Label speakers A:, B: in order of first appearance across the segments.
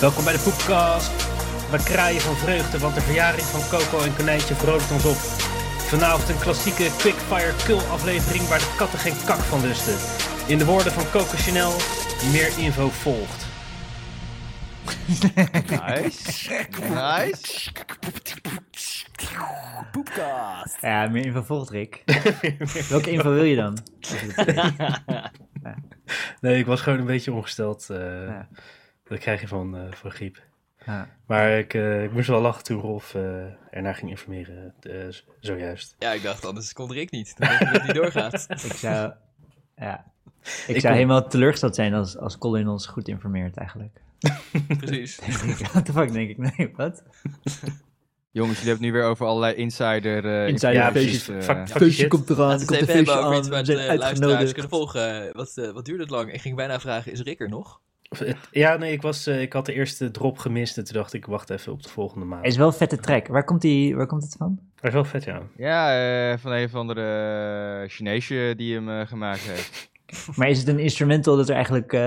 A: Welkom bij de Poepcast. We kraaien van vreugde, want de verjaring van Coco en Konijntje vrolijkt ons op. Vanavond een klassieke quickfire kill aflevering waar de katten geen kak van lusten. In de woorden van Coco Chanel, meer info volgt.
B: Nice. Nice.
C: Poepcast.
D: Ja, meer info volgt Rick. Welke info wil je dan?
A: Nee, ik was gewoon een beetje ongesteld. eh,
D: Ja.
A: Dat krijg je van, eh, van griep.
D: Ja.
A: Maar ik, eh, ik moest wel lachen toen Rolf eh, ernaar ging informeren, eh, z- zojuist.
B: Ja, ik dacht anders kon Rick niet. Dan denk ik dat het niet doorgaat.
D: Ik zou, ja. ik
A: Ik
D: zou
A: kom-
D: helemaal teleurgesteld zijn als, als Colin ons goed informeert eigenlijk.
B: Precies.
D: What the fuck, denk ik. Nee, wat?
E: Jongens, jullie hebben het nu weer over allerlei insider...
D: Insider
E: eh, informatie,
A: Ja, precies.
E: eh,
A: Fuck- fuck
D: Feestje
A: shit.
D: komt eraan,
B: Laten
D: er
B: we
D: komt
B: het
D: een
B: even hebben
D: feestje
B: over
D: aan,
B: iets waar
D: we
B: de
D: zijn
B: eh, luisteraars
D: uitgenodigd.
B: kunnen volgen. Wat, eh, wat duurde het lang? Ik ging bijna vragen, is Rick er nog?
A: Het- Ja, nee, ik, was, eh, ik had de eerste drop gemist en toen dacht ik, wacht even op de volgende maand.
D: Het is wel een vette track. Waar komt, die, waar komt het van?
A: Maar wel vet, ja.
E: Ja, eh, van een of andere eh, Chineesje die hem eh, gemaakt heeft.
D: Maar is het een instrumental dat er eigenlijk eh,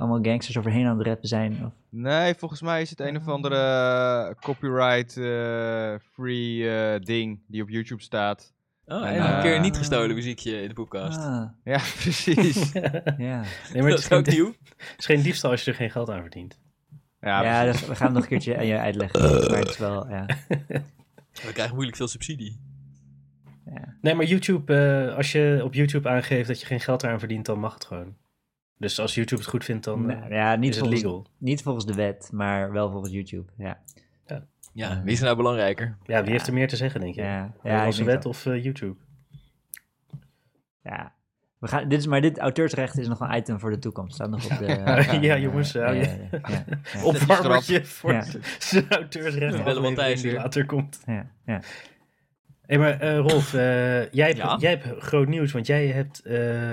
D: allemaal gangsters overheen aan het rappen zijn? Of?
E: Nee, volgens mij is het een of andere eh, copyright eh, free eh, ding die op YouTube staat.
B: Oh,
E: Nee,
B: en een
E: eh,
B: keer niet gestolen muziekje in de podcast.
D: Ah,
E: Ja, precies.
D: ja.
A: Nee, maar
B: dat
A: het is,
B: is
A: geen,
B: ook nieuw.
A: het is geen diefstal als je er geen geld aan verdient.
E: Ja,
D: Ja,
E: precies.
D: dat- we gaan hem nog een keertje aan je uitleggen. Maar het is wel, ja.
B: We krijgen moeilijk veel subsidie.
A: Nee, maar YouTube, eh, als je op YouTube aangeeft dat je geen geld eraan verdient, dan mag het gewoon. Dus als YouTube het goed vindt, dan eh,
D: Nou, ja, niet
A: is het
D: volgens,
A: legal.
D: niet volgens de wet, maar wel volgens YouTube. Ja,
B: Ja, wie is er nou belangrijker?
A: Ja, wie heeft er meer te zeggen, denk je? Ja,
D: ja, ja,
A: ja,
D: ik
A: Als
D: denk
A: wet
D: wel.
A: of eh, YouTube?
D: Ja. We gaan, dit is, maar dit auteursrecht is nog een item voor de toekomst. Staat nog op de.
A: Ja, jongens,
D: eh,
A: hou je-
D: ja, ja, ja.
A: Opwarmertje voor
D: Ja.
A: zijn auteursrecht.
B: Ja.
A: aflevering
B: Matthijs
A: die
B: weer.
A: later komt.
D: ja, ja.
A: Hé, maar eh, Rolf, eh, jij, hebt,
B: Ja?
A: jij hebt groot nieuws, want jij hebt eh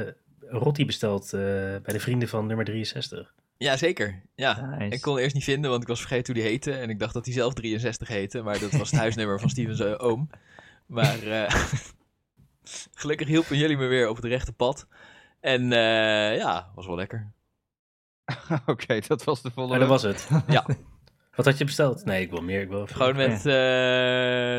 A: Rotti besteld eh, bij de vrienden van nummer 63.
B: Ja, zeker. Ja.
D: Nice.
B: Ik kon het eerst niet vinden, want ik was vergeten hoe die heette. En ik dacht dat hij zelf 63 heette, maar dat was het huisnummer van Stevens eh, oom. Maar eh, gelukkig hielpen jullie me weer op het rechte pad. En eh, ja, was wel lekker.
E: Oké, dat was de
A: Maar
E: volgende.
A: dat was het.
B: Ja.
A: Wat had je besteld? Nee, ik wil meer. Ik wil even-
B: Gewoon met eh,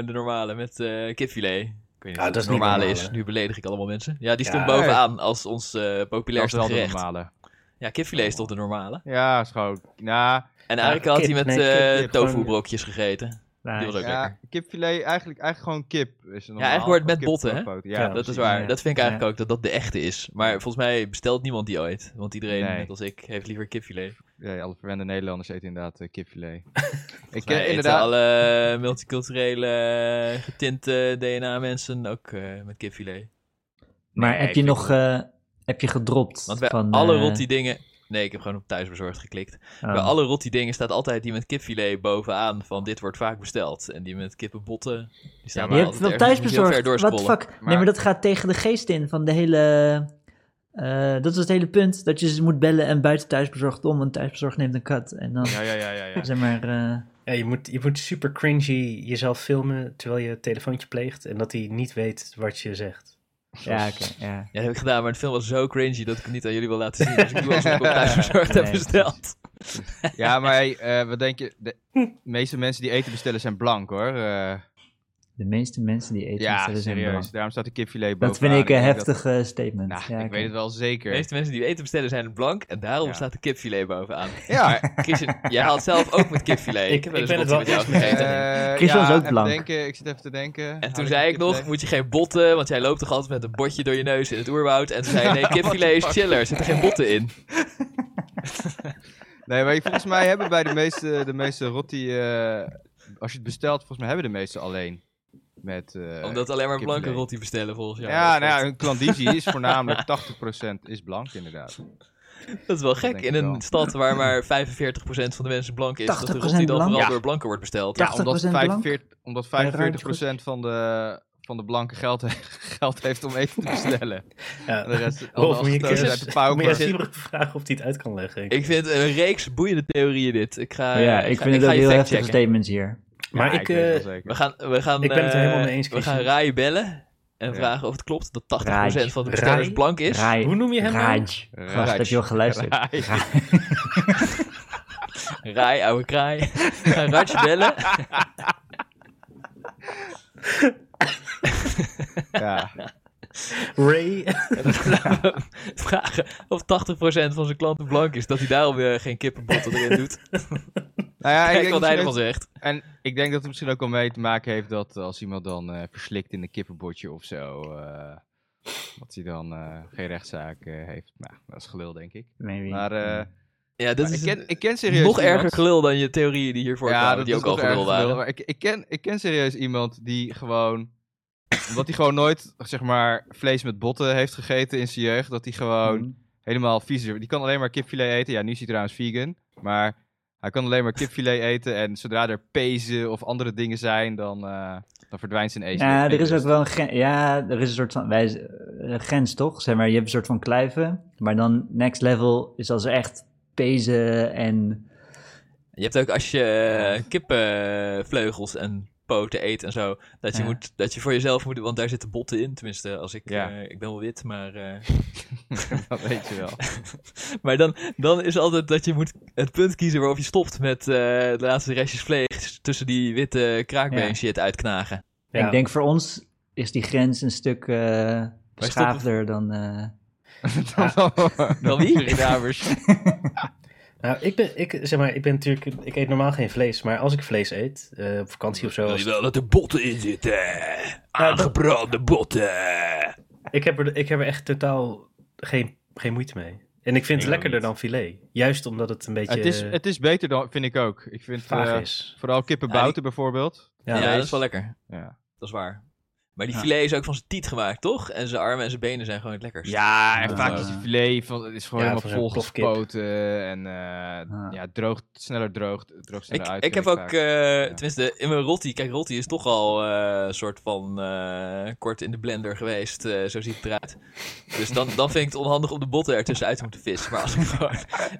B: de normale, met eh, kipfilet. Ik weet niet
A: Ja, dat
B: of het
A: is niet
B: normale
A: normaal,
B: is.
A: hè?
B: Nu beledig ik allemaal mensen. Ja, die stond
A: Ja.
B: bovenaan als ons eh,
E: Dat was
B: populairste
E: wel de
B: gerecht.
E: normale.
B: Ja, kipfilet is toch de normale.
E: Ja, is gewoon... Nou,
B: En
A: Ja,
B: Arika had
A: kip.
B: hij met
A: Nee, kip, je hebt gewoon-
B: tofu brokjes gegeten. Die was
D: Nice.
B: ook lekker.
E: ja, kipfilet, eigenlijk, eigenlijk gewoon kip. Is normaal.
B: eigenlijk wordt het met
E: Gewoon kip
B: botten,
E: gepoot.
A: Ja,
E: Ja,
B: dat is
E: precies.
B: waar.
D: Ja.
B: Dat vind ik eigenlijk
D: Ja.
B: ook, dat dat de echte is. Maar volgens mij bestelt niemand die ooit. Want iedereen,
E: Nee.
B: net als ik, heeft liever kipfilet.
E: Ja, alle verwende Nederlanders eten inderdaad eh, kipfilet. ik
B: Wij
E: ken
B: eten
E: inderdaad...
B: alle multiculturele, getinte DNA-mensen ook eh, met kipfilet.
D: Maar
E: Nee,
D: heb je
E: ik
D: nog. eh, heb je gedropt?
B: Want bij
D: van,
B: alle
D: eh,
B: rotti dingen... Nee, ik heb gewoon op thuisbezorgd geklikt.
D: oh.
B: Bij alle rotti dingen staat altijd die met kipfilet bovenaan van dit wordt vaak besteld. En die met kippenbotten, die staan ja,
E: Ja, maar
D: je hebt wel thuisbezorgd. Wat de fuck? Nee,
E: Maar-
D: maar dat gaat tegen de geest in van de hele. eh, dat is het hele punt. Dat je ze moet bellen en buiten thuisbezorgd om. Want thuisbezorgd neemt een kat. En dan
E: Ja, ja, ja, ja. ja.
D: zeg maar. eh,
A: Ja, je, moet, je moet super cringy jezelf filmen terwijl je het telefoontje pleegt en dat hij niet weet wat je zegt.
D: ja, oké. ja.
B: Ja, dat heb ik gedaan, maar de film was zo cringy dat ik het niet aan jullie wil laten zien. Dus ik doe alsof ik hem thuisbezorgd heb
D: Nee,
B: besteld.
E: Ja, maar hey, eh, wat denk je? De meeste mensen die eten bestellen zijn blank hoor. Eh,
D: De meeste mensen die eten
E: ja,
D: bestellen zijn
E: serieus.
D: blank.
E: Daarom staat de kipfilet bovenaan.
D: Dat vind ik een
E: denk
D: heftig eh, statement.
E: dat- Nou,
D: Ja,
E: ik
D: oké.
E: weet het wel
B: De
E: zeker.
B: meeste mensen die eten bestellen zijn blank en daarom
E: Ja.
B: staat de kipfilet bovenaan.
E: Ja,
B: Christian, jij haalt zelf ook met kipfilet.
A: Ik-
B: Ik heb wel
A: ik
B: eens
A: ben het
B: rotti met
A: wel
B: jou
A: eens mee.
B: gegeten.
E: eh,
D: Christian is
E: ja,
D: ook
E: even
D: blank.
E: Denken, ik zit even te denken.
B: En
E: Had
B: toen
E: ik
B: zei
E: een
B: ik nog,
E: kipfilet?
B: moet je geen botten, want jij loopt toch altijd met een botje door je neus in het oerwoud. En toen zei je, nee, kipfilet is chiller, er zitten geen botten in.
E: Nee, maar volgens mij hebben bij de meeste, de meeste rotti... eh, als je het bestelt, volgens mij hebben de meeste alleen. Met, eh,
B: Omdat alleen maar blanke
E: kipfilet.
B: rotti bestellen volgens jou.
E: Ja,
B: Dat is
E: nou ja, een klandizie is voornamelijk 80% is blank inderdaad.
B: Dat is wel gek.
E: denk ik
B: In een
E: wel.
B: stad waar maar 45% van de mensen blank is, dat de
D: 80%
B: rotti dan
D: blank?
B: vooral
E: Ja.
B: door blanken wordt besteld.
D: Ja.
B: Ja,
E: Ja, omdat
D: 80% blank?
E: 45, omdat
D: Bij een
E: 45
D: ruimtje
E: van de, van de blanke geld, he- geld heeft om eten te bestellen.
A: Ja.
E: En de rest
A: Rolf,
E: allemaal
A: moet je
E: gestolen uit de pauper.
A: een vragen of hij het uit kan leggen.
B: Ik vind een reeks boeiende theorieën dit. Ik ga, eh,
D: ja,
B: ik
D: eh, ik
B: ga-
D: vind
B: ik
D: het
B: ga
D: ook
B: je
D: heel heftige
B: factchecken.
D: statements hier.
A: maar
E: Ja,
A: ik,
E: weet het wel
A: eh,
E: zeker.
B: We gaan, we gaan,
A: Ik ben het er helemaal
B: eh,
A: mee eens,
B: We gaan
A: Christian.
B: Rai bellen en
E: Ja.
B: vragen of het klopt dat 80%
D: Rai.
B: van de bestellers
A: Rai?
B: blank is.
D: Rai,
A: hoe noem je hem nou?
D: Raj. Gast,
E: Raj.
D: heb je al geluisterd?
E: Rij.
D: Raj.
B: Rai, oude kraai. Gaan Ratje bellen.
E: Ja.
A: Ray.
B: En dan vragen of 80% van zijn klanten blank is. Dat hij daarom weer geen kippenbotten erin doet.
E: Nou ja, ik
B: Kijk
E: denk
B: wat hij
E: misschien
B: ervan zegt.
E: ook- en ik denk dat het misschien ook al mee te maken heeft dat als iemand dan eh, verslikt in een kippenbotje of zo, eh, dat hij dan eh, geen rechtszaak eh, heeft. Nou, dat is gelul, denk ik.
D: Maybe.
E: Maar eh,
B: Ja, dat
E: ik,
B: is
E: ken,
B: een-
E: ik ken serieus
B: nog erger
E: iemand-
B: gelul dan je theorieën die hiervoor
E: ja,
B: kwamen.
E: dat
B: Die
E: is
B: ook al
E: nog erg
B: gelul waren.
E: Maar ik, ik, ken, ik ken serieus iemand die gewoon... omdat hij gewoon nooit, zeg maar, vlees met botten heeft gegeten in zijn jeugd. Dat hij gewoon
D: Mhm.
E: helemaal vies is. Die kan alleen maar kipfilet eten. Ja, nu is hij trouwens vegan. Maar hij kan alleen maar kipfilet eten. En zodra er pezen of andere dingen zijn, dan, eh, dan verdwijnt zijn eten. Dus
D: Ja, er is ook wel een grens. Ja, er is een soort van wijze, eh, grens, toch? Zeg maar, je hebt een soort van kluiven. Maar dan next level is als er echt pezen en.
B: Je hebt ook als je eh, kippenvleugels en poten eet en zo, dat je,
D: Ja.
B: moet, dat je voor jezelf moet, want daar zitten botten in. Tenminste, als ik,
E: Ja.
B: eh, ik ben wel wit, maar, eh,
E: dat weet je wel.
B: maar dan, dan is altijd dat je moet het punt kiezen waarop je stopt met eh, de laatste restjes vlees tussen die witte kraakbeen
D: Ja.
B: shit uitknagen.
A: Ja.
D: Ik denk voor ons is die grens een stuk eh beschaafder dan. eh,
B: Dan wie?
E: Surinamers.
A: Nou, ik ben, ik, zeg maar, ik ben natuurlijk, ik eet normaal geen vlees, maar als ik vlees eet, eh, op vakantie of zo, als-
B: wel dat er botten in zitten? Aangebrande botten.
A: ik, heb er, ik heb er echt totaal geen, geen moeite mee. En ik vind
E: Ik
A: het lekkerder
E: ook
A: dan filet. Juist omdat het een beetje
E: het, is, het is beter dan, vind ik ook. Ik vind
A: vaag
E: eh,
A: is.
E: vooral kippenbouten bijvoorbeeld.
A: Ja,
B: ja,
A: nee,
B: dat is wel lekker.
E: Ja.
B: Dat is waar. Maar die
D: Ja.
B: filet is ook van zijn tiet gemaakt, toch? En zijn armen en zijn benen zijn gewoon het lekkerst.
E: Ja, en
D: Ja.
E: vaak is die filet van, het is gewoon
A: Ja, van zo'n
E: helemaal
A: plofkip.
E: volgespoten en eh, ja, droogt, sneller droogt, droogt sneller
B: Ik,
E: uit.
B: ik heb
E: vind
B: ook,
E: vaak.
B: eh,
E: Ja.
B: tenminste, in mijn Rotti. Kijk, Rotti is toch al eh, een soort van eh, kort in de blender geweest. eh, zo ziet het eruit. Dus dan, dan vind ik het onhandig om de botten ertussen uit te moeten vissen. Maar als ik gewoon...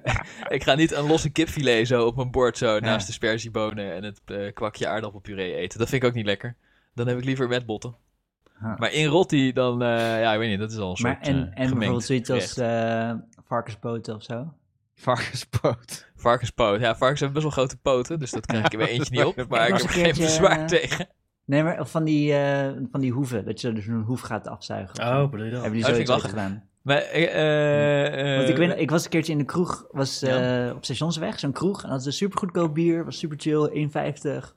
B: ik ga niet een losse kipfilet zo op mijn bord zo naast de sperziebonen en het eh, kwakje aardappelpuree eten. Dat vind ik ook niet lekker. Dan heb ik liever met botten.
D: Ja.
B: Maar in Rotti dan, eh, ja, ik weet niet, dat is al een
D: maar
B: soort
D: en,
B: eh,
D: en
B: gemengd
D: bijvoorbeeld zoiets
B: gerecht.
D: als eh varkenspoten of zo.
B: eh,
E: Varkenspoot.
B: Varkenspoot. Ja, varkens hebben best wel grote poten, dus dat krijg ik er weer eentje niet op. Maar ik
D: was
B: heb er
D: een
B: geen
D: keertje,
B: bezwaar
D: eh,
B: tegen.
D: Nee, maar of van die, eh, van die hoeven. Dat je dus een hoef gaat afzuigen. of zo.
A: Oh, bedoel je dat?
D: Hebben
B: Oh,
D: die
B: dat vind ik
D: zoiets
B: wel
D: ooit gedaan?
B: Maar, eh, eh,
D: Want ik,
B: eh,
D: weet, ik was een keertje in de kroeg, was eh, op Stationsweg, zo'n kroeg. En dat was super goedkoop bier, was super chill, 1,50.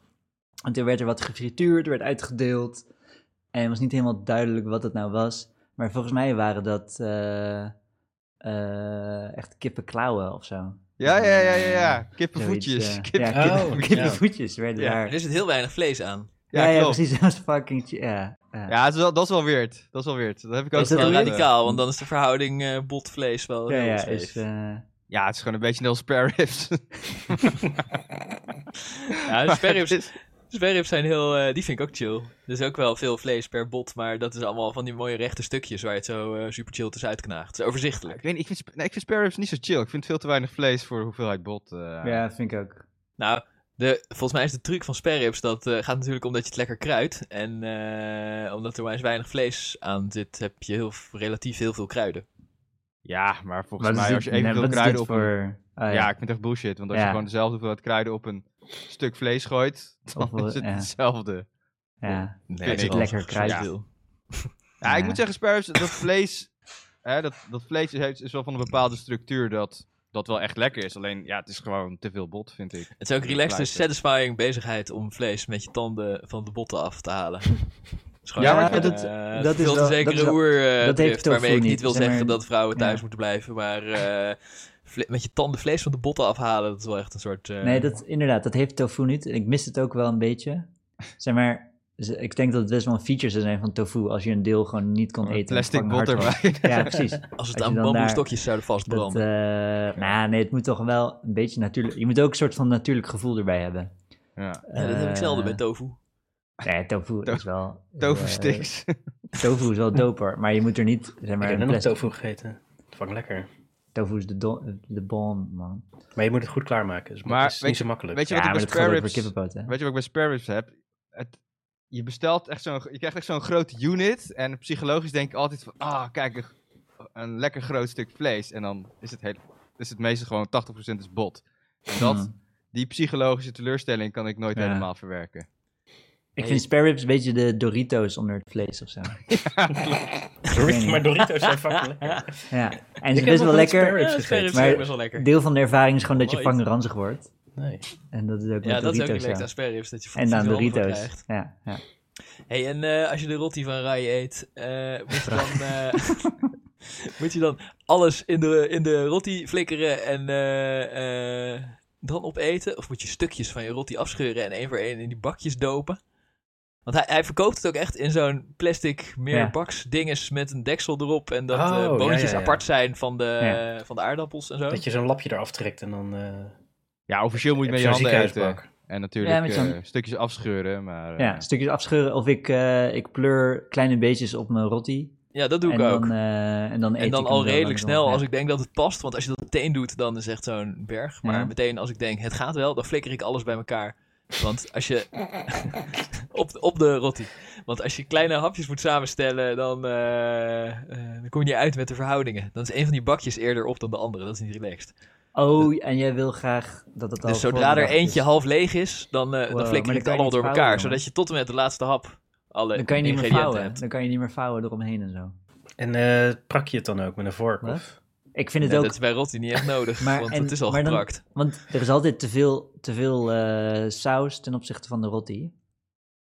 D: En toen werd er wat gefrituurd, werd uitgedeeld. En het was niet helemaal duidelijk wat het nou was. Maar volgens mij waren dat eh, eh, echt kippenklauwen of zo.
E: Ja, ja, ja, ja, ja.
D: Zoiets,
E: Kippenvoetjes.
D: eh,
E: Kippen-
D: ja,
A: Oh,
D: kippen-
A: ja.
D: kippenvoetjes werden
E: Ja,
D: daar.
B: er zit heel weinig vlees aan.
D: Ja, ja,
E: klopt.
D: precies, dat was fucking chi- Ja, ja.
E: Ja, dat is, wel, dat is wel weird. Dat is wel weird. Dat heb ik ook
D: Is dat
B: Wel
E: gedaan.
D: weird?
B: radicaal, want dan is de verhouding eh, botvlees wel
D: ja,
B: heel
D: ja,
B: vlees.
D: is, eh,
E: Ja, het is gewoon een beetje als spare ribs.
B: Ja, de
E: Maar
B: sperrips,
E: het is-
B: sperrips Dus zijn heel, eh, die vind ik ook chill. Er is ook wel veel vlees per bot, maar dat is allemaal van die mooie rechte stukjes waar je het zo eh, super chill tussenuit knaagt. Het is overzichtelijk.
E: Ik, weet, niet, ik, vind, sp- nee, ik vind spare ribs niet zo chill. Ik vind veel te weinig vlees voor de hoeveelheid bot. eh.
D: ja, vind ik ook.
B: Nou, de, volgens mij is de truc van sperrips dat eh, gaat natuurlijk omdat je het lekker kruidt. En eh, omdat er maar eens weinig vlees aan zit, heb je heel, v- relatief heel veel kruiden.
E: Ja, maar volgens
D: Wat is
E: mij
D: dit-
E: als je even
D: nee,
E: veel
D: wat is
E: kruiden
D: dit
E: op een-
D: voor... oh,
E: Ja, ik vind het echt bullshit. Want als je
D: Ja.
E: gewoon dezelfde hoeveelheid kruiden op een stuk vlees gooit, dan
D: Of, eh,
E: is het
D: ja.
E: hetzelfde.
D: ja.
B: Nee,
E: het
D: is lekker kruid.
E: Ja, ik
D: Ja.
E: moet zeggen, sparrows, dat vlees, hè, dat, dat vlees heeft, is wel van een bepaalde structuur dat, dat wel echt lekker is. Alleen, ja, het is gewoon te veel bot, vind ik.
B: Het is ook
E: Ja,
B: relaxed, dus
E: kruid,
B: satisfying bezigheid om vlees met je tanden van de botten af te halen. Is gewoon,
E: Ja, maar
B: eh,
D: dat-
B: eh,
D: dat is
B: veel te
D: wel- dat is
B: zekere
D: wel-
B: oer eh,
D: dat heeft
B: drift,
D: tofu
B: waarmee ik niet
D: niet,
B: wil
D: zeg maar.
B: zeggen dat vrouwen thuis
D: Ja.
B: moeten blijven, maar eh, vle- met je tanden vlees van de botten afhalen, dat is wel echt een soort... eh,
D: Nee, dat, inderdaad, dat heeft tofu niet. En ik mis het ook wel een beetje. Zeg maar, ze- ik denk dat het best wel een feature zou zijn van tofu als je een deel gewoon niet kon
E: Een
D: eten.
E: Oh, plastic
D: Fucking
E: bot
D: hard was.
E: erbij.
D: Ja, precies.
B: Als het
D: als je
B: aan
D: dan
B: bamboestokjes zouden
D: Dat,
B: vastbranden.
D: eh, nou, nee, het moet toch wel een beetje natuurlijk. Je moet ook een soort van natuurlijk gevoel erbij hebben.
E: Ja.
B: Ja, dat heb ik
D: Eh,
B: zelden bij tofu.
D: Nee, tofu is wel.
E: Tofu
D: eh,
E: sticks.
D: tofu is wel doper, maar je moet er niet. Zeg
A: Ik
D: maar,
A: heb
D: een
A: net nog
D: plastic-
A: tofu gegeten. Fucking lekker.
D: tofu is de, don, de bon, man.
A: Maar je moet het goed klaarmaken, dus
E: Maar
A: het is
E: weet
A: niet
E: je-
A: zo makkelijk.
E: Weet je
D: Ja,
E: wat
D: maar
E: ik
D: dat
E: bij
D: gaat
E: spare
D: ook voor
E: ribs, weet
D: kippenpoten.
E: je wat ik bij spare ribs heb? Het, je bestelt echt zo'n, je krijgt echt zo'n grote unit en psychologisch denk ik altijd van, ah, kijk, een, een lekker groot stuk vlees. En dan is het, heel, is het meeste gewoon 80% is bot. En dat...
D: Hmm.
E: die psychologische teleurstelling kan ik nooit
D: Ja.
E: helemaal verwerken.
D: Ik vind spare ribs een beetje de Doritos onder het vlees of zo.
A: Doritos, maar Doritos zijn fucking lekker.
D: Ja, en
A: Ik
D: ze
A: heb
D: is best
A: nog
D: wel
A: nooit spare
D: lekker.
A: ribs gegeten.
D: maar-
B: maar... best wel lekker.
D: Deel van de ervaring is gewoon dat je
B: Nooit.
D: fucking ranzig wordt.
A: Nee.
D: En dat is ook
B: Oh, Ja,
D: met
B: dat is ook
D: Doritos.
B: niet leuk
D: ja.
B: aan sperrips, dat je van
D: En dan
B: zoveel antwoord
D: Doritos.
B: krijgt.
D: Ja, ja.
B: hey, en eh, als je de rotti van Rai eet, eh, moet, je dan, eh, moet je dan alles in de, in de rotti flikkeren en eh, eh, dan opeten? Of moet je stukjes van je rotti afscheuren en één voor één in die bakjes dopen? Want hij, hij verkoopt het ook echt in zo'n plastic
D: Ja.
B: meerbaks dinges met een deksel erop. En dat
A: Oh,
B: eh,
A: ja, ja,
B: boontjes
A: ja.
B: apart zijn van de,
D: Ja.
B: van de aardappels en zo.
A: Dat je zo'n lapje eraf trekt en dan... eh
E: Ja, officieel moet je
A: heb
E: met
A: je
E: je
A: zo'n
E: handen eten.
A: ziekenhuisbak.
E: En natuurlijk
D: met zo'n-
E: eh, stukjes afscheuren, maar... eh,
D: ja, stukjes afscheuren. Of ik, eh, ik pleur kleine beetjes op mijn rotti.
B: Ja, dat doe
D: en
B: ik ook.
D: Dan, eh, en dan eet
B: En dan
D: ik
B: al redelijk snel als
D: ik.
B: ik denk dat het past. Want als je dat meteen doet, dan is echt zo'n berg. Maar
D: Ja.
B: meteen als ik denk, het gaat wel, dan flikker ik alles bij elkaar. Want als je... op, op de rotti. Want als je kleine hapjes moet samenstellen, dan, eh, eh, dan kom je niet uit met de verhoudingen. Dan is een van die bakjes eerder op dan de andere. Dat is niet relaxed.
D: Oh, en jij wil graag dat het al
B: dus zodra er
D: voorbedacht
B: eentje
D: is.
B: half leeg is, dan, eh,
D: Wow,
B: dan
D: maar
B: flikker
D: dan
B: ik het
D: kan je
B: allemaal
D: niet
B: door elkaar.
D: vouwen, jongen.
B: zodat je tot en met de laatste hap alle
D: Dan kan je niet meer
B: ingrediënten
D: vouwen.
B: hebt.
D: Dan kan je niet meer vouwen eromheen en zo.
A: En eh, prak je het dan ook met een vork?
D: Wat?
A: Of?
D: Ik vind het
B: Nee,
D: ook,
B: Dat is bij rotti niet echt nodig,
D: Maar-
B: want
D: en-
B: het is al
D: maar dan-
B: geprakt.
D: want er is altijd te veel, te veel eh, saus ten opzichte van de rotti.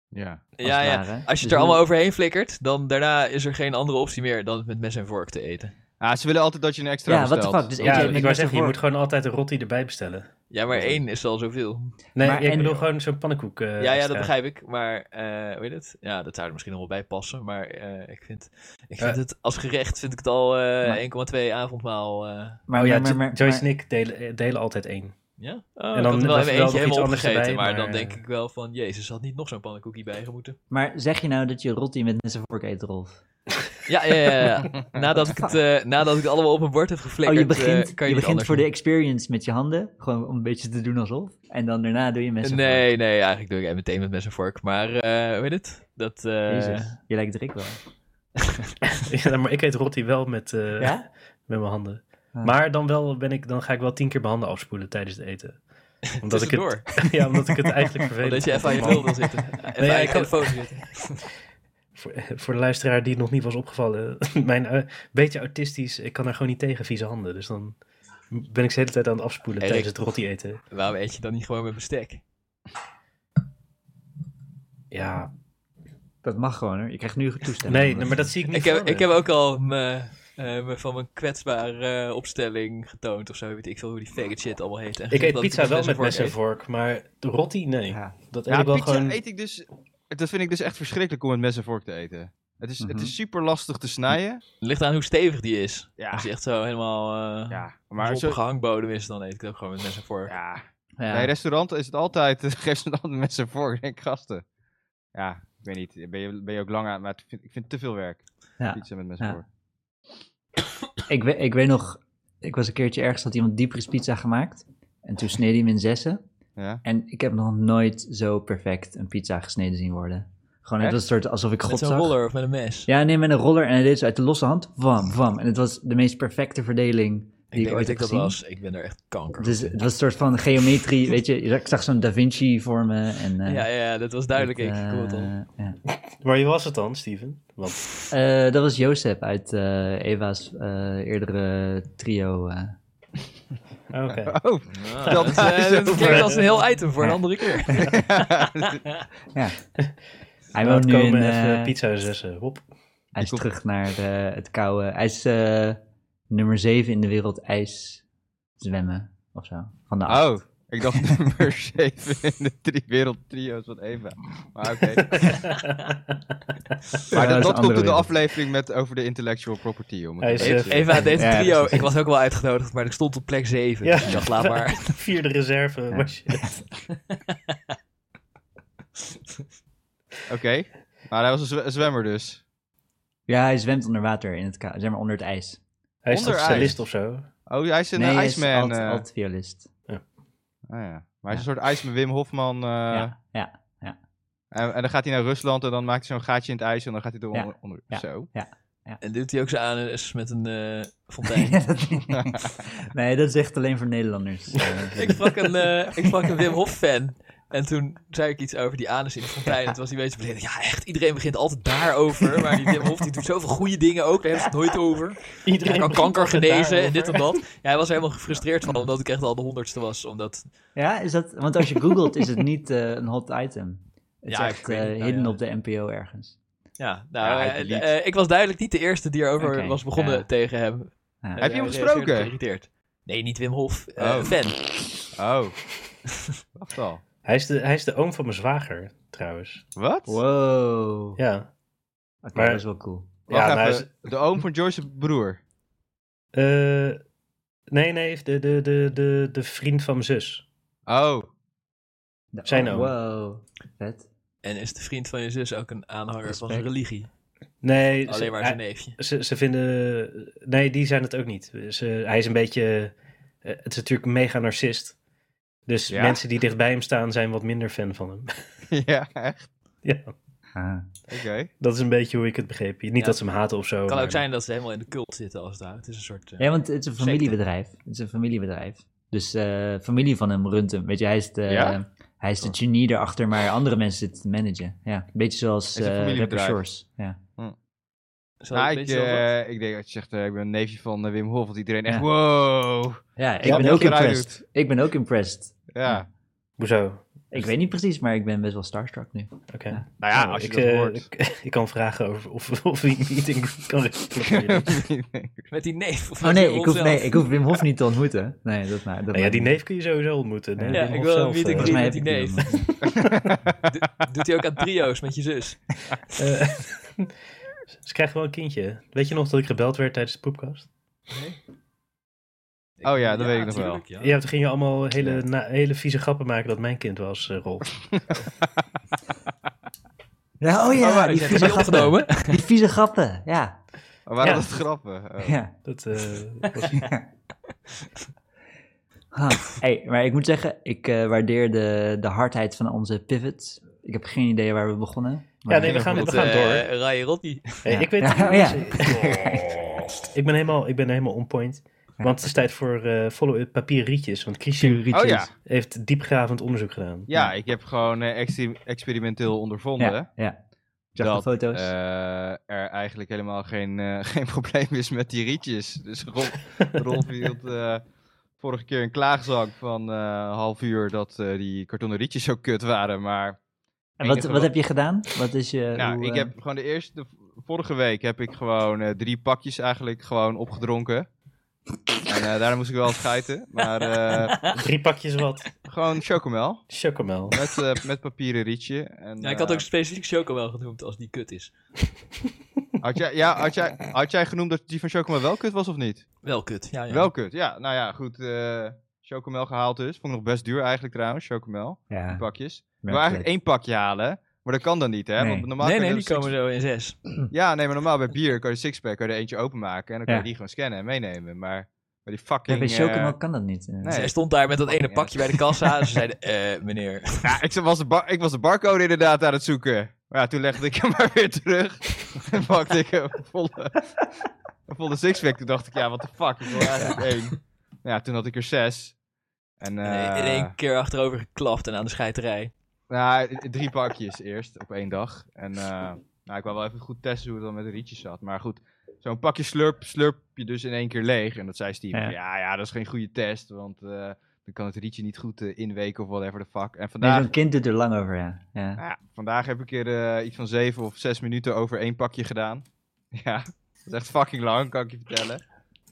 E: ja.
D: Als
B: ja,
D: het ware.
B: ja. Als je
D: Dus
B: het
A: Mhm.
B: er
D: nu-
B: allemaal overheen flikkert, dan daarna is er geen andere optie meer dan het met mes en vork te eten.
E: Ah, ze willen altijd dat je een extra
D: Ja, what the
E: bestelt.
D: fuck, dus
A: Ja,
D: Eet jij
A: ik
D: met
A: wou
D: mes
A: zeggen,
D: en
A: je
D: vork?
A: moet gewoon altijd een rotti erbij bestellen.
B: Ja, maar één is al zoveel.
A: Nee,
D: Maar
A: ik
D: en-
A: bedoel gewoon zo'n pannenkoek. eh,
B: ja, ja,
A: extra.
B: dat begrijp ik. Maar, eh weet je het? Ja, dat zou er misschien nog wel bij passen. Maar eh, ik vind, ik vind
A: Eh.
B: het als gerecht vind ik het al eh,
D: Maar-
B: 1,2 avondmaal. eh,
D: Maar,
A: Oh ja,
D: maar, maar, maar-
A: Joyce en ik delen, eh, delen altijd één.
B: ja, oh,
A: En
B: en
A: dan
B: dan wel
A: was
B: even
A: er wel
B: eentje
A: nog iets
B: helemaal
A: anders
B: opgegeten.
A: erbij,
B: maar,
A: maar,
B: dan
A: eh.
B: denk ik wel van, jezus, had niet nog zo'n pannenkoekie bij moeten.
D: maar zeg je nou dat je rotti met mes en vork eet, Rolf? Oh,
B: Ja, ja, ja. ja. Nadat, ik het, eh, nadat ik het allemaal op mijn bord heb
D: Oh,
B: geflikkerd,
D: je
B: eh,
D: begint,
B: kan
D: je
B: je, niet
D: begint
B: anders
D: voor de
B: doen.
D: experience met je handen, gewoon om een beetje te doen alsof. En dan daarna doe je mes en vork.
B: Nee, nee, eigenlijk doe ik het meteen met mes en vork. Maar, eh weet het? Dat, eh,
D: Jezus, je lijkt Rick wel.
A: ja, maar ik eet rotti wel met, eh,
D: Ja?
A: met mijn handen.
D: Ah.
A: Maar dan, wel ben ik, dan ga ik wel tien keer mijn handen afspoelen tijdens het eten. Omdat, ik het,
B: Tussendoor.
A: ja, omdat ik het eigenlijk vervelend
B: Omdat Oh, je
A: vind
B: even aan je
A: om
B: bril wil zitten. Even
A: Nee,
B: aan je
A: ik kan-
B: telefoon zitten.
A: Voor, voor de luisteraar die het nog niet was opgevallen. Mijn eh, beetje autistisch, ik kan er gewoon niet tegen vieze handen. Dus dan ben ik ze de hele tijd aan het afspoelen
B: Erik.
A: tijdens het rotti eten.
B: Waarom eet je dan niet gewoon met bestek?
A: Ja,
D: Dat mag gewoon hoor, je krijgt nu toestemming.
A: nee, nee, maar dat zie ik niet
B: Ik heb,
A: voor me.
B: ik heb ook al me, eh, me van mijn kwetsbare eh, opstelling getoond of zo. Weet ik veel hoe die faggot shit allemaal heet. En
A: Ik
B: gezegd
A: eet
B: dat
A: pizza wel met mes en
B: vork
A: vork, maar de rotti, nee.
D: Ja.
A: Dat eet
E: Ja,
A: ik wel
E: pizza
A: gewoon...
E: eet ik dus... Dat vind ik dus echt verschrikkelijk om met mes en vork te eten. Het is, het
D: Mhm.
E: is super lastig te snijden.
B: eet. Ligt aan hoe stevig die is.
E: Ja,
B: Als die echt zo helemaal eh
E: ja.
B: maar
E: Maar zo...
B: hangbodem is, dan eet ik het ook gewoon met mes en vork.
E: Ja,
D: Ja.
E: Bij restauranten is het altijd, geef ze het altijd met z'n voor, ik denk gasten. Ja, ik weet niet, ben je, ben je ook lang aan, maar het vind- ik vind het te veel werk,
D: Ja.
E: pizza met mensen
D: Ja.
E: voor.
D: Ik, weet, ik weet nog, ik was een keertje ergens, had iemand diepvries pizza gemaakt. En toen sneed hij hem in zessen.
E: Ja?
D: En ik heb nog nooit zo perfect een pizza gesneden zien worden. Gewoon het was
E: Echt?
D: een soort alsof ik
B: Met
D: God
B: zo'n
D: zag.
B: roller of met een mes.
D: Ja, nee, met een roller en hij deed zo uit de losse hand. Vam, vam. En het was de meest perfecte verdeling die ik,
B: ik denk
D: ooit
B: dat
D: heb
B: ik dat
D: gezien.
B: was. Ik ben er echt kanker.
D: Dus het was een soort van geometrie, weet je. Ik zag zo'n Da Vinci voor me. En, eh,
B: ja, ja, dat was duidelijk.
D: dat,
B: ik ik hoor het al.
D: eh, ja.
A: Waar je was het dan, Steven? Want
D: Eh, dat was Jozef uit eh, Eva's eh, eerdere trio. eh.
A: Ah, Oké.
E: Oh,
B: Ja,
E: dat
B: dat eh,
E: is
B: dat
E: over.
B: klinkt als een heel item voor een andere keer.
D: Hij
A: Laat
D: woont nu in,
A: komen
D: eh,
A: even pizza zessen. Hop.
D: Hij is
E: Die komt-
D: terug naar eh, het koude. Hij is eh, nummer 7 in de wereld ijs zwemmen of zo. Van de acht.
E: oh, ik dacht nummer 7 in de drie wereldtrio's van Eva. Maar oké, maar
D: dat is
E: dat,
D: een
E: dat
D: andere
E: komt in de
D: wereld.
E: aflevering met over de intellectual property. Om het
A: Hij
E: te
A: is,
E: weten.
A: eh,
B: Even aan deze
D: Ja,
B: trio.
D: precies.
B: Ik was ook wel uitgenodigd, maar ik stond op plek 7.
A: Ja.
B: Dus ik dacht, laat maar.
A: Vierde reserve was je.
E: Oké, maar hij was een zwe- een zwemmer dus.
D: Ja, hij zwemt onder water in het koude, zeg maar onder het ijs.
A: Hij is
E: Onder
A: toch
E: ijs.
A: cellist of zo?
E: Oh, hij is een
D: nee,
E: eh,
D: hij is
E: Iceman.
D: alt-
E: eh.
D: altviolist.
E: Ah, ja. Maar hij is een soort Iceman Wim Hofman. eh,
D: ja, ja,
E: En, en dan gaat hij naar Rusland en dan maakt hij zo'n gaatje in het ijs en dan gaat hij door
D: Ja,
E: onder, onder-
D: ja,
E: Zo.
D: ja.
B: En doet hij ook zijn anus met een eh, fontein.
D: Ja, dat- nee, dat is echt alleen voor Nederlanders. Eh,
B: ik, sprak een, eh, ik sprak een Wim Hof fan. En toen zei ik iets over die anus in de fontein. En toen was hij een beetje verleden. Ja, echt, iedereen begint altijd daarover. Maar die Wim Hof die doet zoveel goede dingen ook. Daar hebben ze het nooit over. Hij
A: Iedereen
B: kan kanker
A: begint
B: genezen
A: daarover.
B: en dit en dat. Ja, hij was er helemaal gefrustreerd van omdat ik echt al de honderdste was. Omdat,
D: ja, is dat... Want als je googelt is het niet eh, een hot item. Het
B: Ja,
D: is
B: ik
D: echt
B: weet
D: eh,
B: niet, nou
D: hidden
B: ja.
D: op de NPO ergens.
B: ja, nou,
E: Ja, hij
B: eh,
E: verliet.
B: eh, ik was duidelijk niet de eerste die erover
D: Oké,
B: was begonnen
D: ja.
B: tegen hem.
D: Ja.
B: Eh,
E: Heb je hem
B: Hij reageerde
E: gesproken?
B: Geïrriteerd. Nee, niet Wim Hof. eh,
E: Oh.
B: Een fan.
E: Oh. Wacht al.
A: Hij is, de, hij is de oom van mijn zwager, trouwens.
E: Wat?
D: Wow. Oké,
A: Ja. Maar-
D: dat is wel cool.
E: Wacht
A: ja, nou
E: even. De oom van Joyce's broer.
A: is- eh, nee, nee, de, de, de, de, de vriend van mijn zus.
E: Oh.
D: De-
A: Zijn
D: oh,
A: oom.
D: Wow. Vet.
B: En is de vriend van je zus ook een aanhanger van zijn
D: Respect.
B: religie?
A: Nee, ze-
B: Alleen maar
A: hij-
E: eh,
B: zijn
E: oh,
B: neefje.
A: Ze, ze vinden. Nee, die zijn het ook niet. Ze, hij is een beetje. eh, Het is natuurlijk een mega narcist. Dus
E: Ja.
A: mensen die dichtbij hem staan zijn wat minder fan van hem.
E: ja, echt.
A: ja,
D: Ah.
E: Oké.
A: dat is een beetje hoe ik het begreep. Niet
B: Ja.
A: dat ze hem haten of zo.
B: Het kan
A: maar-
B: ook zijn dat ze helemaal in de cult zitten als het ware. Het is een soort... eh,
D: Ja, want het is een familiebedrijf. Het is een familiebedrijf. Dus eh, familie van hem runt hem. Weet je, hij is de,
E: Ja?
D: hij is de genie erachter, maar andere mensen zitten te managen. Ja, een beetje zoals
E: Het is een
D: eh rapper
E: familiebedrijf.
D: Shores. Ja.
B: zal
E: Nou,
B: ik
E: ik,
B: weet je wel wat-
E: eh, ik denk dat je zegt, eh, ik ben een neefje van eh, Wim Hof, want iedereen echt,
D: Ja.
E: wow.
D: ja, ik
E: Ja,
D: ben
E: wat
D: ook
E: eruit
D: impressed. Ik ben ook impressed.
E: Ja.
A: Hoezo?
D: Ik weet niet precies, maar ik ben best wel starstruck nu.
A: Oké.
E: Nou ja,
A: Oh,
E: als je
A: ik,
E: dat
A: eh,
E: hoort.
A: Ik, ik kan vragen over of, of hij niet in groep kan recruiteren.
B: Met die neef. Of
D: Oh
B: met
D: nee
B: die
D: ik, hoef,
B: hond
D: nee,
B: zelf?
D: ik hoef Wim Hof niet te ontmoeten. Nee, dat maar. Dat
A: nou ja,
D: maakt
A: die
D: niet.
A: neef kun je sowieso ontmoeten. Nee,
D: Ja,
A: Wim
B: ik
A: Hof
B: wil
A: zelf,
B: een meeting
A: eh,
D: Volgens mij heb
B: die
D: ik die
B: neef.
D: dan nog.
B: Do- doet hij ook aan trio's met je zus?
A: eh, Ze krijgen wel een kindje. Weet je nog dat ik gebeld werd tijdens de poepkast?
E: Oh ja, dat weet ik nog wel.
B: tuurlijk, Ja.
A: Ja, toen ging je allemaal hele,
E: Ja.
A: na- hele vieze grappen maken dat mijn kind was, eh, Rolf.
D: Ja, oh ja,
B: Oh, maar
D: die
B: ik heb
D: vieze
B: het
D: grappen.
B: opgenomen.
D: Die vieze grappen, ja.
E: Maar waren
A: Ja.
E: dat grappen? Oh.
D: ja.
A: Dat eh, was
D: Ha. Hey, maar ik moet zeggen, ik eh, waardeer de, de hardheid van onze pivots. Ik heb geen idee waar we begonnen. maar-
A: Ja, nee, we gaan, we
B: Met
A: gaan door.
B: eh, Rai Rotti.
A: Hey,
D: ja.
A: Ik weet
D: Ja,
A: niet-
D: ja.
A: ik, ben helemaal, ik ben helemaal on point. Want het is tijd voor eh, follow-up papieren rietjes. Want Christian
E: Oh ja.
A: heeft diepgravend onderzoek gedaan.
E: Ja, ik heb gewoon eh, exi- experimenteel ondervonden
D: Ja, ja. Ik zag de
E: dat
D: foto's.
E: eh, er eigenlijk helemaal geen, eh, geen probleem is met die rietjes. Dus Rolf, Rolf hield eh, vorige keer een klaagzang van eh, een half uur dat eh, die kartonnen rietjes zo kut waren. Maar
D: en wat,
E: enige
D: wat
E: wat-
D: heb je gedaan? Wat is je...
E: nou,
D: hoe,
E: ik
D: eh,
E: heb gewoon de eerste, de vorige week heb ik gewoon eh, drie pakjes eigenlijk gewoon opgedronken. En eh, daarna moest ik wel schijten. Maar eh,
A: Drie pakjes wat.
E: gewoon chocomel.
A: Chocomel.
E: Met, eh, met papieren rietje. En,
B: Ja, Nou, ik had ook
E: eh,
B: specifiek Choco wel genoemd als die kut is.
E: had, jij, ja, had, jij, had jij genoemd dat die van chocomel wel kut was of niet?
B: Wel kut, ja. ja.
E: Wel kut, ja. Nou ja, goed. eh chocomel gehaald dus. Vond ik nog best duur eigenlijk trouwens, chocomel.
D: eh, Ja,
E: Pakjes. Ik wil
D: merkelijk.
E: eigenlijk één pakje halen. Maar dat kan dan niet, hè?
D: Nee.
E: Want normaal
B: Nee,
E: kan
B: nee,
E: je
B: die
E: dat
B: komen zo in zes.
E: six- Ja, nee, maar normaal bij bier kan je sixpack kan je er eentje openmaken. En dan kan
D: Ja.
E: je die gewoon scannen en meenemen. Maar bij die
D: Ja,
E: fucking...
D: bij Chocomel
E: eh,
D: kan dat niet. eh.
E: nee.
B: Zij stond daar met dat ene
E: Ja.
B: pakje bij de kassa. en Ze zeiden, eh, meneer.
E: ja, ik, was de bar- ik was de barcode inderdaad aan het zoeken. Maar ja, toen legde ik hem maar weer terug. en pakte ik een volle, een volle sixpack. Toen dacht ik, ja, wat de fuck. Ik wil eigenlijk één. Ja, toen had ik er zes. En,
B: En In
E: eh,
B: één keer achterover geklapt en aan de scheiterij.
E: Nou, i- drie pakjes eerst op één dag. En eh, nou, ik wou wel even goed testen hoe het dan met de rietjes zat. Maar goed, zo'n pakje slurp, slurp je dus in één keer leeg. En dat zei Steve.
D: Ja.
E: Ja, ja, dat is geen goede test, want eh, dan kan het rietje niet goed eh, inweken of whatever the fuck. En
D: Nee,
E: vandaag,
D: zo'n kind doet er lang over, ja. ja.
E: nou ja, vandaag heb ik er eh, iets van zeven of zes minuten over één pakje gedaan. Ja, dat is echt fucking lang, kan ik je vertellen.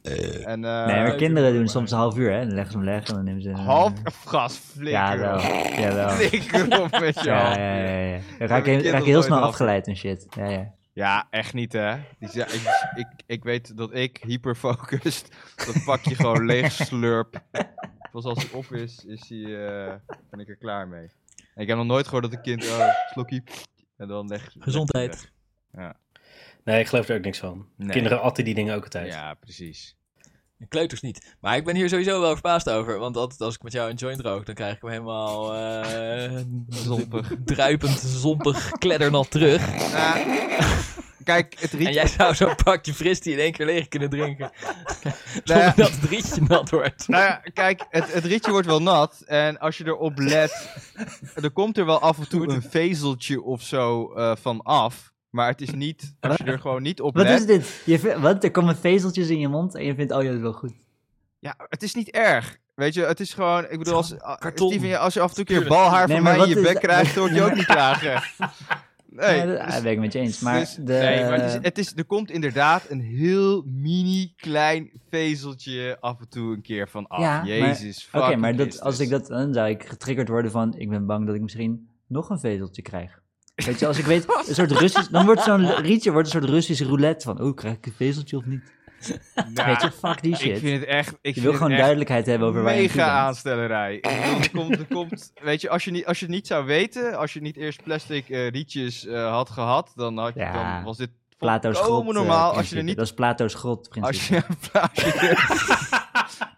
E: En, eh,
D: nee, maar
B: leuk,
D: kinderen
B: joh,
D: doen
B: maar-
D: soms een half uur, hè. Dan leggen ze hem eh, leg en dan nemen ze...
E: Half gas, flikker
D: Ja, wel.
E: op.
D: Ja, wel.
E: Flikker op met je
D: Ja,
E: half
D: ja,
E: uur.
D: ja, ja. Dan raak
E: Hebben
D: ik,
E: kinderen
D: raak ik heel
E: nooit
D: snel
E: een half uur?
D: afgeleid en shit. Ja, ja.
E: Ja, echt niet, hè. Die zei- ik, ik, ik weet dat ik hyperfocust dat pakje gewoon leeg slurp. Pas als hij op is, is hij, eh, ben ik er klaar mee. En ik heb nog nooit gehoord dat een kind, oh, slokkie. En dan leg
B: Gezondheid.
A: Nee, ik geloof er ook niks van.
E: Nee.
A: Kinderen atten die dingen ook altijd.
E: Ja, precies.
B: Kleuters niet. Maar ik ben hier sowieso wel verbaasd over. Want altijd als ik met jou een joint rook, dan krijg ik hem helemaal... eh,
E: Zompig.
B: Druipend, zompig, kleddernat terug.
E: Nou, kijk, het riet...
B: En jij zou zo'n pakje fristie in één keer leeg kunnen drinken.
E: Nou ja.
B: Zonder dat het rietje nat wordt.
E: Nou ja, kijk, het, het rietje wordt wel nat. En als je erop let, er komt er wel af en toe een vezeltje of zo eh, van af. Maar het is niet, als je er gewoon niet op
D: Wat
E: let...
D: is dit? Je vindt- wat? Er komen vezeltjes in je mond en je vindt, oh ja, dat is wel goed.
E: Ja, het is niet erg. Weet je, het is gewoon... Ik bedoel, als, a-
B: karton.
E: Steven, als je af en toe een keer balhaar
D: Nee,
E: van
D: maar
E: mij in je
D: wat is-
E: bek krijgt, dan word je ook niet klagen. Nee,
D: Ja, dat
E: dus-
D: ah, ben ik met je eens. Maar,
E: dus-
D: de,
E: nee, maar het is, het is, er komt inderdaad een heel mini klein vezeltje af en toe een keer van af.
D: Ja, maar-
E: Jezus,
D: Oké,
E: fucking dus.
D: maar dat,
E: Christus.
D: als ik dat, dan zou ik getriggerd worden van, ik ben bang dat ik misschien nog een vezeltje krijg. Weet je, als ik weet, een soort Russisch, dan wordt zo'n rietje wordt een soort Russisch roulette van, oh, krijg ik een vezeltje of niet?
E: Nou,
D: Weet je, fuck die shit.
E: Ik vind het echt... Ik
D: je wil gewoon duidelijkheid hebben over waar je aan toe
E: Mega
D: bent.
E: aanstellerij. Ik bedoel, er komt, er komt, weet je, als je, niet, als je het niet zou weten, als je niet eerst plastic eh, rietjes eh, had gehad, dan, had je,
D: Ja,
E: dan was dit
D: Plato's grot.
E: volkomen
D: eh,
E: normaal. als je
D: principe.
E: er niet
D: Dat is Plato's grot,
E: Als
D: principe.
E: je, als je-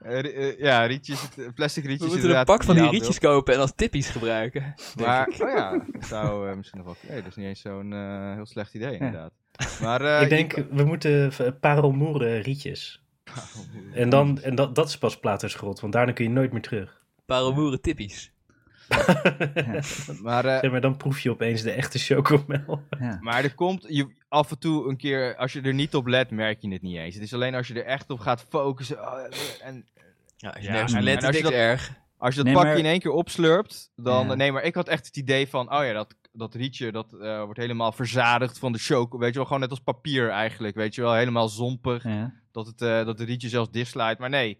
E: Eh, eh, ja, rietjes, plastic rietjes.
B: We moeten een
E: inderdaad
B: pak van die
E: ideaal
B: rietjes kopen en als tippies gebruiken.
E: beeld. Maar, oh ja, dat zou eh, misschien nog wel... Hey, dat is niet eens zo'n eh, heel slecht idee, inderdaad. Maar, eh,
A: ik denk, we moeten v- parelmoeren rietjes. En, dan, en dat, dat is pas Plato's grot, want daarna kun je nooit meer terug.
B: Parelmoeren tippies.
E: je- maar, eh,
A: Zeg maar, dan proef je opeens de echte chocomel.
D: Ja.
E: maar er komt je, af en toe een keer... Als je er niet op let, merk je het niet eens. Het is alleen als je er echt op gaat focussen... oh, eh, en
B: Ja, als je
A: Ja,
B: nergens
A: en-
B: aan
A: en
B: let, is
E: als je
B: niks
E: dat-
B: erg.
E: als je dat
D: Nee,
E: pakje
D: maar-
E: in één keer opslurpt, dan...
D: Ja.
E: Nee, maar ik had echt het idee van... Oh ja, dat, dat rietje, dat eh, wordt helemaal verzadigd van de choco. Weet je wel, gewoon net als papier eigenlijk. Weet je wel, helemaal zompig.
D: Ja.
E: Dat, het, eh, dat de rietje zelfs dichtslaat. Maar nee,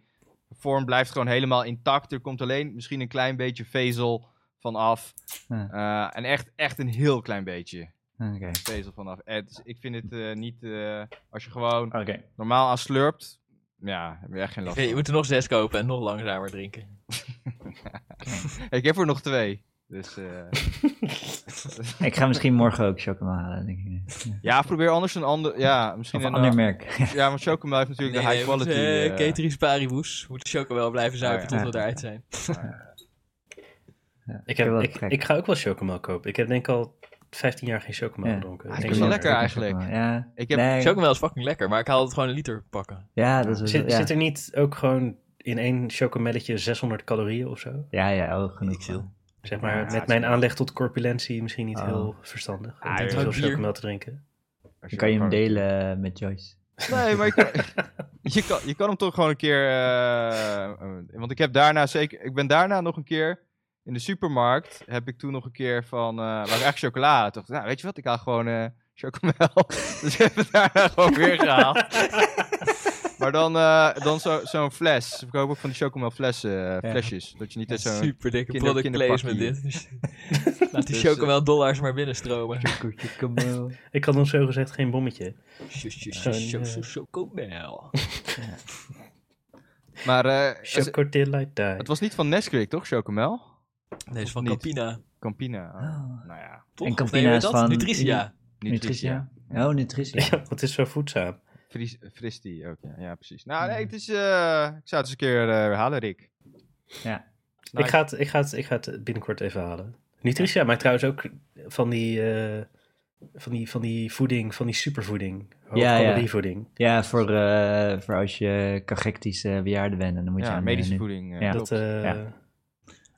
E: de vorm blijft gewoon helemaal intact. Er komt alleen misschien een klein beetje vezel vanaf.
D: Ja.
E: Eh, en echt, echt een heel klein beetje
D: Oké.
E: vezel vanaf. Eh, dus ik vind het eh, niet... eh, als je gewoon
A: Oké.
E: normaal aan slurpt... Ja, heb je echt geen
B: Ik
E: last
B: vind, je
E: van.
B: moet er nog zes kopen en nog langzamer drinken.
E: Ik heb er nog twee. Dus eh,
D: Ik ga misschien morgen ook chocomel halen, denk ik.
E: ja, probeer anders een ander... Ja, misschien
D: Of een
E: een
D: ander
E: a-
D: merk.
E: Ja, want chocomel heeft natuurlijk de high quality.
B: Uh,
E: eh,
B: Cateris Paribus. Moet de choco wel blijven zuipen
E: Oh
D: ja.
B: tot we eruit zijn.
A: Ik,
D: Ik wil
A: heb,
D: dat
A: ik,
D: gek.
A: ik ga ook wel chocomel kopen. Ik heb denk ik al 15 jaar geen chocomel
D: Ja.
A: gedronken.
E: Ah,
A: Ik
E: het
A: denk
E: is wel lekker
A: dat-
E: eigenlijk.
D: Ja,
E: Ik heb-
D: nee.
B: Chocomel is fucking lekker, maar ik haal het gewoon een liter pakken.
D: Ja, dat is wel-
A: Zit,
D: ja.
A: zit er niet ook gewoon in één chocomelletje 600 calorieën of zo?
D: Ja, ja, oh, genoeg.
B: Ik veel.
A: Zeg maar,
E: Ja,
A: met mijn aanleg tot corpulentie misschien niet
D: Oh.
A: heel verstandig.
E: Ah,
A: om te
E: joh.
A: veel
B: Bier.
A: chocomel te drinken.
E: als
D: Dan kan je hem
E: gewoon-
D: delen eh, met Joyce.
E: Nee, maar je kan, je kan, je kan hem toch gewoon een keer. eh, eh, want ik heb daarna zeker. Ik ben daarna nog een keer. In de supermarkt heb ik toen nog een keer van. eh was echt chocolade. Toch? Nou, weet je wat? Ik haal gewoon eh chocomel. dus ik heb het daarna gewoon weer gehaald. maar dan, eh, dan zo- zo'n fles. Ik koop ook van die chocomel flessen, eh,
D: Ja.
E: flesjes. Dat je niet uit zo'n.
B: Super dikke
E: kinder-
B: product placement dit. Dus, eh, Laat die
E: Dus,
B: chocomel dollars maar binnenstromen.
D: Chocomel.
A: Ik had nog zo gezegd geen bommetje.
B: Cho- cho- cho-
A: Zo'n,
B: cho-
A: eh,
B: cho- Chocomel.
E: Maar eh, het-
A: Chocotil light die.
E: het was niet van Nesquik, toch? Chocomel?
B: Deze van
E: niet?
B: Campina.
E: Campina.
D: Oh.
E: Nou ja.
B: Toch?
D: En
B: Of nee,
D: Campina
B: hoe
D: is
B: heet dat?
D: van-
B: Nutritia.
D: Nutritia. Oh, Nutritia.
A: Ja, het is zo voedzaam.
E: Fris, Fristi ook, ja. ja, precies. Nou, nee, het is, eh, ik zou het eens een keer eh, herhalen, Rick.
D: Ja.
E: Nou,
A: ik, ga het, ik, ga het, ik ga het binnenkort even halen. Nutritia maakt trouwens ook van die, eh, van die, van die voeding, van die supervoeding.
D: ja.
A: Hoogcalorievoeding.
D: Ja, voor, eh, voor als je cachectisch eh, bejaarde bent. En dan moet je
E: ja,
D: aan,
E: medische
D: eh, nu-
E: voeding. eh,
D: Ja.
E: klopt.
A: Dat, eh,
D: Ja.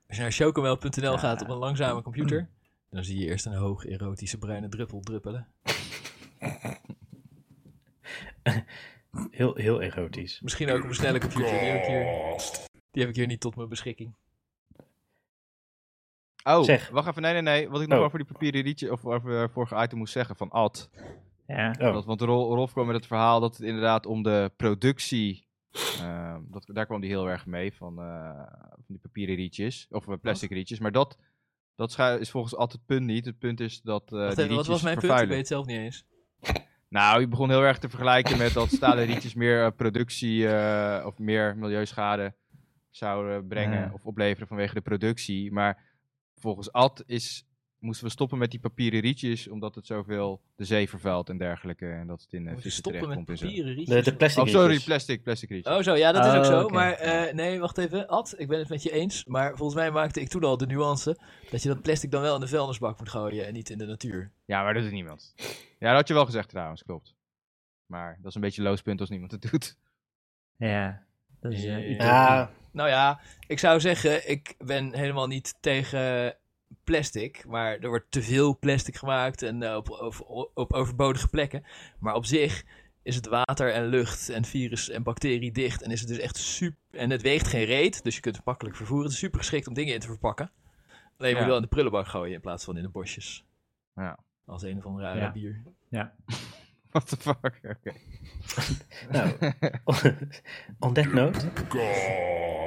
B: Als je naar chocomel.nl
D: Ja.
B: gaat op een langzame
E: Mm.
B: computer, dan zie je eerst een hoog erotische bruine druppel druppelen.
A: heel, heel erotisch.
B: Misschien ook op een snelle computer. Die heb ik hier, die heb ik hier niet tot mijn beschikking.
E: Eh, Oh,
A: Zeg.
E: wacht even, nee, nee, nee. Wat ik nog
A: Oh.
E: over die papieren rietje, of over het vorige item moest zeggen van Ad.
D: Ja.
A: Oh.
E: Dat, want Rol- Rolf kwam met het verhaal dat het inderdaad om de productie, ehm, dat, daar kwam hij heel erg mee, van, eh, van die papieren rietjes, of eh, plastic rietjes. Maar dat, dat schu- is volgens Ad het punt niet. Het punt is dat
B: Wacht
E: eh die
B: even, wat
E: rietjes
B: was mijn punt? Ik
E: vervuilen.
B: weet het zelf niet eens.
E: Nou, je begon heel erg te vergelijken met dat stalen rietjes meer eh, productie eh, of meer milieuschade zouden brengen
D: Ja.
E: of opleveren vanwege de productie. Maar volgens Ad is, moesten we stoppen met die papieren rietjes, omdat het zoveel de zee vervuilt en dergelijke. En dat het in eh
B: Moet je
E: vissen
B: Oh, stoppen met
E: terechtkomt en zo.
B: papieren rietjes?
A: De, de plastic Ah,
E: Oh, sorry,
A: rietjes.
E: plastic, plastic rietjes.
B: Oh zo, ja, dat is
D: Oh,
B: ook zo.
D: oké.
B: Maar eh, nee, wacht even. Ad, ik ben het met je eens. Maar volgens mij maakte ik toen al de nuance dat je dat plastic dan wel in de vuilnisbak moet gooien en niet in de natuur.
E: Ja, maar dat doet niemand. Ja, dat had je wel gezegd trouwens, klopt. Maar dat is een beetje een loospunt als niemand het doet.
D: Ja, dat is eh,
B: Ja.
D: utopie.
A: Ja,
B: Nou ja, ik zou zeggen, ik ben helemaal niet tegen plastic. Maar er wordt te veel plastic gemaakt en eh, op, op, op overbodige plekken. Maar op zich is het water en lucht en virus en bacterie dicht. En is het dus echt super. En het weegt geen reet, dus je kunt het makkelijk vervoeren. Het is super geschikt om dingen in te verpakken. Alleen je
E: Ja.
B: moet wel in de prullenbak gooien in plaats van in de bosjes.
E: Ja.
B: Als een of andere
D: Ja.
B: bier.
E: What the fuck? Oké.
A: nou. On that note.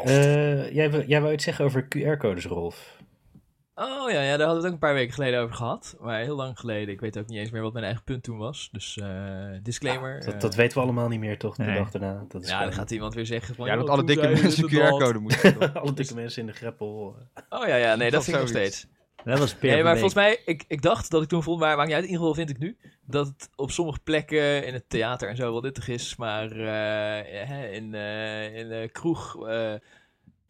A: Eh, jij, wou- jij wou iets zeggen over QR-codes, Rolf.
B: Oh ja, ja, daar hadden we het ook een paar weken geleden over gehad. Maar heel lang geleden. Ik weet ook niet eens meer wat mijn eigen punt toen was. Dus eh, disclaimer. eh,
A: Ah, Dat, dat weten we allemaal niet meer, toch? De
D: Nee.
A: dag daarna. Dat is
B: ja, dan
A: gewoon-
B: gaat iemand weer zeggen van...
E: Ja,
B: joh,
E: dat alle
B: toen
E: dikke
B: zei je
E: mensen
B: dit en dat.
E: QR-code moeten. doen.
A: Alle dikke mensen in de greppel. eh.
B: Oh ja, ja, nee, dat
E: Dat
B: vind ik nog
E: zoiets.
B: steeds.
D: Dat was Peer
B: Nee,
D: van
B: maar
D: Beek.
B: volgens mij, ik, ik dacht dat ik toen vond, maar maakt niet uit. In ieder geval vind ik nu dat het op sommige plekken in het theater en zo wel nuttig is. Maar eh, hè, in, eh, in de kroeg, eh,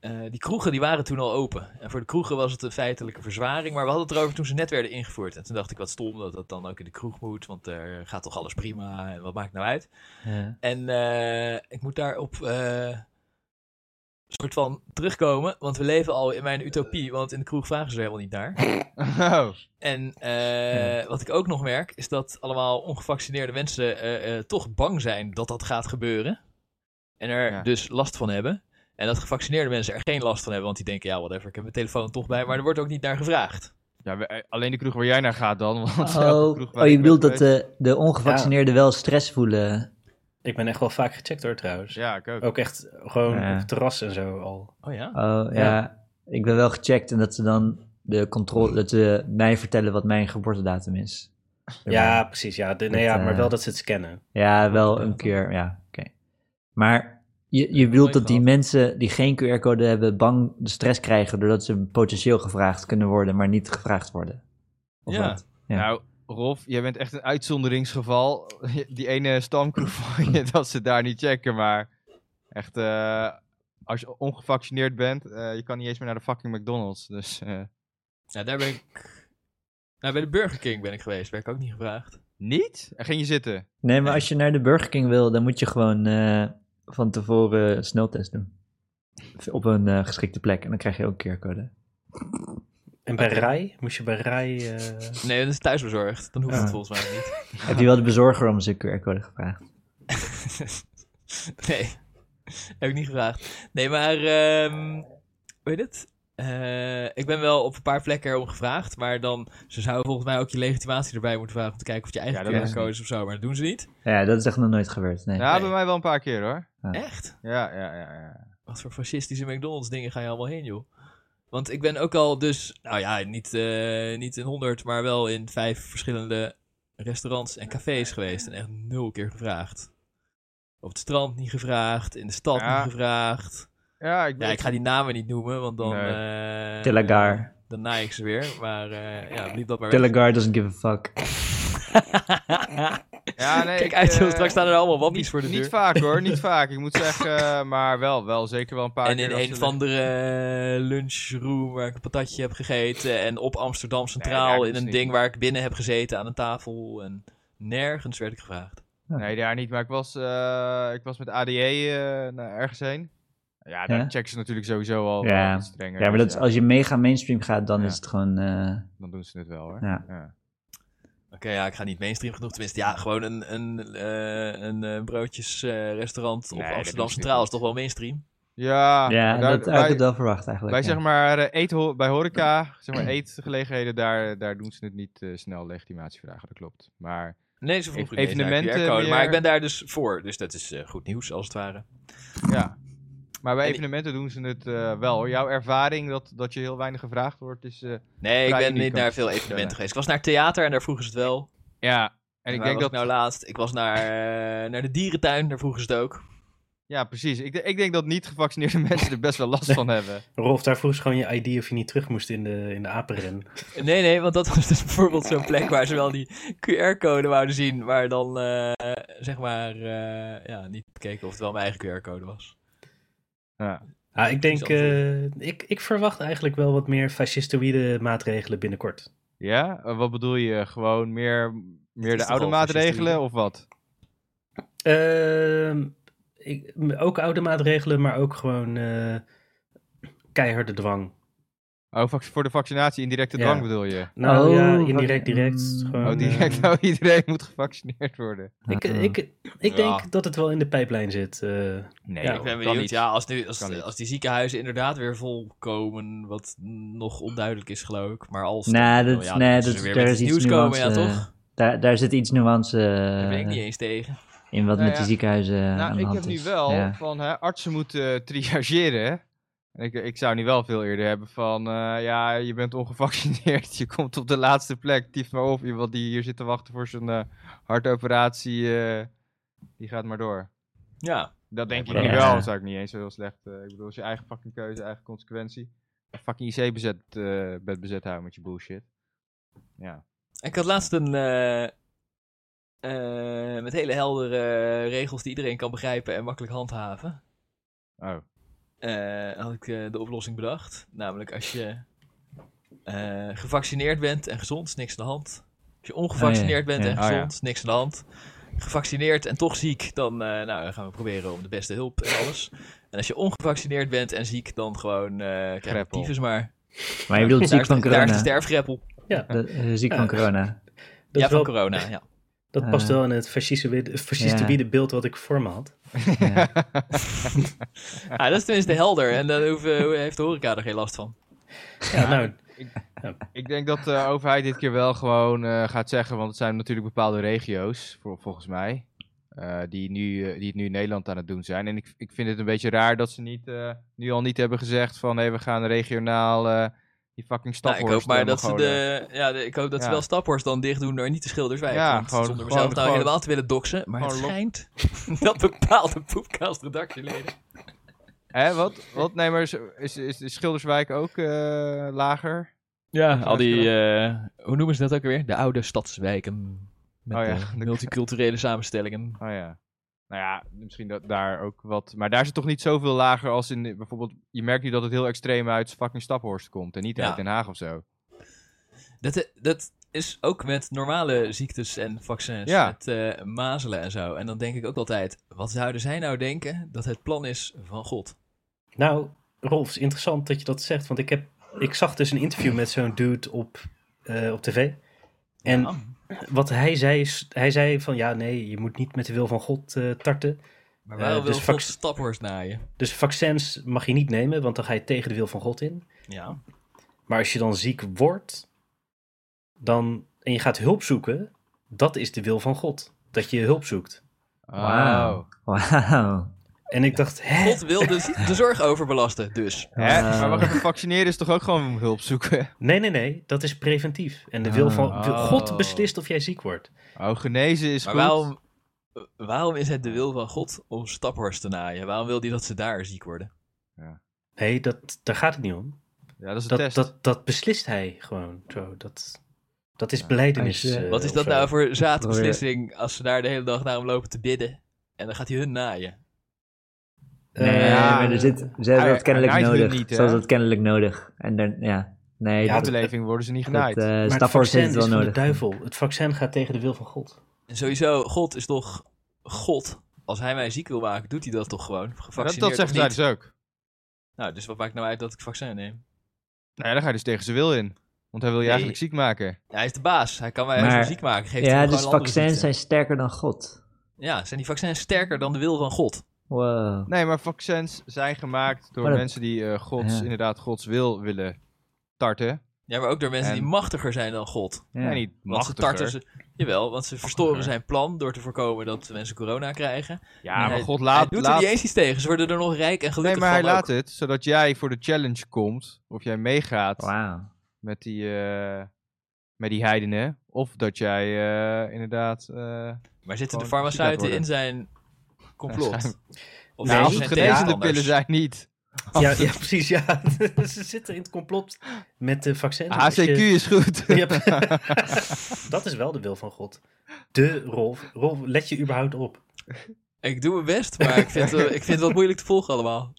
B: eh, die kroegen die waren toen al open. En voor de kroegen was het een feitelijke verzwaring. Maar we hadden het erover toen ze net werden ingevoerd. En toen dacht ik wat stom dat dat dan ook in de kroeg moet. Want er gaat toch alles prima en wat maakt nou uit.
D: Ja.
B: En eh, ik moet daarop eh, soort van terugkomen. Want we leven al in mijn utopie. Want in de kroeg vragen ze er helemaal niet naar.
E: Oh,
B: En eh, wat ik ook nog merk, is dat allemaal ongevaccineerde mensen eh, eh, toch bang zijn dat dat gaat gebeuren. En er
E: Ja.
B: dus last van hebben. En dat gevaccineerde mensen er geen last van hebben, want die denken, ja, whatever, ik heb mijn telefoon toch bij. Maar er wordt ook niet naar gevraagd.
E: ja, we- eh, alleen de kroeg waar jij naar gaat dan. Want elke
D: Oh,
E: kroeg waar
D: oh, je
E: ik
D: bedoelt
E: ben
D: dat
E: geweest-
D: eh, de ongevaccineerden wel stress voelen?
A: Ik ben echt wel vaak gecheckt hoor, trouwens.
E: Ja, ik ook.
A: Ook echt gewoon
D: Ja.
A: op het terras en zo al.
B: Oh ja?
D: Oh, ja.
A: Ja.
D: Ik ben wel gecheckt en dat ze dan de controle, dat ze mij vertellen wat mijn geboortedatum is.
A: Ja, precies. Ja. De- nee,
D: Dat,
A: ja, maar
D: eh,
A: wel dat ze het scannen.
D: Ja, wel
B: Geboortedatum.
D: een keer, ja, oké. Maar je, je
B: nooit
D: bedoelt dat die
B: gehad.
D: mensen die geen QR-code hebben bang de stress krijgen doordat ze potentieel gevraagd kunnen worden, maar niet gevraagd worden? Of
B: Ja.
D: wat? Ja.
E: Nou, Rolf, jij bent echt een uitzonderingsgeval. Die ene stamkroeg van je, dat ze daar niet checken. Maar echt, eh, als je ongevaccineerd bent, eh, je kan niet eens meer naar de fucking McDonald's. Dus eh,
B: Ja, daar ben ik... Nou, bij de Burger King ben ik geweest, werd ik ook niet gevraagd.
E: niet? En ging je zitten?
D: Nee, maar als je naar de Burger King wil, dan moet je gewoon eh, van tevoren een sneltest doen. Op een eh, geschikte plek en dan krijg je ook een QR-code.
A: En bij Rai? Moest je bij Rai... eh,
B: Nee, dat is thuisbezorgd. Dan hoeft
A: Ja.
B: het volgens mij niet.
D: Heb je wel de bezorger om zijn QR-code gevraagd?
B: nee, heb ik niet gevraagd. Nee, maar ehm, hoe heet het? Eh, ik ben wel op een paar plekken erom gevraagd, maar dan ze zouden volgens mij ook je legitimatie erbij moeten vragen om te kijken of je eigen
E: Ja, dat is-
B: QR-code is of zo, maar dat doen ze niet.
D: Ja, dat is echt nog nooit gebeurd. Nee.
E: Ja,
B: Nee.
E: Nou, bij mij wel een paar keer hoor.
D: Ja.
B: Echt?
E: Ja, ja, ja. ja.
B: Wat voor fascistische McDonald's dingen ga je allemaal heen, joh? Want ik ben ook al dus, nou ja, niet, eh, niet in honderd, maar wel in vijf verschillende restaurants en cafés geweest en echt nul keer gevraagd. Op het strand niet gevraagd, in de stad
E: Ja.
B: niet gevraagd.
E: Ja, ik,
B: Ja, ik ga die namen niet noemen, want dan... eh,
D: Telegar.
B: Dan naai ik ze weer, maar eh ja, liep dat maar weg.
D: Telegar doesn't give a fuck.
E: Ja, nee,
B: Kijk
E: ik,
B: uit, joh,
E: eh,
B: straks staan er allemaal wappies
E: niet,
B: voor de deur.
E: Niet vaak hoor, niet vaak. Ik moet zeggen, eh, maar wel, wel zeker wel een paar
B: en
E: keer.
B: in
E: als
B: een
E: ze-
B: of andere eh, lunchroom waar ik een patatje heb gegeten. En op Amsterdam
E: Nee,
B: Centraal
E: daar
B: in
E: dus
B: een
E: niet.
B: ding waar ik binnen heb gezeten aan een tafel. En nergens werd ik gevraagd.
E: Nee, daar niet. Maar ik was, eh, ik was met ADE eh, naar ergens heen. Ja, daar
D: Ja?
E: checken ze natuurlijk sowieso al
D: Ja.
E: wel iets strenger.
D: Ja, maar
E: dus
D: dat is, als je mega mainstream gaat, dan
E: Ja.
D: is het gewoon... eh,
E: Dan doen ze het wel hoor.
D: Ja.
B: Oké, ja, ik ga niet mainstream genoeg. Tenminste, ja, gewoon een, een, eh, een eh, broodjesrestaurant
E: Nee,
B: op
E: dat
B: Amsterdam
E: is niet
B: Centraal
E: goed.
B: is toch wel mainstream?
E: Ja,
D: ja,
E: Ah, daar-
D: dat had ik
E: bij,
D: het wel verwacht eigenlijk.
E: bij,
D: ja.
E: zeg maar, eh, eetho- bij horeca, zeg maar eetgelegenheden, daar, daar doen ze het niet eh, snel legitimatie vragen, dat klopt. Maar
B: Nee, ze vroegen niet eens naar
E: Evenementen
B: QR-code, Maar
E: meer.
B: ik ben daar dus voor, dus dat is eh, goed nieuws als het ware.
E: Ja. Maar bij
B: En-
E: evenementen doen ze het eh, wel. hoor. Jouw ervaring dat, dat je heel weinig gevraagd wordt is... eh,
B: Nee, ik
E: Vrij
B: ben
E: uniek
B: niet
E: kan
B: naar
E: ik
B: veel
E: zeggen.
B: evenementen geweest. Ik was naar theater en daar vroegen ze het wel.
E: ja, en
B: En
E: ik
B: waar
E: denk
B: was
E: dat...
B: ik nou laatst? Ik was naar, eh, naar de dierentuin, daar vroegen ze het ook.
E: Ja, precies. Ik, de- ik denk dat niet gevaccineerde mensen er best wel last van hebben.
A: Rolf, daar vroeg ze gewoon je ID of je niet terug moest in de, in de apenren.
B: Nee, nee, want dat was dus bijvoorbeeld zo'n plek waar ze wel die QR-code wouden zien, maar dan eh, zeg maar eh, ja, niet keken of het wel mijn eigen QR-code was.
E: Ja.
A: Ah, ik denk,
B: Is altijd-
A: eh, ik, ik verwacht eigenlijk wel wat meer fascistoïde maatregelen binnenkort.
E: Ja? Eh, Wat bedoel je? Gewoon meer, meer
B: is
E: de
B: toch
E: oude
B: al
E: maatregelen
B: fascistoïde?
E: of wat?
A: Ehm, ik, m- ook oude maatregelen, maar ook gewoon eh, keiharde dwang.
E: Oh, vac- voor de vaccinatie indirecte
A: Ja.
E: dwang bedoel je?
A: Nou
D: Oh,
A: ja,
D: wat-
A: indirect, direct.
D: mm.
A: Gewoon,
E: Oh, direct.
A: eh,
E: nou, iedereen moet gevaccineerd worden.
A: ik ik, ik denk dat het wel in de pijplijn zit. eh.
E: Nee,
A: Ja,
B: ik ben benieuwd, ja, als, nu,
E: Kan
B: als,
E: niet.
B: als die ziekenhuizen inderdaad weer volkomen, wat nog onduidelijk is geloof ik, maar als...
D: Nee,
B: dan-
D: dat-
B: oh
D: nee,
B: dan
D: dat-
B: ze weer
D: daar
B: met
D: is
B: het
D: iets
B: nieuws komen, ja
D: nuance,
B: toch?
D: Daar, daar zit iets nuance eh,
B: Daar ben ik niet eens tegen.
D: in wat
E: Nou
D: met
E: ja.
D: die ziekenhuizen eh, aan
E: Nou,
D: de
E: ik
D: hand
E: heb nu
D: is.
E: wel
D: Ja.
E: van hè, artsen moeten eh, triageren. En ik, ik zou nu wel veel eerder hebben van, eh, ja, je bent ongevaccineerd, je komt op de laatste plek, tief maar op. Iemand die hier zit te wachten voor zijn eh, hartoperatie, eh, die gaat maar door.
B: Ja,
E: Dat denk ik
A: Ja.
E: nu wel, dat zou ik niet eens zo heel slecht. eh, ik bedoel, het is je eigen fucking keuze, eigen consequentie. Een fucking IC bezet, eh, bed bezet houden met je bullshit. Ja.
B: ik had laatst een... eh, eh, met hele heldere regels die iedereen kan begrijpen en makkelijk handhaven.
E: Oh.
B: eh, had ik eh, de oplossing bedacht. Namelijk als je eh, gevaccineerd bent en gezond, is niks aan de hand. Als je ongevaccineerd
D: Oh, ja, ja.
B: bent en
E: Oh, ja.
B: gezond, is niks aan de hand. Gevaccineerd en toch ziek, dan eh, nou, dan gaan we proberen om de beste hulp en alles. En als je ongevaccineerd bent en ziek, dan gewoon eh krijg je
E: Greppel.
B: tyfus maar.
D: Maar je bedoelt ziek
B: Daar is
D: van
B: de- Daar is de
D: corona.
B: sterfgreppel.
D: Dat- eh, Ziek
A: Ja.
D: van corona.
A: Dat,
B: ja,
A: is wel-
B: van corona. Ja.
A: dat past
D: Eh.
A: wel in het fascistoïde fascistoïde beeld wat ik voor me had.
D: Ja.
B: Ah, dat is tenminste helder en daar hoeven- heeft de horeca er geen last van.
A: Ja, nou,
E: Ik denk dat de overheid dit keer wel gewoon eh, gaat zeggen, want het zijn natuurlijk bepaalde regio's, vol- volgens mij, eh, die, nu, eh, die het nu in Nederland aan het doen zijn. En ik, ik vind het een beetje raar dat ze niet, eh, nu al niet hebben gezegd van, hé, we gaan regionaal eh, die fucking
B: Nou, ik
E: staphorst...
B: hoop maar
E: eh,
B: dat ze,
E: Mongolen-
B: de, ja, de- ik hoop dat ze
E: Ja.
B: wel Staphorst dan dicht doen door niet de Schilderswijk.
E: Ja,
B: Want
E: gewoon-
B: zonder
E: gewoon-
B: mezelf nou
E: gewoon-
B: helemaal te willen doxen. Maar het
E: gewoon lo-
B: schijnt dat bepaalde poepkastredactieleden...
E: Hè, wat? wat? Nee, maar is, is, is de Schilderswijk ook eh, lager?
B: Ja, eh,
E: al die,
B: hoe noemen ze dat ook weer? De oude stadswijken. Met
E: Oh ja, eh, de-
B: multiculturele samenstellingen.
E: Oh ja. Nou ja, misschien dat daar ook wat... Maar daar is het toch niet zoveel lager als in... Bijvoorbeeld, je merkt nu dat het heel extreem uit fucking Staphorst komt en niet
B: Ja.
E: uit Den Haag of zo.
B: Dat, eh, dat is ook met normale ziektes en vaccins.
E: Ja.
B: Met eh, mazelen en zo. En dan denk ik ook altijd, wat zouden zij nou denken dat het plan is van God?
A: Nou, Rolf, is interessant dat je dat zegt. Want ik, heb, ik zag dus een interview met zo'n dude op, eh, op tv. En
B: Ja.
A: wat hij zei is, hij zei van ja, nee, je moet niet met de wil van God eh, tarten.
B: Maar
A: Eh,
B: waarom
A: dus
B: wil God
A: vac-
B: Staphorst naaien?
A: Dus vaccins mag je niet nemen, want dan ga je tegen de wil van God in.
B: Ja.
A: Maar als je dan ziek wordt dan, en je gaat hulp zoeken, dat is de wil van God. Dat je hulp zoekt.
D: Wauw. Wauw.
A: En ik dacht, hè?
B: God wil dus de, de zorg overbelasten, dus.
E: Hè?
D: Wauw.
E: Maar wacht even, vaccineren is toch ook gewoon hulp zoeken?
A: Nee, nee, nee, dat is preventief. En de wil van
E: Oh.
B: Ah.
A: God beslist of jij ziek wordt.
E: Oh, genezen is
B: Maar
E: goed.
B: waarom, Eh, waarom is het de wil van God om Staphorst te naaien? Waarom wil hij dat ze daar ziek worden?
A: Nee, dat, daar gaat het niet om.
E: Ja, dat is een
A: dat,
E: test.
A: dat, dat beslist hij gewoon. Zo, dat, dat is
E: Ja.
A: beleidenis.
D: Als je-
A: eh,
B: Wat is
A: of
B: dat
A: zo.
B: nou voor zaadbeslissing als ze daar de hele dag naar hem lopen te bidden? En dan gaat hij hun naaien.
A: Eh,
D: Nee,
E: ja.
D: maar er zit, ze hebben
E: Ah,
D: dat kennelijk
E: hij doet
D: nodig.
E: niet, hè?
D: Ze hadden dat kennelijk nodig. En dan, ja. Nee,
E: Ja,
D: dat,
E: de leving worden ze niet
D: dat,
E: genaaid.
D: eh,
A: maar het
D: Staphorst
A: vaccin
D: heeft
A: is
D: het wel
A: van de
D: nodig.
A: duivel. Het vaccin gaat tegen de wil van God.
B: En sowieso, God is toch God? Als hij mij ziek wil maken, doet hij dat toch gewoon?
E: Maar dat,
B: Gevaccineerd
E: dat zeggen
B: of
E: zij
B: niet?
E: dus ook.
B: Nou, dus wat maakt nou uit dat ik vaccin neem?
E: Nee, daar ga je dus tegen zijn wil in. Want hij wil je
B: Nee.
E: eigenlijk ziek maken.
B: Ja, hij is de baas. Hij kan mij
D: Maar-
B: maar, ziek maken. Geeft
D: Ja,
B: hem
D: dus
B: gewoon andere
D: vaccins
B: ziekte.
D: zijn sterker dan God.
B: Ja, zijn die vaccins sterker dan de wil van God?
D: Wow.
E: Nee, maar vaccins zijn gemaakt door
D: Maar dat-
E: mensen die eh, gods,
D: Ja.
E: inderdaad gods wil willen tarten.
B: Ja, maar ook door mensen
E: En-
B: die machtiger zijn dan God.
D: Ja.
E: Nee, niet
B: Want ze
E: machtiger.
B: tarten ze. Jawel, want ze verstoren
E: Machtiger.
B: zijn plan door te voorkomen dat mensen corona krijgen.
E: Ja,
B: Nee,
E: maar
B: hij-
E: god
B: hij
E: laat...
B: doet
E: laat-
B: er niet eens iets tegen. Ze worden er nog rijk en
E: nee,
B: gelukkig
E: maar hij
B: van ook.
E: laat het, zodat jij voor de challenge komt. Of jij meegaat
D: Wauw.
E: met, die, eh, met die heidenen. Of dat jij eh, inderdaad... eh,
B: Maar zitten de
E: Gewoon ziek laten
B: farmaceuten
E: worden.
B: in zijn complot?
E: Ja, schijn-
B: Of
E: nou,
B: ze
E: als het
B: zijn
E: genezende
B: tegenstanders.
E: pillen zijn niet.
D: Oh.
A: Ja, ja, precies. Ja. Ze zitten in het complot met de vaccins.
D: Ah,
A: Als je-
E: HCQ is goed.
A: Je hebt- dat is wel de wil van God. De Rolf. Rolf, let je überhaupt op?
B: Ik doe mijn best, maar ik vind, eh, ik vind het wat moeilijk te volgen allemaal.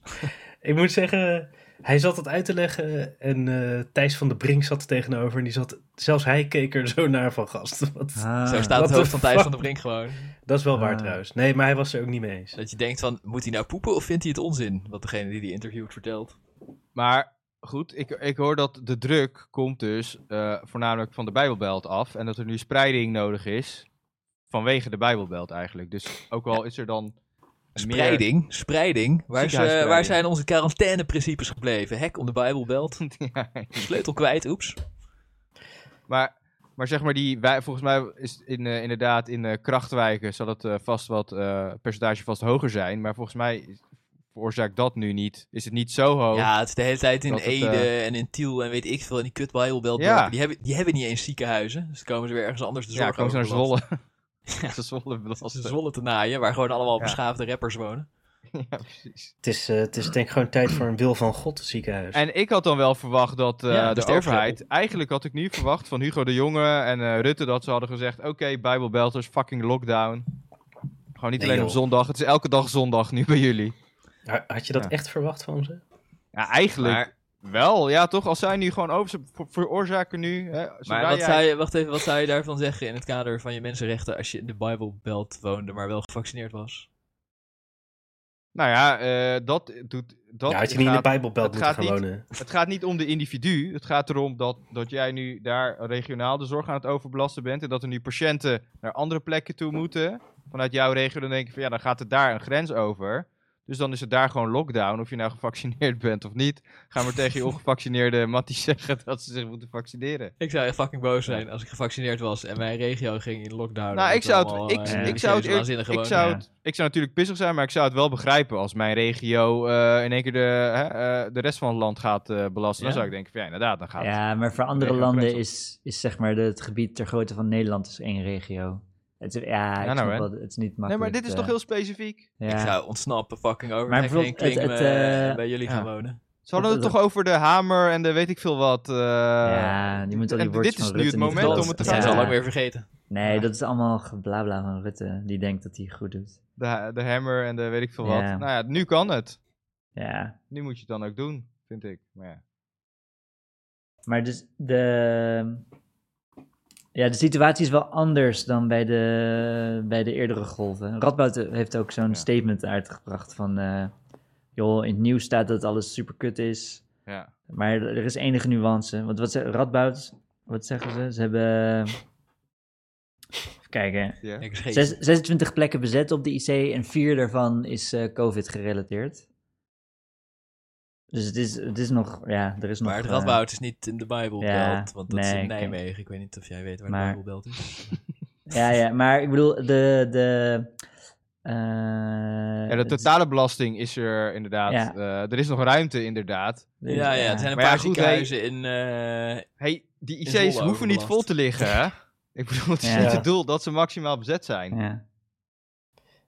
A: Ik moet zeggen, hij zat het uit te leggen en eh, Thijs van de Brink zat er tegenover. En die zat, zelfs hij keek er zo naar van gast. Wat-
D: Ah.
B: Zo staat
A: What
B: het
A: the
B: hoofd van Thijs
A: fuck?
B: van de Brink gewoon.
A: dat is wel waar
D: Ah.
A: trouwens. Nee, maar hij was er ook niet mee eens.
B: Dat je denkt van, moet hij nou poepen of vindt hij het onzin? Wat degene die die interviewt vertelt.
E: Maar goed, ik, ik hoor dat de druk komt dus eh, voornamelijk van de Bijbelbelt af. En dat er nu spreiding nodig is vanwege de Bijbelbelt eigenlijk. Dus ook al is er dan... meer-
B: Spreiding, spreiding. Waar, is, eh,
E: Ziekenhuisspreiding.
B: waar zijn onze quarantaineprincipes gebleven? Hek om de Bijbelbelt.
E: Ja,
B: Sleutel kwijt, oeps.
E: maar, maar zeg maar, die, wij, volgens mij is in, eh, inderdaad in eh, krachtwijken zal het eh, vast wat eh, percentage vast hoger zijn. Maar volgens mij is- veroorzaakt dat nu niet. Is het niet zo hoog?
B: Ja, het is de hele tijd in
E: Oh. Dat het,
B: Ede
E: eh,
B: en in Tiel en weet ik veel. En die kut Bijbelbelt.
E: Ja.
B: Die, hebben, die hebben niet eens ziekenhuizen. Dus dan komen ze weer ergens anders de zorg
E: Ja, komen ze naar
B: overbelasten.
E: Zwolle. Ze Zwolle
B: Als
E: belasten.
B: ze Zwolle te naaien, waar gewoon allemaal
E: Ja.
B: beschaafde rappers wonen.
E: Ja, precies.
A: Het is, eh, het is denk ik gewoon tijd voor een wil van God ziekenhuis.
E: En ik had dan wel verwacht dat eh,
B: Ja, dat
E: de
B: is de
E: overheid... Eigenlijk had ik nu verwacht van Hugo de Jonge en eh, Rutte... dat ze hadden gezegd, oké, Bijbelbelters, fucking lockdown. Gewoon niet
A: Nee,
E: alleen op
A: joh.
E: zondag. Het is elke dag zondag nu bij jullie.
A: Ha- Had je dat
E: Ja.
A: echt verwacht van ze?
E: Ja, eigenlijk wel. Ja, toch? Als zij nu gewoon over... Ze ver- veroorzaken nu... Hè,
B: Maar wat zou, je, wacht even, wat zou je daarvan zeggen in het kader van je mensenrechten als je in de Bijbelbelt woonde, maar wel gevaccineerd was?
E: Nou ja, eh, dat doet... Dat
A: ja, had je niet in de
E: gaat-
A: Bijbelbelt
E: het
A: moeten
E: gaat
A: gaan
E: niet-
A: wonen?
E: Het gaat niet om de individu. Het gaat erom dat, dat jij nu daar regionaal de zorg aan het overbelasten bent. En dat er nu patiënten naar andere plekken toe moeten. Vanuit jouw regio, dan denk je van ja, dan gaat het daar een grens over. Dus dan is het daar gewoon lockdown. Of je nou gevaccineerd bent of niet. Ga maar tegen je ongevaccineerde mattie zeggen dat ze zich moeten vaccineren.
B: Ik zou echt fucking boos zijn als ik gevaccineerd was en mijn regio ging in lockdown.
E: Nou, ik zou, het,
B: Omdat we
E: ik,
B: allemaal, eh,
E: ik zou het
B: religieuze waanzinnigen
E: eerlijk- ik
B: wonen.
D: eh,
E: zou het- ik zou natuurlijk pissig zijn, maar ik zou het wel begrijpen als mijn regio eh, in één keer de, hè, eh, de rest van het land gaat eh, belasten. Dan
B: Ja.
E: zou ik denken van ja, inderdaad, dan gaat het.
D: Ja, maar voor andere
E: regio
D: landen
E: grenzen.
D: is, is zeg maar de, het gebied ter grootte van Nederland is één regio. Het is, ja, ik
E: nou,
D: snap
E: hè.
D: wel, het is niet
E: Nee,
D: makkelijk.
E: maar dit is
D: eh,
E: toch heel specifiek?
D: ja.
B: Ik zou ontsnappen, fucking over
D: Maar
B: mijn hek heen
D: bijvoorbeeld het-
B: klimmen
D: het, eh,
B: en bij jullie
E: ja.
B: gaan wonen.
E: Ze hadden het
D: Dat-
E: toch over de hamer en de weet ik veel wat. eh,
D: Ja, die moet al die
E: en
D: woordjes
E: dit is
D: van
E: nu het
D: Rutte niet
E: moment
D: vervalsen.
E: om het te
B: dat zijn
E: gaan
B: ze
D: Ja.
B: al
E: doen.
B: lang weer vergeten.
D: Nee,
E: Ja.
D: dat is allemaal geblabla van Rutte. Die denkt dat hij goed doet.
E: De, de hammer en de weet ik veel wat.
D: Ja.
E: Nou ja, nu kan het.
D: Ja.
E: Nu moet je het dan ook doen, vind ik. Maar ja.
D: Maar dus de... Ja, de situatie is wel anders dan bij de, bij de eerdere golven. Radboud heeft ook zo'n
E: Ja.
D: statement uitgebracht van... eh, joh, in het nieuws staat dat alles super kut is.
E: ja.
D: Maar er is enige nuance. Want wat ze, Radboud, wat zeggen ze? Ze hebben... Even kijken.
E: Ja.
B: Ik scheet.
D: Zes- 26 plekken bezet op de IC en vier daarvan is eh, COVID gerelateerd. Dus het is, het is nog, ja, er is nog...
B: Maar het
D: eh,
B: Radboud is niet in de Bijbelbelt,
D: ja,
B: want dat is
D: nee,
B: in
D: oké.
B: Nijmegen. Ik weet niet of jij weet waar
D: Maar-
B: de Bijbelbelt is.
D: ja, ja, maar ik bedoel, de... de eh,
E: Ja, de
D: het is-
E: totale belasting is er inderdaad.
D: Ja.
E: eh, er is nog ruimte, inderdaad.
D: er is-
B: Ja, ja, er zijn een
E: Maar ja,
B: paar
E: goed,
B: ziekenhuizen in... eh,
E: Hey, die
B: Is
E: IC's
B: Zwolle
E: hoeven niet
B: overbelast.
E: vol te liggen, hè? Ik bedoel, het is
D: Ja.
E: niet het doel dat ze maximaal bezet zijn.
D: ja.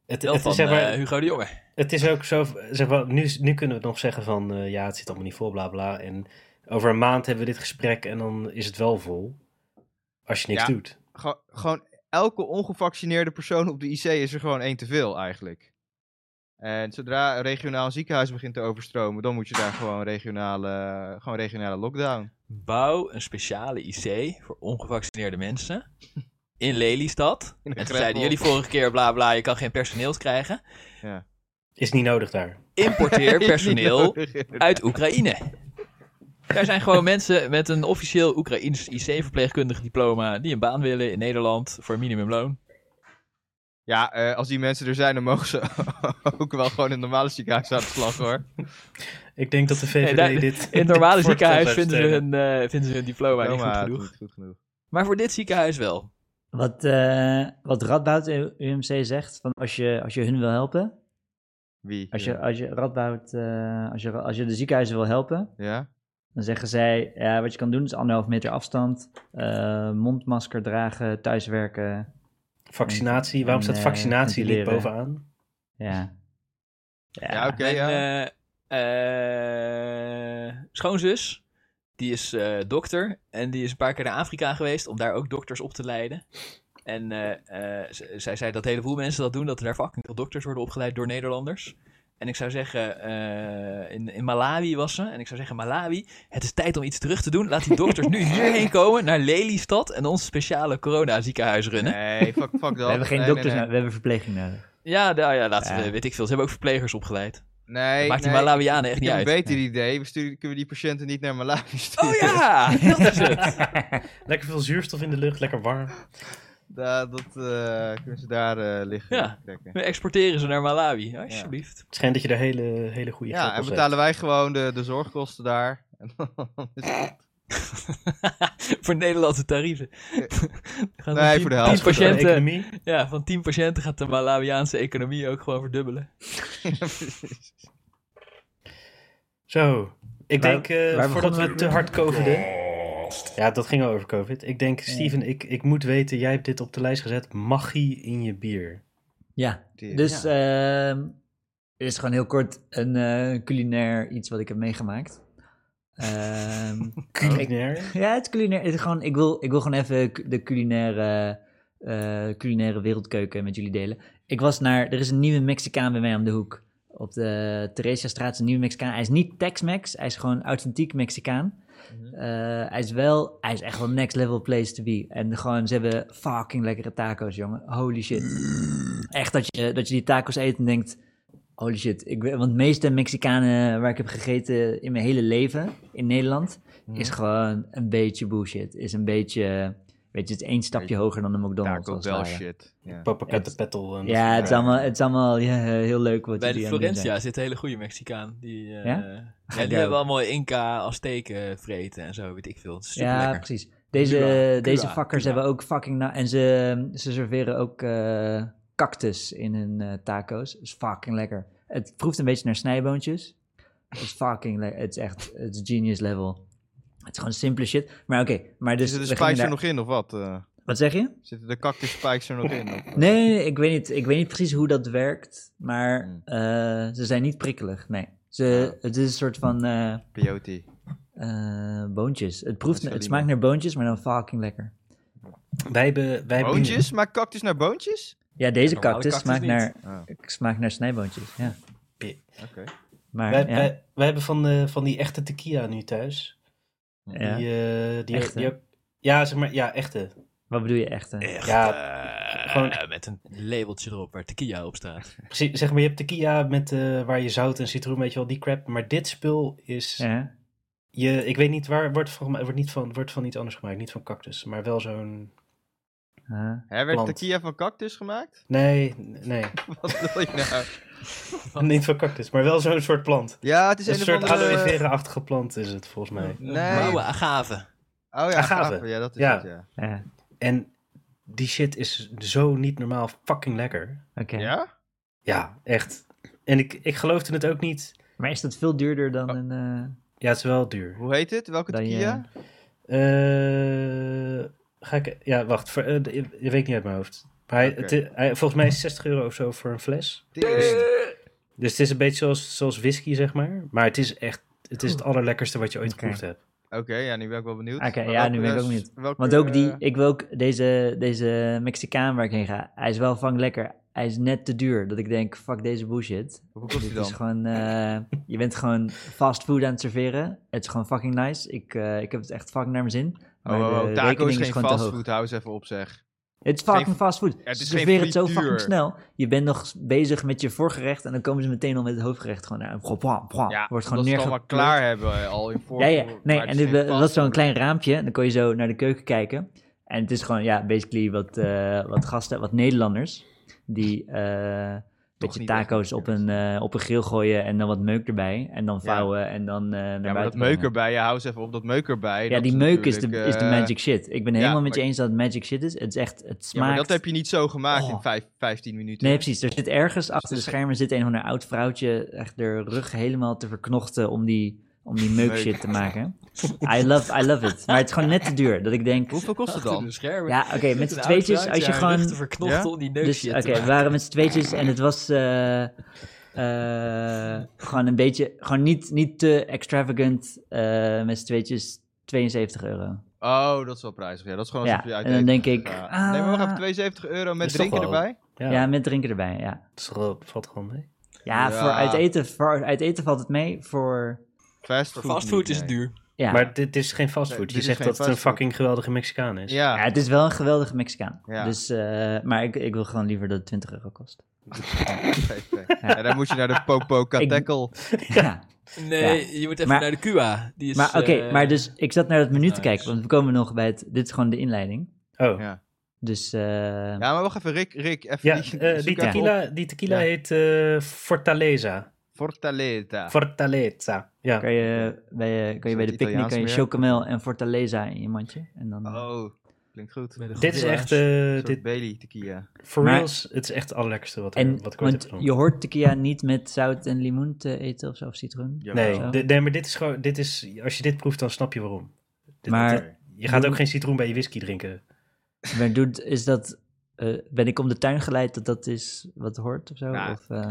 A: Het,
B: Wel
A: het
B: van
A: is zeg maar,
B: eh, Hugo de Jonge.
A: Het is ook zo, zeg maar, nu, nu kunnen we het nog zeggen van, eh, ja, het zit allemaal niet vol, bla bla. En over een maand hebben we dit gesprek en dan is het wel vol. Als je niks
E: Ja.
A: doet.
E: Gew- gewoon elke ongevaccineerde persoon op de IC is er gewoon één te veel eigenlijk. En zodra een regionaal ziekenhuis begint te overstromen, dan moet je daar gewoon regionale, gewoon regionale lockdown.
B: Bouw een speciale IC voor ongevaccineerde mensen in Lelystad.
E: In de
B: En toen
E: Greppel.
B: zeiden jullie vorige keer, bla bla, je kan geen personeels krijgen.
A: Is niet nodig daar.
B: Importeer personeel
E: Niet nodig.
B: uit Oekraïne. Daar zijn gewoon mensen met een officieel Oekraïns IC-verpleegkundig diploma die een baan willen in Nederland voor minimumloon.
E: Ja, eh, als die mensen er zijn, dan mogen ze ook wel gewoon in het normale ziekenhuis aan de slag hoor.
A: Ik denk dat de VVD
B: Nee, daar-
A: dit...
B: In het normale
A: dit
B: ziekenhuis
A: voorstel zou
B: vinden ze, hun, eh, vinden ze hun diploma niet goed
E: Diploma,
B: genoeg.
E: goed, goed genoeg.
B: Maar voor dit ziekenhuis wel.
D: Wat, eh, wat Radboud in UMC zegt, van als, je, als je hun wil helpen,
E: Wie?
D: als je, als je Radboud, eh, als, je, als je de ziekenhuizen wil helpen,
E: Ja?
D: Dan zeggen zij, ja, wat je kan doen is anderhalf meter afstand, eh, mondmasker dragen, thuiswerken.
A: Vaccinatie, waarom
D: En,
A: staat
D: eh,
A: vaccinatie liep
D: ventileren.
A: bovenaan?
D: Ja. Ja,
E: Ja, oké,
B: Mijn
E: ja.
B: eh, eh, schoonzus, die is eh, dokter en die is een paar keer naar Afrika geweest om daar ook dokters op te leiden. En eh, eh, z- zij zei dat een heleboel mensen dat doen, dat er daar fucking veel dokters worden opgeleid door Nederlanders. En ik zou zeggen, eh, in, in Malawi was ze. En ik zou zeggen, Malawi, het is tijd om iets terug te doen. Laat die dokters nu hierheen komen, naar Lelystad en ons speciale corona-ziekenhuis runnen.
E: Nee, fuck, fuck dat.
D: we hebben geen dokters
E: nee,
D: nou.
E: nee, nee.
D: nodig, we hebben verpleging nodig.
B: Ja, nou ja, laten we,
D: Ja.
B: weet ik veel. Ze hebben ook verplegers opgeleid.
E: Nee,
B: Maakt die
E: nee,
B: Malawianen echt
E: Ik
B: niet
E: heb een
B: uit.
E: beter idee. We sturen, kunnen we die patiënten niet naar Malawi sturen?
B: Oh ja, dat is het.
A: Lekker veel zuurstof in de lucht, lekker warm.
E: Da- dat eh, kunnen ze daar eh, liggen.
B: Ja.
E: trekken.
B: We exporteren ze naar Malawi, alsjeblieft.
A: Het schijnt dat je daar hele, hele goede
E: Ja, en betalen wij gewoon de, de zorgkosten daar. En dan is het-
B: voor Nederlandse tarieven. Gaan
E: Nee,
B: tien-
E: voor de helft.
B: tien
D: eh.
B: patiënten,
A: economie.
B: ja, van 10 patiënten gaat de Malawiaanse economie ook gewoon verdubbelen.
A: Zo, ik
D: Waar-
A: denk eh,
D: waar
A: voordat
D: begonnen
A: we
D: we?
A: te hard coviden. Ja, dat ging over covid. Ik denk, Steven, ik, ik moet weten, jij hebt dit op de lijst gezet. Magie in je bier.
D: Ja,
E: Tering.
D: dus ehm, het is gewoon heel kort een eh, culinair iets wat ik heb meegemaakt. Ehm,
A: Culinair.
D: ja, het is culinair. Het is gewoon, ik, wil, ik wil gewoon even cu- de culinaire, eh, culinaire wereldkeuken met jullie delen. Ik was naar, er is een nieuwe Mexicaan bij mij om de hoek. Op de Theresia-straat is een nieuwe Mexicaan. Hij is niet Tex-Mex, hij is gewoon authentiek Mexicaan. Eh, hij is wel, hij is echt wel next level place to be. En gewoon, ze hebben fucking lekkere tacos, jongen. Holy shit. Echt dat je, dat je die tacos eet en denkt, holy shit. Ik, weet- want de meeste Mexicanen waar ik heb gegeten in mijn hele leven in Nederland, is gewoon een beetje bullshit. Is een beetje, weet je, het is één stapje hoger dan de McDonald's.
E: Taco
D: als het
E: Bell
D: ware.
E: shit. Ja.
A: Papakatapettel. en dat
D: Ja,
A: soort
D: het is
A: dingen.
D: allemaal, het is allemaal ja, heel leuk wat
B: Bij de
D: jullie aan het doen zijn.
B: Florentia zit een hele goede Mexicaan. Die, eh,
D: Ja?
B: ja?
D: Gado.
B: die hebben allemaal Inca, Azteken vreten en zo, weet ik veel. Het is super
D: Ja,
B: lekker.
D: precies. Deze,
B: Cuba,
D: deze
B: Cuba,
D: vakkers
B: Cuba.
D: hebben ook fucking... na- en ze, ze serveren ook eh, cactus in hun eh, taco's. is fucking lekker. Het proeft een beetje naar snijboontjes. Het is fucking lekker. Het is echt... Het is genius level. Het is gewoon simpele shit. Maar oké. maar dus
E: Zitten de
D: we gingen
E: spikes er
D: daar-
E: nog in of wat? eh?
D: Wat zeg je?
E: zitten de cactus spikes er nog in? Of, eh?
D: Nee, nee, nee, ik, weet niet, ik weet niet precies hoe dat werkt. Maar
E: Hmm.
D: eh, ze zijn niet prikkelig. Nee. Ze, het is een soort van eh,
E: Peyote.
D: eh, boontjes. Het, proeft,
E: Salimo.
D: het smaakt naar boontjes, maar dan fucking lekker.
A: Wij hebben... Wij hebben-
E: Boontjes? Maakt cactus naar boontjes?
D: Ja, deze
B: Normale
D: cactus
B: cactus
D: smaakt
B: niet.
D: naar,
E: Oh,
D: smaakt naar snijboontjes. Ja.
E: oké.
D: Maar
A: Wij,
D: ja,
A: wij, wij hebben van, eh, van die echte tequila nu thuis.
D: ja.
A: Die, eh, die,
D: Echte?
A: die- ja, zeg maar, ja, echte.
D: wat bedoel je echt? hè?
B: Echt, eh,
A: gewoon-
B: met een labeltje erop waar tequila op staat.
A: Precies, Zeg maar, je hebt tequila met, eh, waar je zout en citroen, weet je wel, die crap. Maar dit spul is,
D: Ja.
A: je, ik weet niet waar, wordt, volgens mij, wordt, niet van, wordt van iets anders gemaakt. Niet van cactus, maar wel zo'n...
D: Huh?
E: Hè, werd
A: Plant.
E: tequila van cactus gemaakt?
A: Nee, nee,
E: Wat wil je nou?
A: niet van cactus, maar wel zo'n soort plant.
E: Ja, het is
A: Een
E: een,
A: soort
E: of andere...
A: aloe vera-achtige plant is het, volgens mij.
E: Nee.
B: Blauwe agave.
E: Oh ja,
A: Agave.
E: agave. Ja, dat is
A: Ja.
E: het, ja.
D: Ja,
A: En die shit is zo niet normaal fucking lekker.
D: oké.
E: Ja?
A: Ja, echt. En ik, ik geloofde het ook niet.
D: Maar is dat veel duurder
A: Oh.
D: dan een... eh,
A: Ja, het is wel duur.
E: Hoe heet het? Welke
D: Dan je-
E: tequila?
A: Eh, ga ik. Ja, wacht. Voor, eh, de- je weet niet uit mijn hoofd. Maar hij,
E: Oké.
A: het is- hij- volgens mij is het 60 euro of zo voor een fles.
E: Tering.
A: Dus het is een beetje zoals, zoals whisky, zeg maar. Maar het is echt. Het is het allerlekkerste wat je ooit
D: Oké.
A: geproefd hebt.
E: Oké, ja, nu ben ik wel benieuwd.
D: Oké, ja,
E: Maar welke
D: nu ben ik ook
E: rest-
D: benieuwd.
E: welke,
D: want ook die...
E: eh,
D: Ik wil ook deze, deze Mexicaan waar ik heen ga. Hij is wel vang lekker. Hij is net te duur. Dat ik denk, fuck deze bullshit.
E: Hoe kost die
D: Dit Dus is
E: dan?
D: gewoon... eh, je bent gewoon fast food aan het serveren. Het is gewoon fucking nice. Ik, eh, ik heb het echt fucking naar mijn zin.
E: Oh,
D: Maar de
E: oh, oh, taco
D: rekening
E: is geen
D: gewoon te hoog.
E: fastfood, hou eens even op zeg.
D: Het is
E: Geen-
D: fucking fastfood.
E: het
D: Ze
E: is geen
D: serveren het zo fucking
E: frituur.
D: snel. Je bent nog s- bezig met je voorgerecht en dan komen ze meteen al met het hoofdgerecht gewoon naar. Gewoon, pwa, pwa,
E: Ja,
D: wordt gewoon
E: neer.
D: neerge-
E: ze het allemaal klaar hebben eh, al in voor.
D: Ja, ja. Nee,
E: maar het
D: en
E: is
D: dit
E: geen
D: wa- was zo'n
E: fastfood.
D: klein raampje. En dan kon je zo naar de keuken kijken. En het is gewoon, ja, basically wat, eh, wat gasten, wat Nederlanders. Die eh een beetje
E: niet echt
D: taco's op een, eh, op een grill gooien en dan wat meuk erbij. En dan vouwen en dan eh naar
E: Ja, maar dat
D: buiten
E: meuk
D: brengen.
E: erbij, ja, hou eens even op dat meuk erbij.
D: Ja,
E: dat
D: die meuk is de,
E: natuurlijk,
D: is de
E: eh,
D: magic shit. Ik ben helemaal met je
E: maar-
D: eens dat het magic shit is. Het is echt, het
E: Ja, maar
D: smaakt...
E: dat heb je niet zo gemaakt in
D: Oh.
E: vijf, 15 minuten.
D: Nee, precies. Er zit ergens achter de
E: dus-
D: schermen zit een of ander oud vrouwtje echt de rug helemaal te verknochten om die, om die meuk
E: Meuk.
D: shit te maken. I love, I love it. Maar het is gewoon net te duur. Dat ik denk,
E: Hoeveel kost het dan?
B: De schermen.
D: ja, oké, met z'n
B: Een
D: tweetjes,
B: oud
D: als je
B: vrouwtje haar rug
D: gewoon...
B: te verknochten
E: Ja?
B: om die neus
D: Dus,
B: shit
D: oké,
B: te
D: we
B: maken.
D: waren met z'n tweetjes en het was eh, Eh, gewoon een beetje, gewoon niet, niet te extravagant eh, met z'n tweetjes 72 euro.
E: Oh, dat is wel prijzig. Ja, dat is gewoon
D: Ja,
E: alsof je uit
D: en dan
E: eten
D: denk ik,
E: gaat. nee, maar wacht even,
D: ah.
E: 72 euro met
A: Is toch
E: drinken
A: wel-
E: erbij?
A: Ja,
D: Ja, met drinken erbij, ja.
A: dat is wel- valt gewoon mee.
D: Ja,
E: Ja.
D: Voor, uit eten, voor uit eten valt het mee. Voor,
E: Fastfood
B: Voor fastfood
E: niet,
B: is
E: nee.
B: het duur.
D: ja.
A: Maar dit is geen
E: Nee,
A: fastfood.
E: dit
A: je
E: is
A: zegt
E: geen
A: dat het een
E: fastfood.
A: fucking geweldige Mexicaan is.
E: Ja.
D: ja, het is wel een geweldige Mexicaan.
E: Ja.
D: Dus, eh, maar ik, ik wil gewoon liever dat het 20 euro kost.
E: Oké. Ja, dan moet je naar de Popo Katekel.
D: Ja.
B: Nee, je moet even
D: Maar-
B: naar de Cuba. Die is,
D: Maar oké,
B: eh,
D: maar dus ik zat naar het menu te
B: nice.
D: kijken, want we komen nog bij het... Dit is gewoon de inleiding.
A: Oh.
E: Ja.
D: Dus eh,
E: Ja, maar wacht even, Rick, Rick, even
A: Ja,
E: die,
A: eh, die
E: zoek even op.
A: tequila, die tequila
E: Ja.
A: heet eh, Fortaleza.
E: Fortaleza.
A: Fortaleza, ja.
D: kan, je bij, eh, kan je bij
E: het
D: de picknick
E: Italiaans
D: kan je
E: meer?
D: chocomel en fortaleza in je mandje. En dan,
E: oh, klinkt goed.
B: bij de
A: Dit is
B: Gorilla's.
A: echt, eh,
E: Een soort
A: dit,
E: Bailey tequila.
A: for
D: Maar-
A: reals, het is echt het allerlekkerste wat, er-
D: en,
A: wat ik ooit heb
D: want
A: gedronken.
D: je hoort tequila niet met zout en limoen te eten of zo, of citroen.
A: Nee,
D: Zo.
A: di- nee, maar dit is gewoon, dit is, als je dit proeft, dan snap je waarom. Dit-
D: Maar-
A: dit- je gaat ook geen citroen bij je whisky drinken.
D: Maar doet, is dat, eh, ben ik om de tuin geleid dat dat is wat hoort of zo?
E: Nou,
D: of, eh,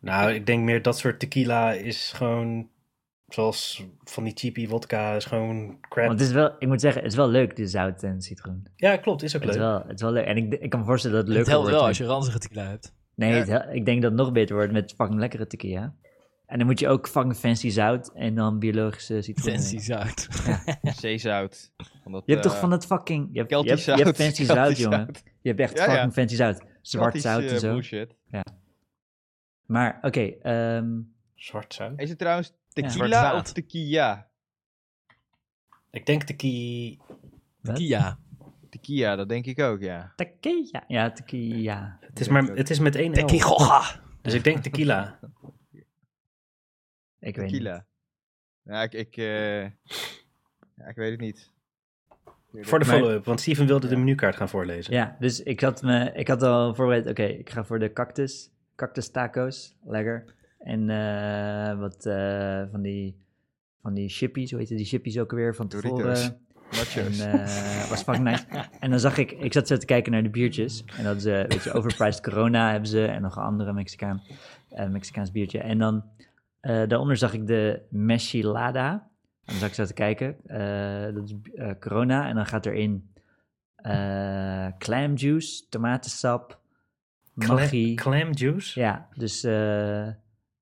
A: Nou, ik denk meer dat soort tequila is gewoon, zoals van die cheapy vodka, is gewoon crap.
D: want het is wel, ik moet zeggen, het is wel leuk, de zout en citroen.
A: Ja, klopt, is ook
D: Het is,
A: leuk.
D: wel, het is wel leuk. En ik, ik kan me voorstellen dat het
B: Het
D: leuker
B: helpt
D: wordt.
B: wel
D: met-
B: als je ranzige tequila hebt.
D: Nee, het hel- ik denk dat het nog beter wordt met fucking lekkere tequila. En dan moet je ook fucking fancy zout en dan biologische citroen.
B: Fancy zout.
E: Zeezout. Van dat,
D: Je hebt
E: eh,
D: toch van dat fucking... Je hebt, je
E: Keltisch
D: hebt, je
E: zout.
D: hebt fancy
E: Keltisch
D: zout, jongen.
E: zout.
D: Je hebt echt
E: Ja, ja.
D: fucking fancy zout. Zwart
E: Keltisch,
D: zout
E: eh,
D: en zo.
E: bullshit.
D: Maar oké, ehm,
A: Zwart zout.
E: Is het trouwens
B: Zwart
E: tequila
B: zaad.
E: of tequila?
A: Ik denk tequila.
D: wat?
B: Kia.
E: Tequila, dat denk ik ook, ja.
D: Tequila. Ja, tequila.
A: Het is, maar, het is met één L.
B: Tequigoga.
A: Dus ik denk tequila.
D: Ik weet niet.
E: Tequila. Ja, ik, ik, eh, ja, ik weet het niet.
A: Voor de
D: Maar-
A: follow-up, want Steven wilde de menukaart gaan voorlezen.
D: Ja, dus ik had, me, ik had al voorbereid, oké, ik ga voor de cactus. Cactus tacos, lekker. En eh, wat eh, van die, van die chippies, hoe heette die chippies ook alweer van
E: Doritos.
D: tevoren? En
E: Nachos.
D: eh, was fucking nice. En dan zag ik, ik zat zo te kijken naar de biertjes. En dat is, eh, weet je, overpriced corona hebben ze. En nog een andere Mexicaan, eh, Mexicaans biertje. En dan eh, daaronder zag ik de meshilada. En dan zag ik zo te kijken. eh, dat is eh, corona. En dan gaat erin eh clam juice, tomatensap,
A: Cla-
D: magie.
A: Clam juice?
D: Ja, dus eh,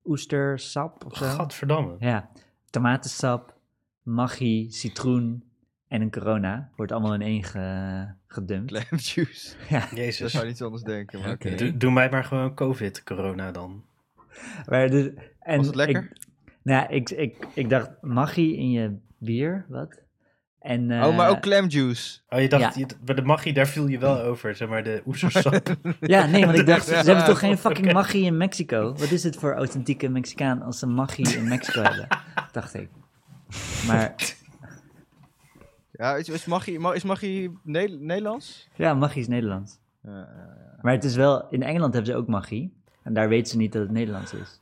D: oestersap of zo.
A: Gadverdamme.
D: Ja, tomatensap, maggi, citroen en een corona. Wordt allemaal in één ge- gedumpt.
E: Clam juice.
D: Ja.
E: Dat
A: Jezus.
E: zou je niet anders denken. Maar
B: Oké.
E: oké.
A: Doe, doe mij maar gewoon COVID-corona dan.
D: Maar dus, en
E: Was het lekker?
D: Ik, nou, ja, ik, ik, ik dacht maggi in je bier, wat? En,
E: Oh, maar
D: eh,
E: ook clam juice.
A: Oh, je dacht, je- bij de magie, daar viel je wel over, zeg maar, de oestersap.
D: Ja, nee, want ik dacht, ze
E: Ja.
D: hebben toch geen fucking maggi in Mexico? Wat is het voor authentieke Mexicaan als ze maggi in Mexico hebben? Dacht ik. Maar
E: Ja, is, is magie, ma- is magie Ne- Nederlands?
D: ja, maggi is Nederlands.
E: Eh, eh,
D: Maar het is wel, in Engeland hebben ze ook maggi. En daar weten ze niet dat het Nederlands is.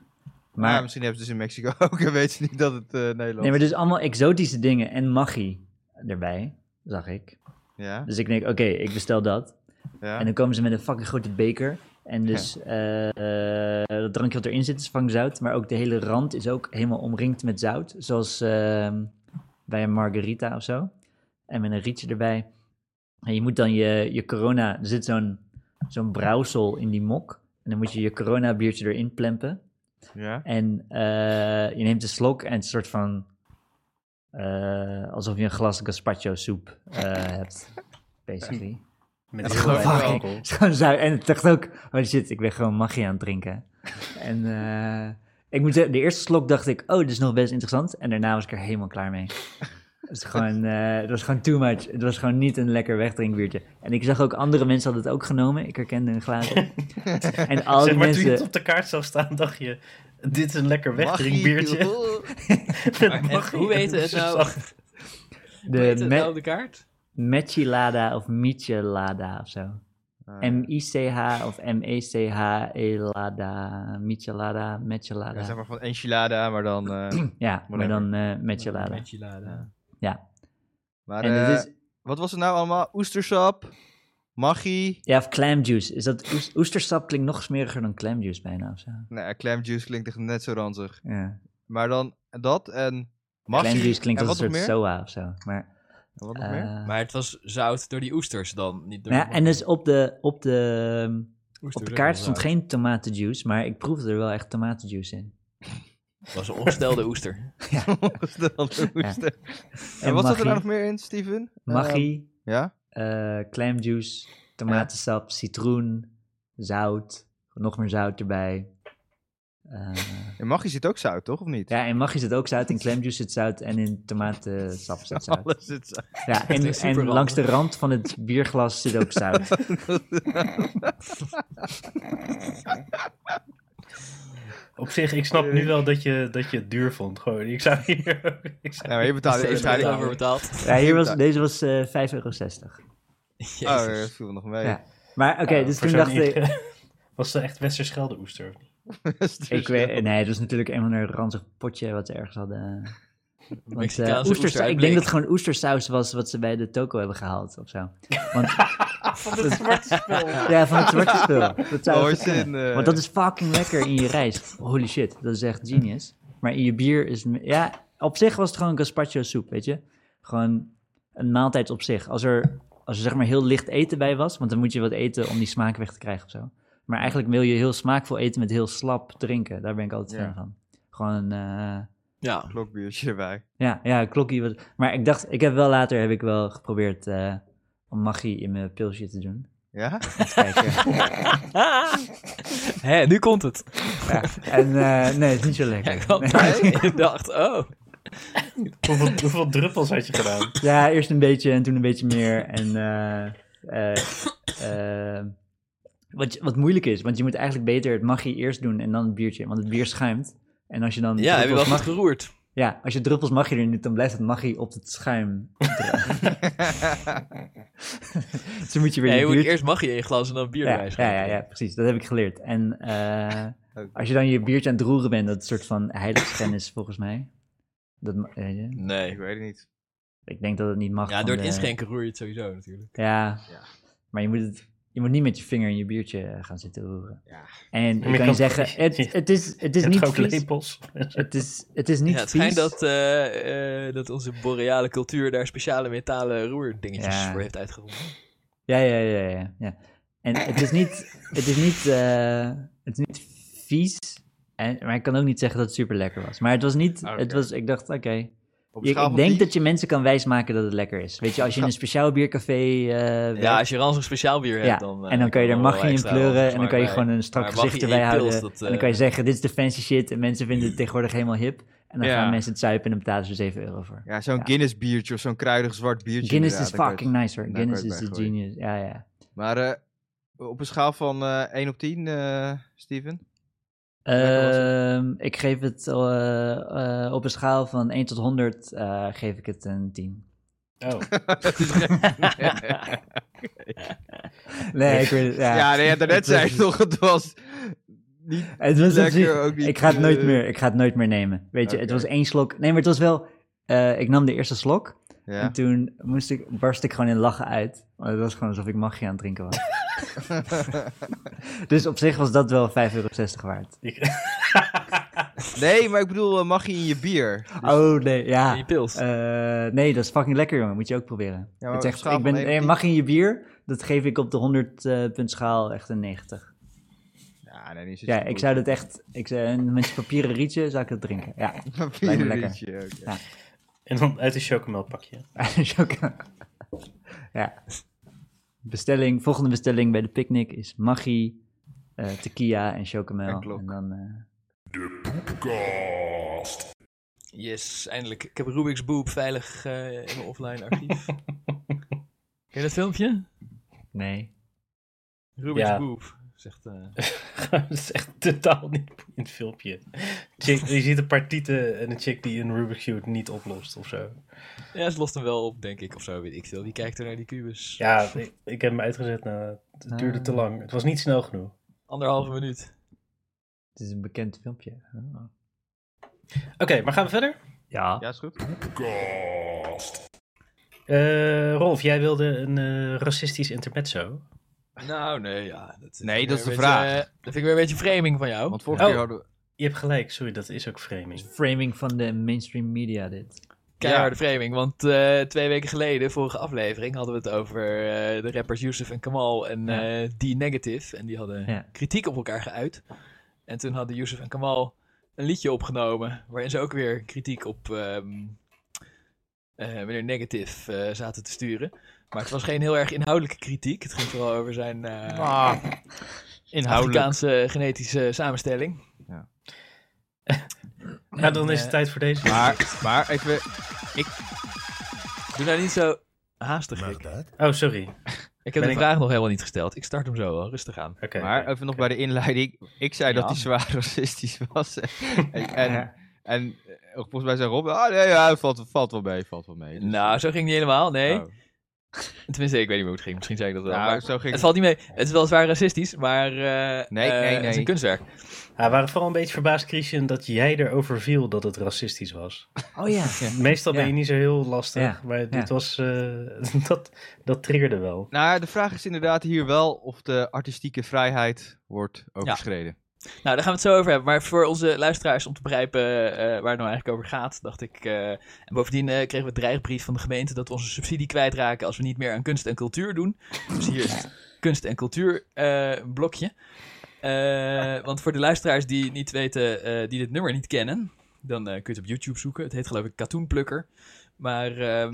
E: maar
D: Maar
E: misschien hebben ze dus in Mexico ook en weten ze niet dat het eh, Nederlands
D: Nee, maar dus allemaal exotische dingen en maggi erbij, zag ik.
E: is. Ja,
D: Dus ik denk, oké, ik bestel dat.
E: ja.
D: En dan komen ze met een fucking grote beker. En dus eh, eh, dat drankje wat erin zit is van zout. Maar ook de hele rand is ook helemaal omringd met zout. Zoals ehm, bij een margarita of zo. En met een rietje erbij. En je moet dan je, je corona... Er zit zo'n zo'n brouwsel in die mok. En dan moet je je corona biertje erin plempen.
E: ja.
D: En eh, je neemt een slok en het is een soort van. eh, alsof je een glas gazpacho soep eh, hebt. Basically.
A: Met
E: Dat
A: heel
E: is gewoon
A: weinig
E: fucking-
A: alcohol.
D: Het is gewoon zui- En het dacht ook. Oh shit, ik ben gewoon magie aan het drinken. En eh, ik moet zeggen, de eerste slok dacht ik. Oh, dit is nog best interessant. En daarna was ik er helemaal klaar mee. Het, is gewoon, eh, het was gewoon too much. Het was gewoon niet een lekker wegdrinkbiertje. En ik zag ook andere mensen hadden het ook genomen. Ik herkende een glazen. en al
A: Zeg
D: die
A: maar,
D: mensen.
A: toen je het op de kaart zag staan, dacht je, dit is een lekker wegdrinkbiertje. Met
B: En
A: magie
B: hoe
A: en
B: heet het nou?
A: oestersap.
B: Hoe heet het
D: me-
B: nou op de kaart?
D: Mechilada of Michelada of zo.
E: Ah.
D: M-I-C-H of E M-E-C-H-E-Lada. Michelada,
E: Ja, zeg
D: Mechelada.
E: maar van enchilada, maar dan... eh,
D: Ja, maar
E: Whatever.
D: dan eh Mechelada.
B: Michelada.
D: Ja.
E: maar
D: En het
E: eh,
D: is,
E: wat was het nou allemaal? Oestersap, Maggi.
D: Ja, of clam juice. Is dat oes- oestersap klinkt nog smeriger dan clam juice bijna of zo.
E: Nee, clam juice klinkt echt net zo ranzig.
D: Ja.
E: Maar dan dat en Maggi.
D: Clam juice klinkt
E: en
D: als een
E: wat
D: soort
E: nog meer?
D: soa of zo. Maar,
E: En wat nog
D: eh,
E: meer?
B: Maar het was zout door die oesters dan. Niet door
D: nou ja, en dus op de, op de,
B: oesters
D: op de
B: ook
D: kaart
B: wel
D: stond
B: zout.
D: geen tomatenjuice, maar ik proefde er wel echt tomatenjuice in.
B: Het was een ongestelde oester.
E: Ongestelde oester. En,
D: En
E: wat zat
D: Maggi.
E: er nou nog meer in, Steven?
B: Ehm,
D: Maggi,
E: Eh, ja?
D: eh clam juice, tomatensap, citroen, zout, nog meer zout erbij. Eh,
E: In Maggi zit ook zout, toch? Of niet?
D: ja, in maggi zit ook zout, in clam juice zit zout en in tomatensap zit zout.
E: Alles zit zout.
D: Ja, en,
B: is super
D: en
B: handig.
D: langs de rand van het bierglas zit ook zout.
A: Op zich, ik snap nu wel dat je, dat je het duur vond. Gewoon, ik zou hier... Ik zou
E: Ja, maar je
B: Daar
E: betaalde
B: is
E: eerst
B: daar
E: eigenlijk...
B: over betaald.
D: Ja, hier was, deze was eh 5,60 euro.
E: Oh,
B: Jezus.
E: dat viel nog mee.
D: Ja. Maar oké, dus
A: voor
D: toen
A: zo'n
D: dacht ik...
A: inge- Was dat echt Westerschelde oester? of niet?
E: Dus,
D: ik weet, nee, het was natuurlijk een van een ranzig potje wat ze ergens hadden. Want, eh,
B: Mexicaanse
D: oesters, ik
B: oesteruitblik.
D: denk dat het gewoon oestersaus was wat ze bij de toko hebben gehaald of zo. Want,
A: Van het zwarte spel.
D: ja, van het zwarte spul. Dat zou
E: Nooit
D: goed kunnen.
E: in, eh.
D: Want dat is fucking lekker in je rijst. Holy shit, dat is echt genius. Maar in je bier is... me- Ja, op zich was het gewoon gazpacho soep, weet je. Gewoon een maaltijd op zich. Als er, als er zeg maar heel licht eten bij was, want dan moet je wat eten om die smaak weg te krijgen of zo. Maar eigenlijk wil je heel smaakvol eten met heel slap drinken. Daar ben ik altijd
E: Ja.
D: fan van. Gewoon... eh,
B: Ja,
E: Klokbiertje erbij.
D: ja, ja, klokkie. Was, maar ik dacht, ik heb wel later heb ik wel geprobeerd eh, om magie in mijn pilsje te doen.
E: Ja?
D: Even kijken.
B: Hé, nu komt het.
D: ja. En eh, nee, het is niet zo lekker.
B: Ja, ik kwam
D: Nee.
B: thuis en dacht, oh.
A: Hoeveel, hoeveel druppels had je gedaan?
D: Ja, eerst een beetje en toen een beetje meer. En eh, eh, eh, wat, wat moeilijk is, want je moet eigenlijk beter het magie eerst doen en dan het biertje. Want het bier schuimt. En als je dan
B: Ja, heb je wel
D: druppels
B: goed
D: mag-
B: geroerd.
D: ja, als je druppels magie erin doet, dan blijft het magie op het schuim. dus dan moet je weer
B: Nee, je
D: je
B: moet
D: biertje
B: eerst mag je in je glas en dan bier
D: ja,
B: erbij
D: ja, ja,
B: schenken.
D: ja, precies. Dat heb ik geleerd. En eh,
E: Ook.
D: als je dan je biertje aan het roeren bent, dat is een soort van heiligschennis is volgens mij. Dat, ma- weet je?
B: Nee.
E: Ik weet het niet.
D: Ik denk dat het niet mag.
B: Ja,
D: van
B: door het
D: de-
B: inschenken roer je het sowieso natuurlijk.
D: Ja.
E: Ja.
D: Maar je moet, het, je moet niet met je vinger in je biertje eh, gaan zitten roeren.
E: Ja.
D: En
A: Maar
D: ik
A: je
D: kan je
A: kan-
D: zeggen, het, het is, het is
A: je hebt
D: niet
A: ook
D: vies.
A: lepels.
D: Het is, het is niet
B: ja, het
D: vies.
B: schijnt dat, eh, eh, dat onze boreale cultuur daar speciale metalen roerdingetjes
D: Ja.
B: voor heeft uitgevonden.
D: Ja, ja, ja, ja, ja. En het is niet, het is niet, eh, het is niet vies. En, maar ik kan ook niet zeggen dat het super lekker was. Maar het was niet, het
E: Oké.
D: was, ik dacht, oké.
E: Op
D: Ik, ik denk dat je mensen kan wijsmaken dat het lekker is. Weet je, als je in een speciaal biercafé eh, werkt,
B: Ja, als je ranzig speciaal bier
D: ja,
B: hebt, dan... eh,
D: en dan kan je er
B: er wel
D: magie in
B: extra
D: pleuren
B: ranzig
D: en dan kan je
B: smaak
D: gewoon
B: bij.
D: een strak
B: Maar
D: gezicht
B: magie
D: erbij
B: in je pils,
D: houden.
B: dat,
D: en dan
B: eh,
D: kan je zeggen, dit is de fancy shit en mensen vinden het tegenwoordig helemaal hip. En dan
E: Ja.
D: gaan mensen het zuipen en dan betalen ze 7 euro voor.
E: Ja, zo'n
D: Ja.
E: Guinness biertje of zo'n kruidig zwart biertje.
D: Guinness is
E: inderdaad, daar kan
D: fucking
E: je
D: nice hoor.
E: daar
D: Guinness
E: kan je
D: is
E: het
D: de
E: bij gooien.
D: genius. Ja, ja.
E: het- Maar eh, op een schaal van eh 1 op 10, eh, Steven? Lekker was
D: Ehm, ik geef het eh, eh, op een schaal van 1 tot 100 eh, geef ik het een 10.
A: Oh.
D: Nee, ik weet het. Ja,
E: ja, nee, ja, daarnet
D: Het was-
E: zei je toch, het was niet
D: Het was op
E: lekker,
D: zich-
E: ook niet,
D: ik ga het nooit
E: eh,
D: meer, ik ga het nooit meer nemen. Weet je, het
E: Oké.
D: was één slok. Nee, maar het was wel. eh, ik nam de eerste slok
E: Ja.
D: en toen moest ik, barst ik gewoon in lachen uit. Want het was gewoon alsof ik magie aan het drinken was. dus op zich was dat wel 5,60 euro waard.
A: Ik-
E: Nee, maar ik bedoel, eh, mag je in je bier?
D: Oh nee, ja.
B: In je pils.
D: Eh, nee, maar dat is fucking lekker, jongen. Moet je ook proberen.
E: maar
D: het
E: op
D: is echt,
E: schaal
D: ik ben,
E: van één
D: eh,
E: tot
D: mag in je bier, dat geef ik op de 100 eh, punt schaal echt een 90.
E: Ja, nee, niet zo
D: Ja, ik zou dat echt, ik zou, en met je papieren rietje zou ik dat drinken. Ja, Lijkt me lekker. Ja.
A: En dan uit een chocomelkpakje.
D: dat is ook, ja. Bestelling, volgende bestelling bij de picknick is Maggi, eh tequila en chocomel.
E: En klok.
D: dan, eh,
B: Yes, eindelijk. Ik heb Rubik's Boop veilig eh, in mijn offline archief. Ken je dat filmpje?
D: nee.
B: Rubik's
A: Ja.
B: Boop. Zegt, eh,
A: dat is echt totaal niet boeiend in het filmpje. Chick, je ziet een paar tieten en een chick die een Rubik's Cube niet oplost of zo.
B: ja, ze lost hem wel op, denk ik, of zo, weet ik veel. Wie kijkt er naar die kubus?
A: Ja, ik, ik heb hem uitgezet. Nou, het duurde
D: Ah.
A: te lang. Het was niet snel genoeg.
B: Anderhalve minuut.
D: Het is een bekend filmpje. Oh.
A: Oké, maar gaan we verder?
D: Ja.
E: Ja, is goed.
A: Eh, Rolf, jij wilde een eh, racistisch intermezzo.
B: Nou, nee, ja. Dat
E: Nee,
B: weer
E: dat is de
B: een
E: vraag.
B: beetje, eh, dat vind ik weer een beetje framing van jou.
E: Want vorige
A: Oh.
E: keer hadden we...
A: Je hebt gelijk, sorry, dat is ook framing.
D: Framing van de mainstream media dit.
B: Keiharde framing, want eh, twee weken geleden, vorige aflevering, hadden we het over eh, de rappers Yusuf en Kamal en
D: Ja.
B: eh D-Negative. En die hadden
D: Ja.
B: kritiek op elkaar geuit. En toen hadden Yusuf en Kamal een liedje opgenomen, waarin ze ook weer kritiek op ehm, eh, meneer Negative eh, zaten te sturen. Maar het was geen heel erg inhoudelijke kritiek. Het ging vooral over zijn eh,
E: Ah, inhoudelijk.
B: Afrikaanse genetische samenstelling.
A: Nou, dan is
B: eh,
A: het tijd voor deze.
E: Maar, maar even...
B: Doe nou niet zo haastig, Rick.
A: Oh, sorry.
B: Ik
A: Ben
B: heb de
A: ik-
B: vraag nog helemaal niet gesteld. Ik start hem zo wel, rustig aan.
A: Oké.
E: Maar even nog bij de inleiding. Ik zei
B: Ja.
E: dat hij zwaar racistisch was. en, en, en eh, volgens mij zei Rob, ah nee, ja, valt, valt wel mee, valt wel mee. Dus-
B: Nou, zo ging het niet helemaal, nee.
E: Oh.
B: Tenminste, ik weet niet hoe het ging. Misschien zei ik dat wel.
E: Nou,
B: maar
E: zo ging
B: Het valt niet mee. Het is wel zwaar racistisch, maar eh,
E: Nee,
B: eh,
E: nee,
B: het is
E: nee.
B: een kunstwerk.
A: Ja, we waren vooral een beetje verbaasd, Christian, dat jij erover viel dat het racistisch was.
D: Oh ja.
A: Meestal ben
D: Ja.
A: je niet zo heel lastig,
D: Ja,
A: maar dit
D: ja.
A: was, eh, dat, dat triggerde wel.
E: Nou, de vraag is inderdaad hier wel of de artistieke vrijheid wordt overschreden.
B: Nou, daar gaan we het zo over hebben. Maar voor onze luisteraars om te begrijpen eh, waar het nou eigenlijk over gaat, dacht ik. eh, en bovendien eh, kregen we een dreigbrief van de gemeente dat we onze subsidie kwijtraken als we niet meer aan kunst en cultuur doen. Dus hier is het kunst en cultuur eh, blokje. Eh, want voor de luisteraars die niet weten, eh, die dit nummer niet kennen, dan eh, kun je het op YouTube zoeken. Het heet geloof ik Katoenplukker. Maar ehm,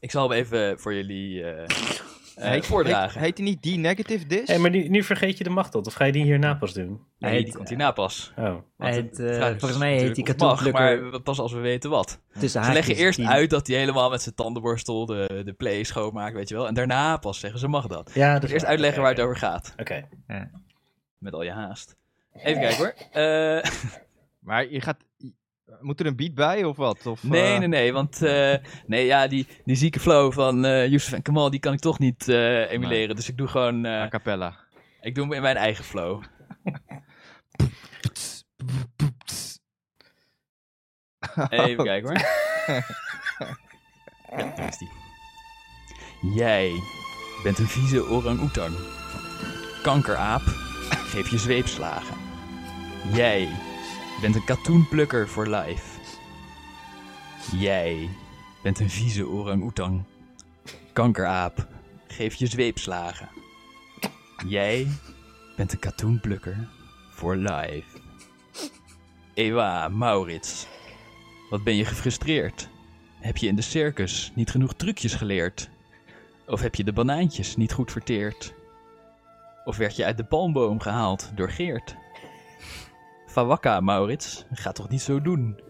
B: ik zal hem even voor jullie eh, eh,
E: Heet-
B: voordragen.
E: Heet, heet die niet die negative disc?
A: Hé, maar nu, nu vergeet je de macht al, of ga je die hierna pas doen?
B: nee,
D: heet-
B: die komt hierna pas.
A: Oh.
D: Hij
B: Want
D: heet,
B: de
D: eh,
B: vraag is
D: volgens mij heet die
B: dus natuurlijk of het mag,
D: katoenplukker
B: Maar pas als we weten wat.
D: tussen
B: Ze
D: haakjes.
B: leggen eerst
D: die-
B: uit dat hij helemaal met zijn tandenborstel de, de play schoonmaakt, weet je wel. En daarna pas zeggen ze mag dat.
A: Ja, dat
B: Dus
A: is
B: eerst
A: waar.
B: uitleggen waar
A: Oké,
B: het over gaat.
A: Oké.
B: Met al je haast. Even kijken hoor. Eh,
E: Maar je gaat... Moet er een beat bij of wat? Of,
B: nee,
E: eh,
B: nee, nee. Want eh, nee, ja, die, die zieke flow van eh Youssef en Kamal, die kan ik toch niet eh, emuleren. Dus ik doe gewoon, eh,
E: A cappella.
B: ik doe hem in mijn eigen flow. Even kijken hoor. ja, daar is die. Jij bent een vieze orang-oetan. Kankeraap, geef je zweepslagen. Jij bent een katoenplukker voor life. Jij bent een vieze orang-oetan. Kankeraap, geef je zweepslagen. Jij bent een katoenplukker voor life. Ewa, Maurits. Wat ben je gefrustreerd? Heb je in de circus niet genoeg trucjes geleerd? Of heb je de banaantjes niet goed verteerd? Of werd je uit de palmboom gehaald door Geert? Fawakka, Maurits, ga toch niet zo doen?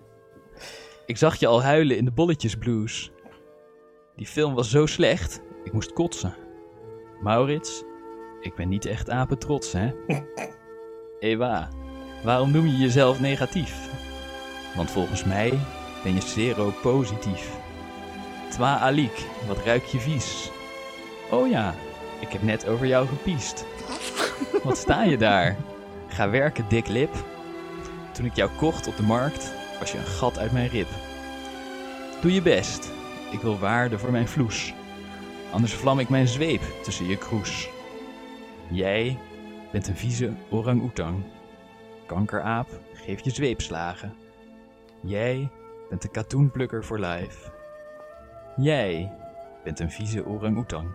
B: Ik zag je al huilen in de bolletjesblues. Die film was zo slecht, ik moest kotsen. Maurits, ik ben niet echt apetrots, hè? Ewa, waarom noem je jezelf negatief? Want volgens mij ben je seropositief. Twa Alik, wat ruik je vies? Oh ja, ik heb net over jou gepiest. Wat sta je daar? Ga werken, dik lip. Toen ik jou kocht op de markt, was je een gat uit mijn rib. Doe je best, ik wil waarde voor mijn vloes. Anders vlam ik mijn zweep tussen je kroes. Jij bent een vieze orang-oetang. Kankeraap, geef je zweepslagen. Jij bent de katoenplukker voor life. Jij bent een vieze orang-oetang.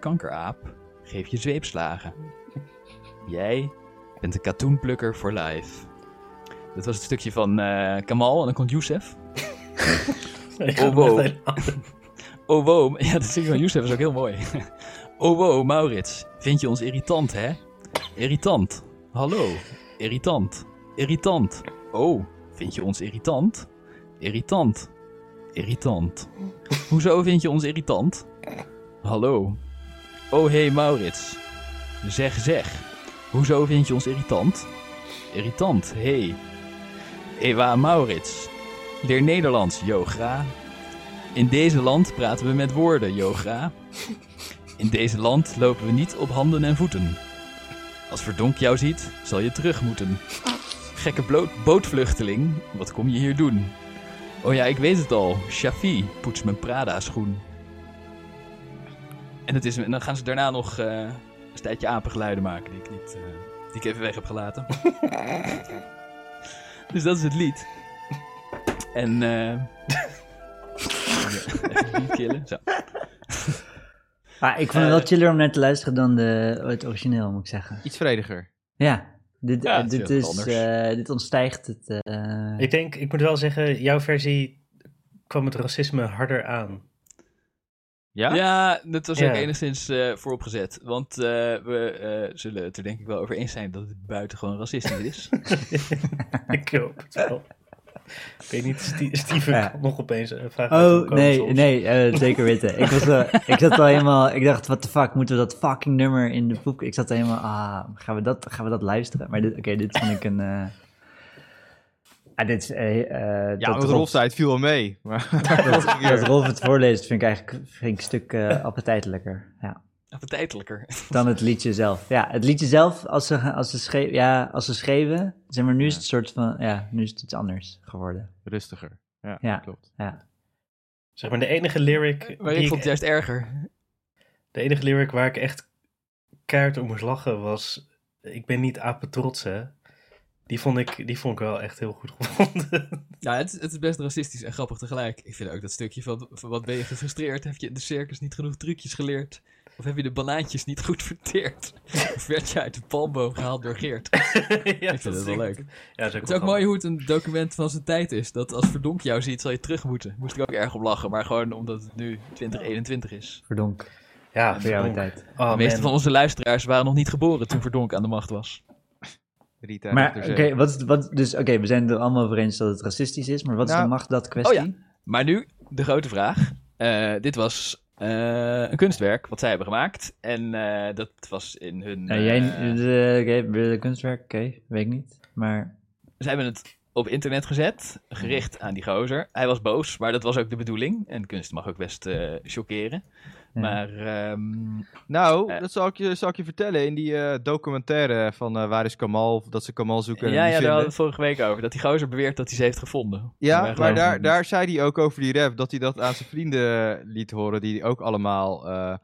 B: Kankeraap, geef je zweepslagen. Jij bent de katoenplukker voor life. Dat was het stukje van eh, Kamal en dan komt Youssef.
A: Ik ga
B: Oh, wow.
A: hem echt-
B: Oh wow, ja, dat stukje van Youssef is ook heel mooi. oh wow, Maurits, vind je ons irritant, hè? Irritant. Hallo, irritant. Irritant. Oh, vind je ons irritant? Irritant. Irritant. Hoezo vind je ons irritant? Hallo. Oh hey Maurits. Zeg, zeg. Hoezo vind je ons irritant? Irritant, hey. Ewa Maurits. Leer Nederlands, Jogra. In deze land praten we met woorden, Jogra. In deze land lopen we niet op handen en voeten. Als Verdonk jou ziet, zal je terug moeten. Gekke bloot bootvluchteling, wat kom je hier doen? Oh ja, ik weet het al. Shafi poetst mijn Prada-schoen. En, het is, en dan gaan ze daarna nog eh, een tijdje apengeluiden maken die ik, niet, eh, die ik even weg heb gelaten. dus dat is het lied. En... eh even niet killen. Zo.
D: Maar Ah, ik vond het
B: eh,
D: wel chiller om naar te luisteren dan de, het origineel, moet ik zeggen.
E: Iets vrediger.
D: Ja, dit,
B: Ja,
D: eh,
B: het is
D: dit,
B: heel
D: is,
B: anders.
D: eh, dit ontstijgt het. eh,
A: Ik denk, ik moet wel zeggen, jouw versie kwam het racisme harder aan.
E: Ja?
B: Ja, dat was
A: Ja.
B: ook enigszins eh, vooropgezet. Want eh, we eh, zullen het er denk ik wel over eens zijn dat het buitengewoon racistisch is.
A: ik hoop het wel. Ik weet niet, Stie- Steven
D: Ja.
A: kan nog opeens een vraag
D: Oh,
A: uitkomen
D: nee,
A: soms.
D: nee, eh, zeker weten. ik, was, wel- ik zat al helemaal, ik dacht, what the fuck, moeten we dat fucking nummer in de boek? Ik zat helemaal, ah, gaan we dat, gaan we dat luisteren? Maar dit, oké, dit vond ik een... eh, ah, dit is... eh, eh,
E: Ja,
D: dat
E: want Rolf zei, het viel wel mee. Maar
D: Dat Rolf het voorleest vind ik eigenlijk vind ik een stuk eh, appetijtelijker. Ja.
B: Appetijtelijker.
D: Dan het liedje zelf. Ja, het liedje zelf, als ze, als ze, schreef, ja, als ze schreven, zeg maar, nu is het soort van, ja, nu is het iets anders geworden.
E: rustiger. Ja,
D: Ja.
E: klopt.
D: Ja.
A: Zeg maar, de enige lyric,
B: Maar
A: die
B: ik
A: ik-
B: vond het juist erger.
A: de enige lyric waar ik echt keihard om moest lachen was... Ik ben niet apetrots, hè. Die vond, ik, die vond ik wel echt heel goed gevonden.
B: Ja, het, is- het is best racistisch en grappig tegelijk. Ik vind ook dat stukje van, van wat ben je gefrustreerd? Heb je in de circus niet genoeg trucjes geleerd? Of heb je de banaantjes niet goed verteerd? Of werd je uit de palmboom gehaald door Geert?
A: ja,
B: Ik vind het wel leuk.
A: Ja, dat
B: Het is ook mooi hoe het een document van zijn tijd is. Dat als Verdonk jou ziet, zal je terug moeten. Moest ik ook erg op lachen, maar gewoon omdat het nu 2021 is.
D: Verdonk,
A: Ja,
D: voor jouw
A: verdonk.
D: tijd.
A: Oh,
B: de meeste
A: man.
B: van onze luisteraars waren nog niet geboren toen Verdonk aan de macht was.
E: Rita
D: Maar
E: Ritterzee.
D: oké, wat, is- wat, dus, oké, we zijn er allemaal over eens dat het racistisch is, maar wat is
E: Nou,
D: de macht dat kwestie?
B: oh Maar nu de grote vraag. Eh, dit was eh, een kunstwerk wat zij hebben gemaakt. En eh, dat was in hun.
D: Nou, jij,
B: eh,
D: de, oké, de kunstwerk, oké, weet ik niet. Maar
B: Ze hebben het op internet gezet, gericht aan die gozer. Hij was boos, maar dat was ook de bedoeling. En kunst mag ook best eh, choqueren.
D: Ja.
B: Maar ehm,
E: Nou,
B: Eh.
E: dat zal ik, je, zal ik je vertellen. In die eh, documentaire van eh, Waar is Kamal? Dat ze Kamal zoeken en
B: ja, ja,
E: hem
B: daar
E: niet
B: hadden we
E: vinden.
B: het vorige week over. Dat die gozer beweert dat hij ze heeft gevonden. Wij
E: Ja, maar
B: geloven
E: daar,
B: het
E: daar zei hij ook over die rap. Dat hij dat aan zijn vrienden liet horen. Die ook allemaal eh,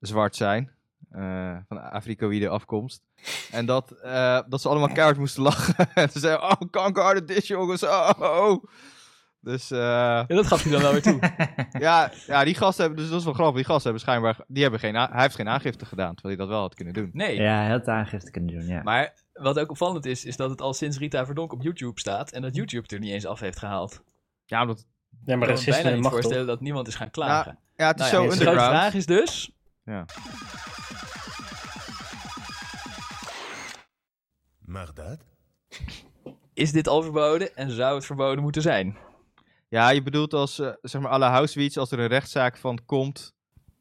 E: zwart zijn. eh, van Afrikaïde afkomst. En dat, eh, dat ze allemaal keihard moesten lachen. en ze zeiden, oh, kankerharde dit jongens. Oh, oh, oh." Dus eh,
B: niet. Ja, dat gaf hij dan wel weer toe.
E: ja, ja, die gasten hebben, dus dat is wel grappig. Die gasten hebben schijnbaar, die hebben geen, a- hij heeft geen aangifte gedaan. Terwijl hij dat wel had kunnen doen.
B: Nee.
D: ja, hij had aangifte kunnen doen, ja.
B: Maar wat ook opvallend is, is dat het al sinds Rita Verdonk op YouTube staat. En dat YouTube het er niet eens af heeft gehaald.
E: Ja, omdat,
A: Ja, maar
B: Ik kan me bijna
A: racisme mag
B: niet
A: toch?
B: voorstellen dat niemand is gaan klagen.
E: ja het
B: Nou
E: is
B: ja,
E: zo
B: dus de grote
E: underground.
B: vraag is dus...
C: Mag dat?
B: Is dit al verboden en zou het verboden moeten zijn?
E: Ja, je bedoelt als, eh, zeg maar, à la Housewitch, als er een rechtszaak van komt,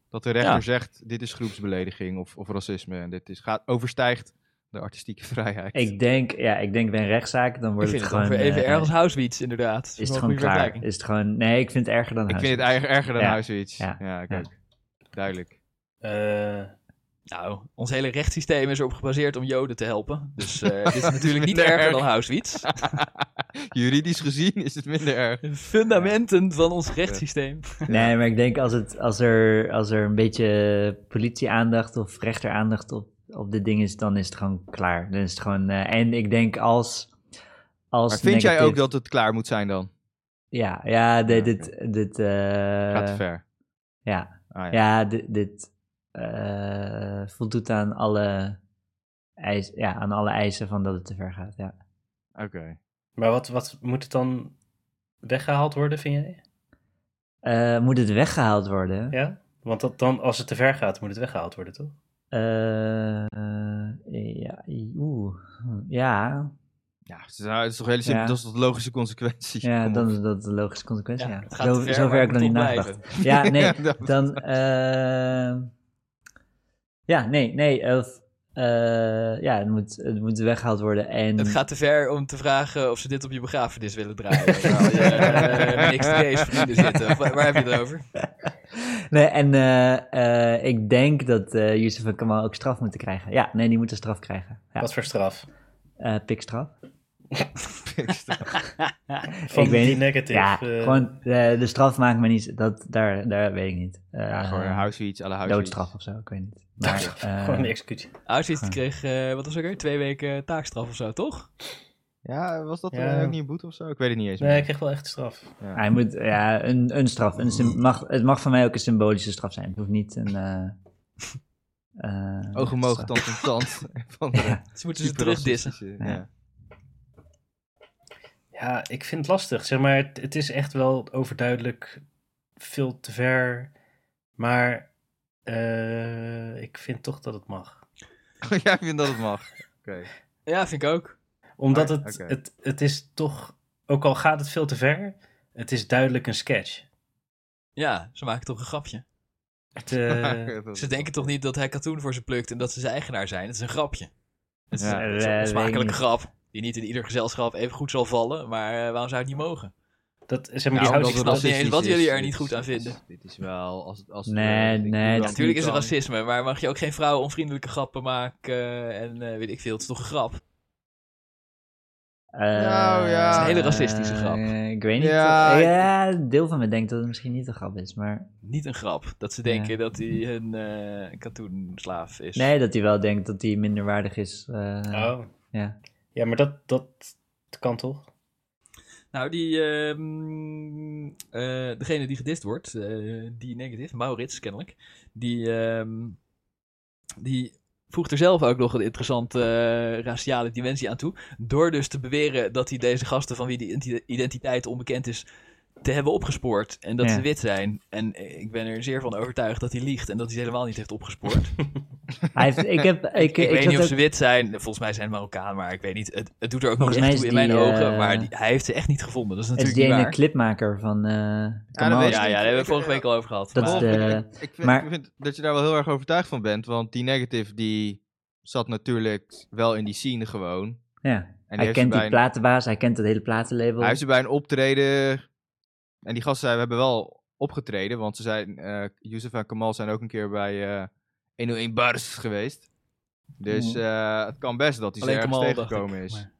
E: dat de rechter
B: Ja.
E: zegt, dit is groepsbelediging of, of racisme en dit is, gaat, overstijgt de artistieke vrijheid.
D: Ik denk, ja, ik denk bij een rechtszaak, dan
B: Ik
D: wordt
B: vind
D: het
B: het
D: gewoon...
B: ongeveer even
D: eh,
B: erg als Housewitz, inderdaad. Dat
D: Is het
B: wel
D: gewoon
B: een
D: klaar?
B: goede vergelijking.
D: Is het gewoon... Nee, ik vind het erger dan
E: Ik
D: huis.
E: vind het erger, erger dan
D: Ja.
E: Housewitch. Ja,
D: Ja.
E: ik
D: Ja.
E: ook. Duidelijk.
A: Eh,
B: Nou, ons hele rechtssysteem is erop gebaseerd om joden te helpen. Dus eh, dit is
E: is
B: natuurlijk niet
E: minder
B: erger
E: erg.
B: dan Housewitz.
E: Juridisch gezien is het minder erg.
B: De fundamenten van ons rechtssysteem.
D: Nee, maar ik denk als, het, als, er, als er een beetje politie-aandacht of rechter-aandacht op, op dit ding is, dan is het gewoon klaar. Dan is het gewoon... eh, en ik denk als... als
E: Maar vind jij
D: negatief-
E: ook dat het klaar moet zijn dan?
D: Ja, ja
E: Ja,
B: Ah,
D: dit... dit, dit eh,
E: Gaat te ver.
D: ja,
E: Ah, ja.
D: ja, dit, dit eh, voldoet aan alle, eis, ja, aan alle eisen van dat het te ver gaat, ja.
E: Oké.
A: maar wat, wat moet het dan weggehaald worden, vind jij?
D: Eh, moet het weggehaald worden?
A: Ja? Want dat dan, als het te ver gaat, moet het weggehaald worden, toch?
D: Eh, ja, oeh, ja,
E: Ja, het is, nou, het is toch hele simpel,
D: Ja.
E: dat is toch de logische consequentie.
D: ja
E: Kom
D: dan
E: op.
D: is dat de logische consequentie.
B: Ja,
D: Ja,
B: het gaat te
D: Zo-
B: ver,
D: zover
B: maar
D: heb ik
B: het
D: nog niet
B: moet
D: nagedacht. Ja, nee,
E: Ja, dat-
D: dan, eh, ja, nee, nee, of, eh, ja, het moet, het moet weggehaald worden en...
B: Het gaat te ver om te vragen of ze dit op je begrafenis willen draaien. Terwijl je eh, niks race vrienden zitten. Of Waar, waar heb je het over?
D: Nee, en eh, eh, ik denk dat eh Yusuf en Kamal ook straf moeten krijgen. Ja, nee, die moeten straf krijgen. Ja,
A: Wat voor straf?
D: eh, pikstraf.
A: Van
D: ik weet
A: die
D: niet.
A: negative.
D: Ja,
A: eh,
D: gewoon eh, de straf maakt me niet. Dat, daar, daar weet ik niet. Eh,
E: Ja, gewoon een huisfiets, alle huisfiets.
D: doodstraf of zo, ik weet niet. Maar, eh,
A: Gewoon een executie.
B: Auschwitz kreeg, eh, wat was het ook weer? Twee weken eh, taakstraf of zo, toch?
E: Ja, was dat
A: Ja.
E: eh, ook niet een boete of zo? Ik weet het niet eens
A: Nee,
E: meer.
A: ik kreeg wel echt straf.
D: hij moet, ja, een, een straf. Een sym- mag, het mag voor mij ook een symbolische straf zijn. Het hoeft niet een. eh, eh,
E: Ogen mogen,
D: straf.
E: tand in tand. Van de
B: Ze moeten ze terugdissen.
E: superracistische,
D: Ja.
E: Ja.
A: Ja, ik vind het lastig. Zeg maar, het, het is echt wel overduidelijk veel te ver. Maar eh, ik vind toch dat het mag.
E: Oh, Jij vindt dat het mag. Oké.
B: Ja, vind ik ook.
A: Omdat
E: Ah,
A: het,
E: oké.
A: het, het is toch, ook al gaat het veel te ver, het is duidelijk een sketch.
B: Ja, ze maken toch een grapje.
A: Het, eh,
E: Dat-
B: Ze denken toch niet dat hij katoen voor ze plukt en dat ze zijn eigenaar zijn? Het is een grapje. Het is
E: Ja,
B: een- het is
D: eh,
B: een
D: weet ik
B: onsmakelijke
D: niet.
B: grap. Die niet in ieder gezelschap even goed zal vallen. Maar eh, waarom zou het niet mogen?
A: dat, zeg maar, die
E: Nou, omdat
A: houding
E: het
B: snap niet
A: dat-
B: eens
E: racistisch
B: wat jullie er
E: is.
B: niet goed aan
E: Dit is-
B: vinden.
E: Dit is wel... Als, het- als
D: Nee,
E: eh, ik
D: nee,
E: doe
D: dat-
E: dan-
B: Natuurlijk is
E: doe
B: het
E: dan-
B: racisme, maar mag je ook geen vrouwen onvriendelijke grappen maken? En eh, weet ik veel, het is toch een grap?
E: Nou, ja. Het is een
B: hele racistische
D: eh,
B: grap.
D: ik weet niet.
E: Ja,
D: of-
E: ik-
D: ja, een deel van me denkt dat het misschien niet een grap is, maar...
B: Niet een grap. Dat ze denken dat hij een eh katoenslaaf is.
D: Nee, dat hij wel denkt dat hij minderwaardig is. eh,
A: Oh.
D: Ja.
A: Ja, maar dat, dat kan toch?
B: Nou, die, ehm, eh, degene die gedist wordt, eh, die negative, Maurits kennelijk, die, ehm, die voegt er zelf ook nog een interessante eh, raciale dimensie aan toe. Door dus te beweren dat hij deze gasten van wie die identi- identiteit onbekend is, te hebben opgespoord. En dat
D: Ja.
B: ze wit zijn. En eh, ik ben er zeer van overtuigd dat hij liegt en dat hij ze helemaal niet heeft opgespoord.
D: Hij heeft, ik heb... Ik, ik,
B: Ik, weet
D: had
B: niet of
D: ook-
B: ze wit zijn. Volgens mij zijn het Marokkaan, maar ik weet niet. Het, het doet er ook nog
D: Volgens mij
B: echt
D: is
B: toe in mijn
D: die,
B: ogen.
D: eh,
B: Maar die- hij heeft ze echt niet gevonden. Dat is
D: Het is
B: natuurlijk
D: die ene
B: niet waar.
D: clipmaker van eh
E: dat
D: Kamal.
E: weet
B: Oh, Ja, ja, daar hebben we vorige week al over gehad.
D: Dat is
B: maar-
E: Wolf,
D: de-
E: ik- ik, vind,
D: maar-
E: ik vind dat je daar wel heel erg overtuigd van bent. Want die negative die zat natuurlijk wel in die scene gewoon. En
D: Ja.
E: die
D: Hij
E: heeft
D: kent
E: ze
D: die
E: bij een-
D: platenbaas, hij kent het hele platenlabel.
B: Oh.
E: Hij heeft ze bij een optreden... En die gasten we hebben wel opgetreden. Want ze zijn, eh Youssef en Kamal zijn ook een keer bij eh 101 Bars geweest. Dus eh, het kan best dat hij ze
B: Mm. Alleen
E: ergens
B: Kamal, dacht
E: tegengekomen
B: ik.
E: is.
B: Maar-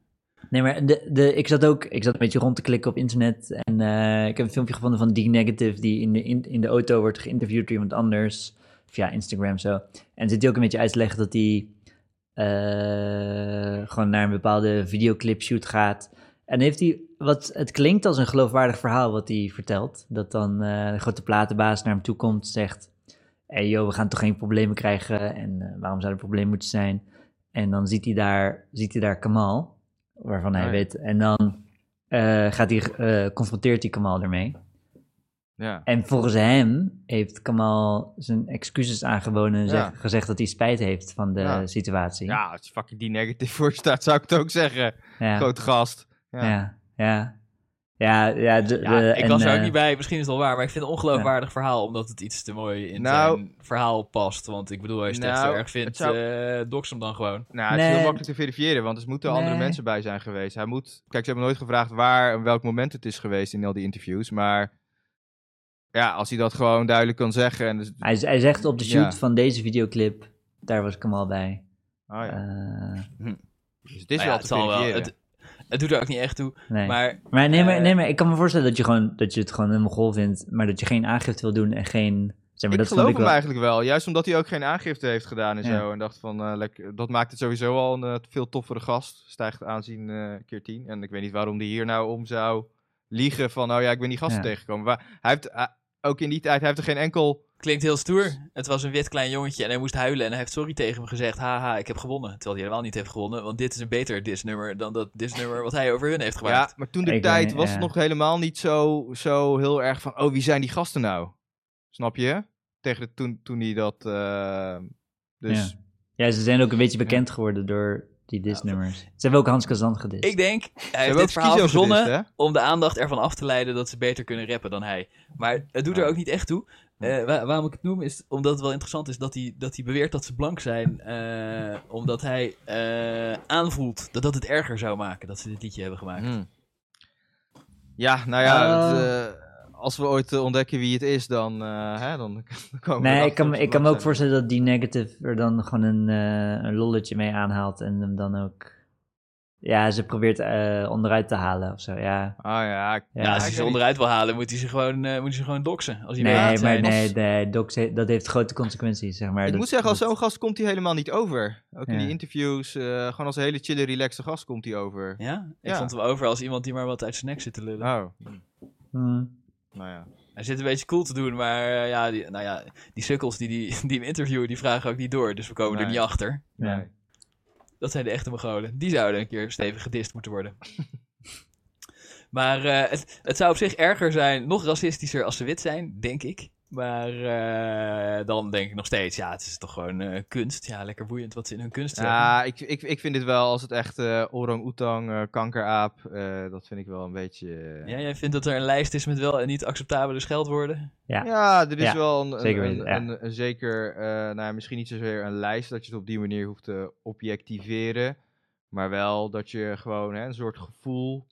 D: Nee, maar de, de, ik zat ook ik zat een beetje rond te klikken op internet. En eh, ik heb een filmpje gevonden van D-Negative die in de, in, in de auto wordt geïnterviewd door iemand anders. Via Instagram zo. En zit hij ook een beetje uit te leggen dat hij eh, gewoon naar een bepaalde videoclip shoot gaat. En heeft hij, wat, het klinkt als een geloofwaardig verhaal wat hij vertelt. Dat dan eh, de grote platenbaas naar hem toe komt en zegt... hey joh, we gaan toch geen problemen krijgen en eh, waarom zou er problemen moeten zijn? En dan ziet hij daar, ziet hij daar Kamal, waarvan hij
E: Ah, ja.
D: weet. En dan eh, gaat hij, eh, confronteert hij Kamal ermee.
E: Ja.
D: En volgens hem heeft Kamal zijn excuses aangeboden en zeg-
E: Ja.
D: gezegd dat hij spijt heeft van de
E: Ja.
D: situatie.
E: ja, als je fucking die negative voor staat, zou ik het ook zeggen.
D: ja.
E: Grote gast. Ja.
D: Ja, ja. Ja, ja. de-
B: Ja,
D: de-
B: ik
D: en,
B: was er ook
D: eh,
B: niet bij, misschien is het al waar, maar ik vind het een ongeloofwaardig verhaal, omdat het iets te mooi in
E: Nou.
B: zijn verhaal past. Want ik bedoel, als je het echt
E: Nou,
B: zo erg vindt,
E: het zou-
B: eh, dox hem dan gewoon.
E: Nou, het is
D: Nee.
E: heel makkelijk te verifiëren, want er moeten andere
D: Nee.
E: mensen bij zijn geweest. Hij moet... Kijk, ze hebben nooit gevraagd waar en welk moment het is geweest in al die interviews, maar... Ja, als hij dat gewoon duidelijk kan zeggen en... Dus...
D: Hij, hij zegt op de shoot
E: Ja.
D: van deze videoclip, daar was Kamal bij.
E: Oh ja.
D: Eh,
E: Dus het is
B: Nou ja,
E: wel
B: het
E: te
B: zal wel.
E: verifiëren.
B: Het, het doet er ook niet echt toe.
D: nee. Maar,
B: Maar
D: nee, maar,
B: eh,
D: nee, maar ik kan me voorstellen dat je, gewoon, dat je het gewoon een mogol vindt, maar dat je geen aangifte wil doen en geen... Zeg maar,
E: ik
D: dat
E: geloof
D: vond
E: hem
D: ik wel.
E: eigenlijk wel, juist omdat hij ook geen aangifte heeft gedaan en
D: Ja.
E: zo. En dacht van, eh, lekker, dat maakt het sowieso al een eh, veel toffere gast. Stijgt aanzien eh, keer 10. En ik weet niet waarom hij hier nou om zou liegen van, nou ja, ik ben die gasten
D: Ja.
E: tegengekomen. Maar hij heeft, eh, ook in die tijd, hij heeft er geen enkel...
B: klinkt heel stoer. Het was een wit klein jongetje en hij moest huilen en hij heeft sorry tegen hem gezegd. Haha, ik heb gewonnen. Terwijl hij helemaal niet heeft gewonnen, want dit is een beter disnummer dan dat disnummer wat hij over hun heeft gemaakt.
E: Ja, maar toen de
D: Ik
E: tijd
D: weet-
E: was
D: ja.
E: het nog helemaal niet zo, zo heel erg van, oh, wie zijn die gasten nou? Snap je? Tegen de, toen, toen hij dat... eh, dus
D: Ja. Ja, ze zijn ook een beetje bekend geworden door die disnummers. Ze hebben ook Hans Kazan gedist.
B: Ik denk, hij
E: Ze
B: heeft
E: hebben
B: dit
E: ook
B: verhaal
E: Schizo
B: verzonnen
E: gedist, hè?
B: om de aandacht ervan af te leiden dat ze beter kunnen rappen dan hij. Maar het doet er
E: Ja.
B: ook niet echt toe. Eh, wa- waarom ik het noem is omdat het wel interessant is dat hij, dat hij beweert dat ze blank zijn. eh, omdat hij eh, aanvoelt dat dat het erger zou maken dat ze dit liedje hebben gemaakt.
E: Hmm. Ja, nou ja,
D: Ah.
E: het, eh, als we ooit eh, ontdekken wie het is, dan, eh, hè, dan, dan komen we
D: Nee,
E: erachter
D: ik kan,
E: op
D: me-
E: z'n
D: ik kan me ook
E: website.
D: voorstellen dat die negative er dan gewoon een, eh, een lolletje mee aanhaalt en hem dan ook Ja, ze probeert eh, onderuit te halen of zo. Ja,
E: Ah ja, ik-
D: Ja,
B: Ja, als
E: ik
B: hij ze
E: weet
B: onderuit wil halen, moet hij ze gewoon, eh, moet hij ze gewoon doxen. Als hij
D: nee,
B: maat
D: maar
B: zijn.
D: nee, nee, Doc, ze- dat heeft grote consequenties, zeg maar.
E: Ik
D: Dat-
E: moet zeggen, als
D: dat-
E: zo'n gast komt hij helemaal niet over. Ook in
D: Ja.
E: die interviews, eh, gewoon als een hele chille, relaxte gast komt hij over.
B: Ja? Ik
E: Ja.
B: vond hem over als iemand die maar wat uit zijn nek zit te lullen.
E: Oh,
D: Hmm.
E: nou ja.
B: Hij zit een beetje cool te doen, maar eh, ja, die, nou ja, die sukkels die, die, die hem interviewen, die vragen ook niet door. Dus we komen er
E: Nee.
B: niet achter.
D: Ja.
E: Nee.
B: Dat zijn de echte Mongolen. Die zouden een keer stevig gedist moeten worden. maar eh, het, het zou op zich erger zijn, nog racistischer als ze wit zijn, denk ik. Maar eh, dan denk ik nog steeds, ja, het is toch gewoon eh, kunst. Ja, lekker boeiend wat ze in hun kunst zeggen.
E: Ja, ik, ik, ik vind dit wel, als het echt eh, orang-oetang, eh, kankeraap, eh, dat vind ik wel een beetje... eh,
B: Ja, jij vindt dat er een lijst is met wel en niet acceptabele scheldwoorden?
D: Ja.
E: Ja, er is
D: Ja,
E: wel een, een-
D: zeker
E: een,
D: weten, ja.
E: een- een zeker, eh, nou ja, misschien niet zozeer een lijst dat je het op die manier hoeft te objectiveren, maar wel dat je gewoon hè, een soort gevoel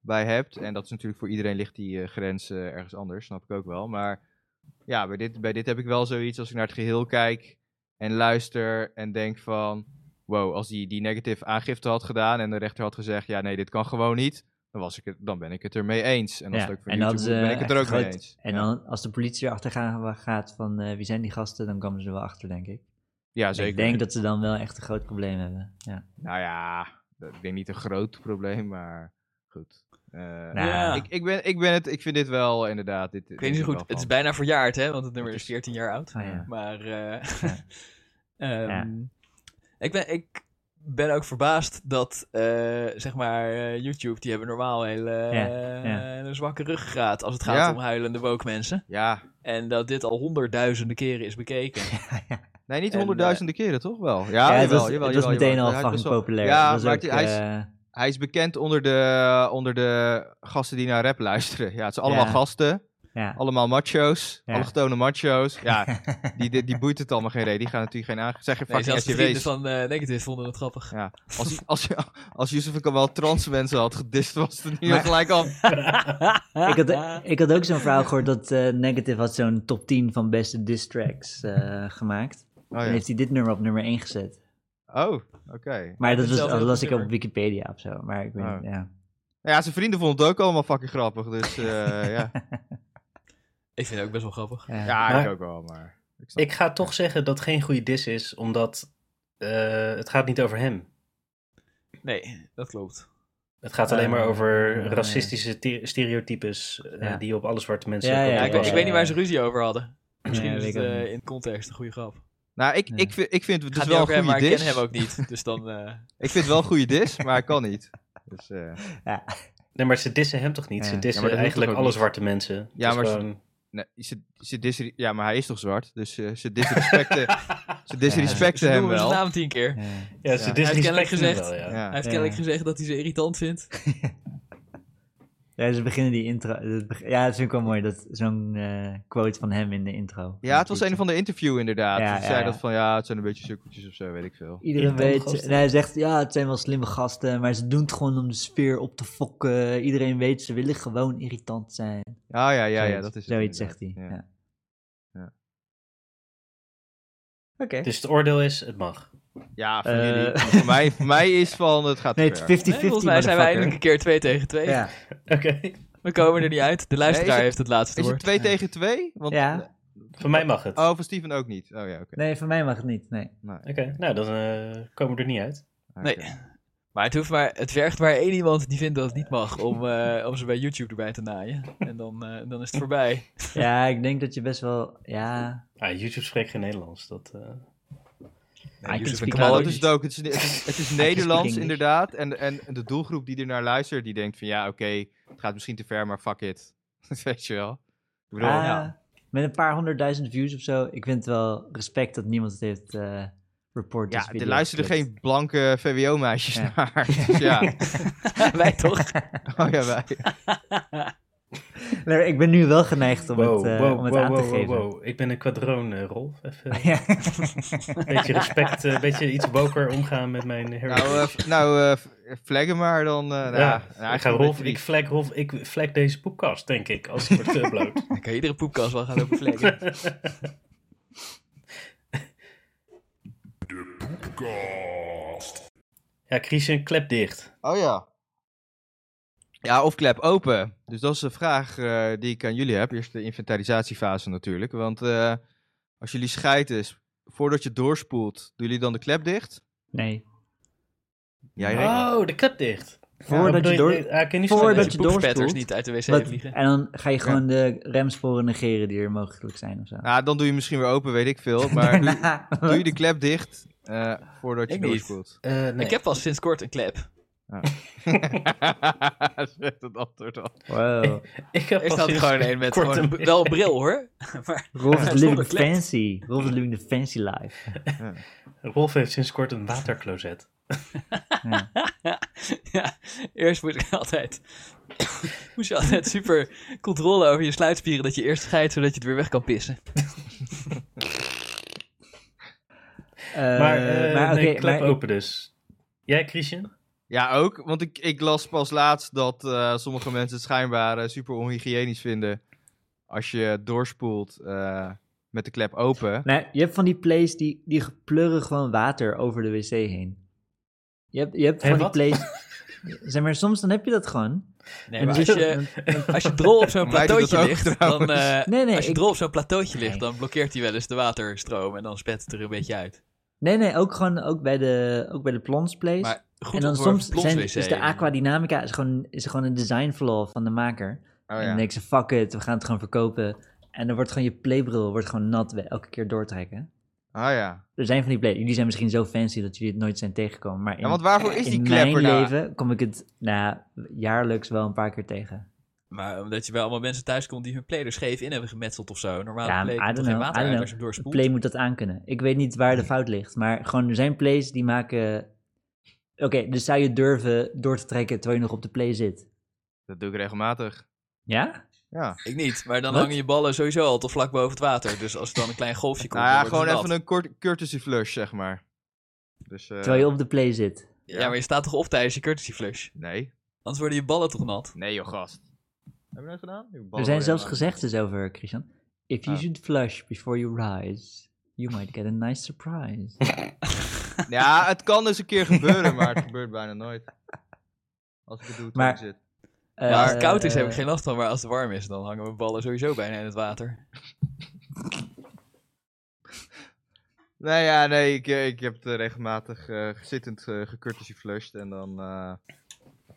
E: bij hebt. En dat is natuurlijk voor iedereen ligt die eh, grens eh, ergens anders, snap ik ook wel. Maar ja, bij dit, bij dit heb ik wel zoiets als ik naar het geheel kijk en luister en denk van, wow, als die die negative aangifte had gedaan en de rechter had gezegd, ja nee, dit kan gewoon niet. Dan, was ik het, dan ben ik het ermee eens. En als
D: Ja,
E: het ook voor
D: en dan
E: YouTube
D: hadden
E: moet,
D: ze
E: ben ik het er ook
D: echt
E: mee
D: groot-
E: eens.
D: En
E: Ja.
D: dan, als de politie erachter gaan- gaat van eh, wie zijn die gasten, dan komen ze er wel achter, denk ik.
E: ja, zeker.
D: Ik denk dat ze dan wel echt een groot probleem hebben. Ja.
E: Nou ja, dat- ik denk niet een groot probleem, maar goed. Eh,
D: Nou,
B: Ja.
E: ik, ik, ben, ik ben het, ik vind dit wel inderdaad. Dit,
B: Ik weet niet zo goed. Het is bijna verjaard, hè? Want het nummer
E: Het
B: is
E: is-
B: 14 jaar oud.
D: Oh ja.
B: Maar eh,
D: Ja.
B: ehm,
D: Ja.
B: ik, ben, ik ben ook verbaasd dat, eh, zeg maar, eh, YouTube, die hebben normaal een hele
D: Ja,
B: eh,
D: ja.
B: een zwakke ruggengraat als het gaat
E: Ja.
B: om huilende woke mensen.
E: Ja,
B: En dat dit al honderdduizenden keren is bekeken.
E: nee, niet
B: En, eh,
E: honderdduizenden keren toch wel? Ja,
D: Ja, het
E: jawel,
D: was,
E: jawel,
D: het was
E: jawel,
D: meteen
E: jawel.
D: al
E: Hij was
D: fucking populair.
E: Ja,
D: Het was
E: maar
D: ook,
E: het- hij is-
D: eh,
E: Hij is bekend onder de, onder de gasten die naar rap luisteren. Ja, het zijn allemaal
D: Ja.
E: gasten,
D: ja.
E: allemaal macho's,
D: Ja.
E: allochtone macho's.
D: eh,
E: Ja, die, die, die boeit het allemaal geen reden. Die gaan natuurlijk geen aange... Zeg geen
B: Nee,
E: fucking
B: zelfs de vrienden
E: SJW's.
B: van eh, Negative vonden het grappig.
E: Ja, als, als, als Yusuf ik al wel trans mensen had gedist, was het nu gelijk
B: Oh,
E: al
D: ik, had, ik had ook zo'n verhaal gehoord dat eh, Negative had zo'n top 10 van beste diss tracks eh, gemaakt.
E: Oh,
D: En
E: ja.
D: heeft hij dit nummer op nummer 1 gezet.
E: oh oké.
D: Maar dat,
B: is
D: was,
B: zelf
D: dat
B: ook
D: las
B: een
D: ik op
B: nummer.
D: Wikipedia of zo. Maar ik weet
E: Oh.
D: niet, ja.
E: Nou Ja, zijn vrienden vonden het ook allemaal fucking grappig. Dus eh, ja.
B: Ik vind het ook best wel grappig.
D: Ja.
E: ja, ik
A: Maar-
E: ook wel, maar... Ik snap-
A: Ik ga toch zeggen dat geen goede dis is, omdat eh, het gaat niet over hem.
B: Nee, dat klopt.
A: Het gaat alleen
D: Eh,
A: maar over
D: eh,
A: racistische te- stereotypes eh,
D: Ja.
A: die op alle zwarte mensen
D: Ja,
A: komen
D: ja, eh,
A: te
B: Ja, ik, weet-
A: passen.
B: ik weet niet waar ze ruzie over hadden. Misschien
D: Ja,
B: is
D: weet
B: het
D: ik ook
B: eh,
D: niet.
B: in context een goede grap.
E: Nou, ik,
D: Ja.
E: ik, vind, ik vind het
B: Gaat
E: dus
B: niet
E: wel een
B: over hem,
E: goede
B: maar ik
E: dis.
B: ken hem ook niet. Dus dan... eh,
E: Ik vind het wel een goede dis, maar ik kan niet. Dus, eh,
A: Nee, maar ze dissen hem toch niet?
D: Ja.
A: Ze
E: Ja,
A: dissen
E: maar dat hoeft
A: eigenlijk alle
E: toch ook niet?
A: zwarte mensen.
E: Ja,
A: Ja, maar
E: maar ze-
A: gewoon...
E: nee, ze, ze disre- ja, maar hij is toch zwart? Dus eh, ze disrespecten, ze
B: ze
E: disrespecten hem
B: noemen zijn
E: wel.
B: naam tien keer.
D: Ja.
A: ja, ze
E: Ja.
B: kennelijk
A: disrespecten hem
B: gezegd-
A: wel, ja.
E: Ja.
B: Hij heeft
D: Ja.
B: kennelijk gezegd dat hij ze irritant vindt.
D: Ja, ze beginnen die intro. dat beg- Ja, dat vind ik wel mooi. dat Zo'n eh, quote van hem in de intro.
E: ja, het was een van de interview inderdaad.
D: Ja,
E: Ze
D: ja,
E: zei
D: ja.
E: dat van, ja, het zijn een beetje sukkeltjes of zo, weet ik veel.
D: Iedereen
A: Irritante
D: weet.
A: gasten.
D: Nee, hij zegt ja, het zijn wel slimme gasten. Maar ze doen het gewoon om de sfeer op te fokken. Iedereen weet, ze willen gewoon irritant zijn.
E: Ah ja, ja, ja,
D: Zoiets.
E: dat is het
D: Zoiets
E: inderdaad.
D: zegt hij. Ja.
E: Ja.
D: Ja.
E: Ja.
D: Oké.
A: Dus het oordeel is, het mag.
E: Ja, voor,
D: Eh.
E: jullie. voor, mij, voor mij is van, het gaat te
D: Nee,
E: ver.
D: het is 50-50.
B: Nee, volgens mij zijn we
D: motherfucker.
B: eindelijk een keer twee tegen twee.
D: Ja,
A: Oké.
B: We komen er niet uit. De luisteraar
E: Nee, is het-
B: heeft het laatste
E: Is het
B: woord.
E: 2 tegen 2? Want, eh,
D: ja.
A: Voor mij mag het.
E: Oh, van Steven ook niet. Oh ja, oké.
D: Nee, van mij mag het niet. Nee.
A: Oké, nou dan eh, komen we er niet uit.
E: Oké. Nou,
B: Nee. Maar het, hoeft maar het vergt maar één iemand die vindt dat het niet mag om, eh, om ze bij YouTube erbij te naaien. En dan, eh, dan is het voorbij.
D: Ja, ik denk dat je best wel. Ja.
A: Ah, YouTube spreekt geen Nederlands. Dat, eh,
B: Nee,
D: I can
B: Yusuf en
D: speak
B: Kamal
E: Nou,
B: ook
E: dat is
B: niet.
E: het ook. Het is, het is, het is Nederlands
D: English.
E: inderdaad. En, en de doelgroep die er naar luistert, die denkt van ja, oké, het gaat misschien te ver, maar fuck it. Weet je wel? Ik bedoel,
D: Ah,
E: ja.
D: Met een paar honderdduizend views of zo. Ik vind het wel respect dat niemand het heeft eh report.
E: Ja,
D: als
E: er
D: video
E: luisteren
D: gezet.
E: geen blanke VWO-meisjes
D: Ja.
E: naar. Dus ja.
B: Wij toch?
E: Oh ja, wij.
D: Nee, ik ben nu wel geneigd om het, eh, om het aan te geven.
A: Ik ben een kwadroon, eh, Rolf. Even een
D: Ja.
A: beetje respect, eh, een beetje iets woker omgaan met mijn heritage.
E: Nou, eh, f- nou eh, f- flaggen maar dan. eh, nou,
A: ja,
E: nou,
A: ik, ga
E: eigenlijk
A: Rolf,
E: een
A: ik,
E: beetje
A: flag Rolf, ik flag deze podcast, denk ik, eh, als het wordt geüpload.
B: Dan kan iedere poepkast wel gaan lopen vlekken.
A: Ja, Christian, klep dicht.
E: Oh ja. Ja, of klep open. Dus dat is de vraag eh, die ik aan jullie heb. Eerst de inventarisatiefase natuurlijk. Want eh, als jullie scheiden, is, voordat je doorspoelt, doen jullie dan de klep dicht?
D: Nee.
E: Jij
B: Ah.
E: Rick?
A: Oh, de klep dicht.
D: Voordat
A: Ja, bedoel
D: je door-
A: Ah, ik kan niet
D: voordat
A: vertellen.
B: dat je
D: je doorspoelt.
B: poepspetters niet uit de wc
D: Wat-
B: vliegen.
D: en dan ga je gewoon de remsporen negeren die er mogelijk zijn of zo.
E: Ja, dan doe je misschien weer open, weet ik veel. Maar doe, doe je de klep dicht eh, voordat je
B: Ik niet.
E: doorspoelt?
A: Eh, nee.
B: Ik heb pas sinds kort een klep.
E: Zegt het antwoord al.
D: Wow.
A: ik heb
B: Eerst
A: pas
B: had ik
A: sinds
B: gewoon een met
A: kort
B: gewoon,
A: een-
B: wel een bril hoor. maar
D: Rolf is
B: Zonder
D: living
B: klep.
D: fancy. Rolf is living the fancy life.
A: Rolf heeft sinds kort een watercloset.
B: ja, eerst moet ik altijd, moest je altijd super controle over je sluitspieren dat je eerst scheidt zodat je het weer weg kan pissen.
D: Eh,
A: maar eh
D: maar
A: nee,
D: oké,
A: klep
D: maar-
A: open dus. Jij, Christian?
E: Ja, ook. Want ik, ik las pas laatst dat eh, sommige mensen het schijnbaar eh, super onhygiënisch vinden als je doorspoelt eh, met de klep open.
D: Nee, je hebt van die plays die, die pleuren gewoon water over de wc heen. Je hebt, je hebt
A: Hé,
D: van die
A: wat?
D: plays... zeg maar, soms dan heb je dat gewoon.
B: Nee,
D: En
B: maar
D: dan
B: als
D: zit
B: je, als je drol op zo'n
E: Mij doet dat
B: plateautje
E: ook
B: ligt, dan,
E: trouwens.
B: eh,
D: Nee, nee,
B: als je
D: ik-
B: drol op zo'n plateautje ligt,
D: Nee.
B: dan blokkeert hij wel eens de waterstroom en dan spet het er een beetje uit.
D: Nee, nee, ook gewoon ook bij de, ook bij de plons plays.
B: Maar goed
D: en dan
B: ontworpen
D: soms zijn,
B: plons-wc.
D: is de aquadynamica is gewoon, is gewoon een design flaw van de maker.
E: Oh
D: En
E: ja.
D: dan denk ze, fuck it, we gaan het gewoon verkopen. En dan wordt gewoon je playbril wordt gewoon nat bij elke keer doortrekken.
E: Ah ja.
D: Er zijn van die play, die zijn misschien zo fancy dat jullie het nooit zijn tegengekomen. Maar in,
E: ja. Want waarvoor is die
D: in
E: klep
D: mijn
E: er nou?
D: leven kom ik het nou, jaarlijks wel een paar keer tegen.
B: Maar omdat je bij allemaal mensen thuis komt die hun play er scheef in hebben gemetseld of zo. Normaal
D: Ja,
B: play
D: I
B: komt er
D: don't
B: geen
D: know, I
B: water
D: don't
B: uit
D: know.
B: als je hem doorspoelt.
D: Play moet dat aankunnen. Ik weet niet waar de fout ligt, maar gewoon er zijn plays die maken... Oké, dus zou je durven door te trekken terwijl je nog op de play zit?
E: Dat doe ik regelmatig.
D: Ja?
E: Ja.
B: Ik niet, maar dan
D: Wat?
B: hangen je ballen sowieso al te vlak boven het water. Dus als er dan een klein golfje komt,
E: nou ja,
B: dan wordt
E: gewoon
B: het
E: even
B: nat.
E: een kort, courtesy flush, zeg maar. Dus, eh,
D: Terwijl je op de play zit.
B: Ja, maar je staat toch op tijdens je courtesy flush?
E: Nee.
B: Anders worden je ballen toch nat?
E: Nee, joh, gast. Heb je dat gedaan?
D: Er zijn zelfs gezegdes over, Christian. If you
E: Ah.
D: should flush before you rise, you might get a nice surprise.
E: Ja, het kan dus een keer gebeuren, maar het gebeurt bijna nooit. Als ik het doe,
D: Maar-
E: maar... zit.
D: Eh,
B: Ja, als het koud is heb ik
D: eh,
B: geen last van, maar als het warm is, dan hangen mijn ballen sowieso bijna in het water.
E: Nee, ja, nee, ik, ik heb het eh, regelmatig eh, zittend eh gecourtesy flushed en dan... eh,